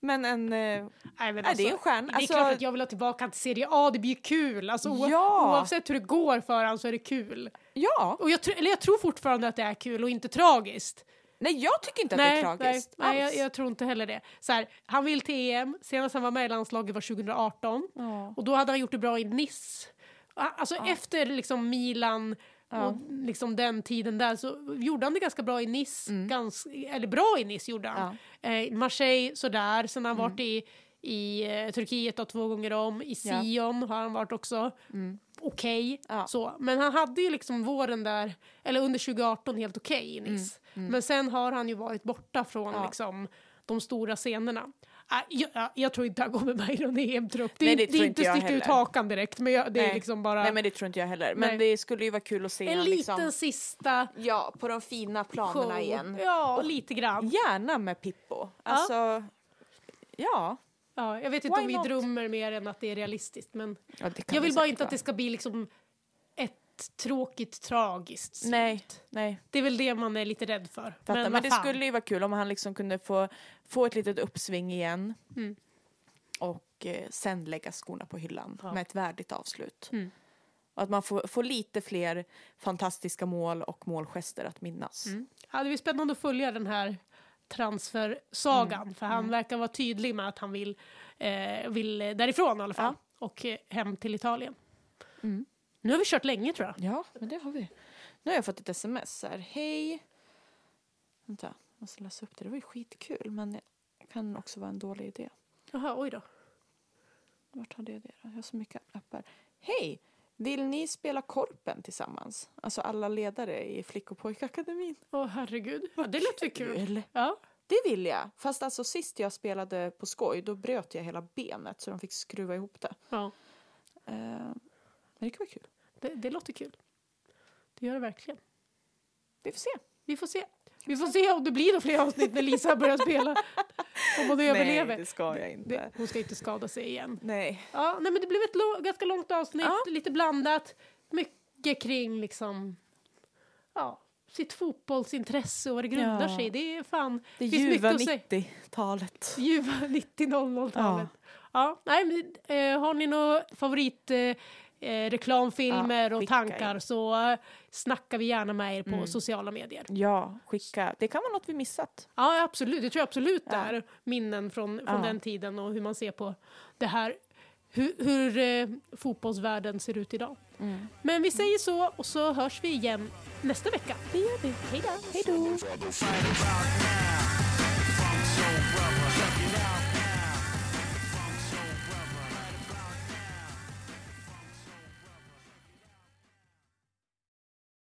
S3: Men en... eh,
S2: Nej, men
S3: Nej, det är en stjärna.
S2: Det är
S3: Alltså-
S2: klart att jag vill ha tillbaka till Serie A, det blir ju kul. Alltså, o-
S3: Ja.
S2: Oavsett hur det går för honom så är det kul.
S3: Ja!
S2: Och jag, tr- eller jag tror fortfarande att det är kul och inte tragiskt.
S3: Nej jag tycker inte att det är tragiskt
S2: nej, nej
S3: alls.
S2: jag, jag tror inte heller det. Så här, han vill till EM, senast han var med i landslaget var 2018.
S3: Ja.
S2: Och då hade han gjort det bra i Nice. A- Alltså efter liksom Milan och liksom den tiden där så gjorde han det ganska bra i Nice.
S3: Mm.
S2: Gans, eller bra i Nice gjorde han. Eh, Marseille sådär, sen har han
S3: Mm.
S2: varit i, i eh, Turkiet då, två gånger om. I
S3: Ja. Mm.
S2: Sion har han varit också. Okej,
S3: Ja.
S2: så. Men han hade ju liksom våren där, eller under 2018 helt okej i Nice. Men sen har han ju varit borta från
S3: Mm, Ja.
S2: liksom, de stora scenerna. Äh, Jag, jag, jag tror inte han kommer med i någon EM-trupp. Det, är-
S3: Nej, det
S2: det, är
S3: tror
S2: inte
S3: inte jag
S2: sticka ut
S3: heller.
S2: hakan direkt, men jag, det är
S3: Nej.
S2: liksom bara
S3: Nej men det tror inte jag heller. Men
S2: Nej.
S3: det skulle ju vara kul att se
S2: en
S3: han
S2: liten
S3: liksom...
S2: sista
S3: Ja, på de fina
S2: show.
S3: planerna igen.
S2: Ja, lite grann.
S3: Gärna med Pippo. Alltså... Ja.
S2: Ja, jag vet inte
S3: Why
S2: om vi
S3: not?
S2: drömmer mer än att det är realistiskt, men
S3: ja det kan
S2: jag
S3: det
S2: vill bara
S3: säkert
S2: inte att det
S3: vara.
S2: ska bli liksom ett tråkigt, tragiskt slut.
S3: Nej, nej.
S2: Det är väl det man är lite rädd för.
S3: Fattar. Men,
S2: vad
S3: det
S2: fan.
S3: skulle ju vara kul om han liksom kunde få, få ett litet uppsving igen.
S2: Mm.
S3: Och eh, sen lägga skorna på hyllan
S2: Ja.
S3: med ett värdigt avslut.
S2: Mm.
S3: Och att man får, får lite fler fantastiska mål och målgester att minnas.
S2: Ja, det blir spännande att följa den här transfersagan.
S3: Mm.
S2: För han verkar vara tydlig med att han vill, eh, vill därifrån i alla fall. Och eh, hem till Italien.
S3: Mm.
S2: Nu har vi kört länge tror jag.
S3: Ja, men det har vi. Nu har jag fått ett sms här. Hej! Vänta, jag måste läsa upp det. Det var ju skitkul men det kan också vara en dålig idé.
S2: Jaha, oj då.
S3: Vart hade jag det då? Jag har så mycket appar. Hej! Vill ni spela korpen tillsammans? Alltså alla ledare i Flick och pojkakademin.
S2: Åh herregud. Ja, det lät väl kul. Ja.
S3: Det vill jag. Fast alltså sist jag spelade på skoj då bröt jag hela benet så de fick skruva ihop det.
S2: ja.
S3: Eh, men det kan vara kul.
S2: Det, det låter kul. Det gör det verkligen.
S3: Vi får se.
S2: Vi får se. Vi får se om det blir några fler avsnitt när Lisa börjar spela. Om hon överlever.
S3: ska jag
S2: Det, hon ska inte skada sig igen.
S3: Nej.
S2: Ja, nej, men det blev ett lo- ganska långt avsnitt,
S3: Ja.
S2: lite blandat. Mycket kring liksom, ja, sitt fotbollsintresse och vad det grundar
S3: Ja.
S2: sig i. Det är fan...
S3: Det
S2: finns mycket
S3: ljuva
S2: att säga.
S3: 90-talet.
S2: Ljuva 90-00-talet. Ja. nej, men, eh, har ni några favorit eh, eh, reklamfilmer
S3: Ja,
S2: och
S3: skicka Mm.
S2: tankar så eh, snackar vi gärna med er på sociala medier.
S3: Ja, skicka. Det kan vara något vi missat.
S2: Ja, absolut. Det tror jag absolut det är. Minnen från, från
S3: Ja.
S2: den tiden och hur man ser på det här. Hur, hur eh, fotbollsvärlden ser ut idag.
S3: Mm.
S2: Men vi säger så och så hörs vi igen nästa vecka. Det gör vi. Hej då.
S3: Hej då!
S1: Right about now, the funk soul brother. Check it out.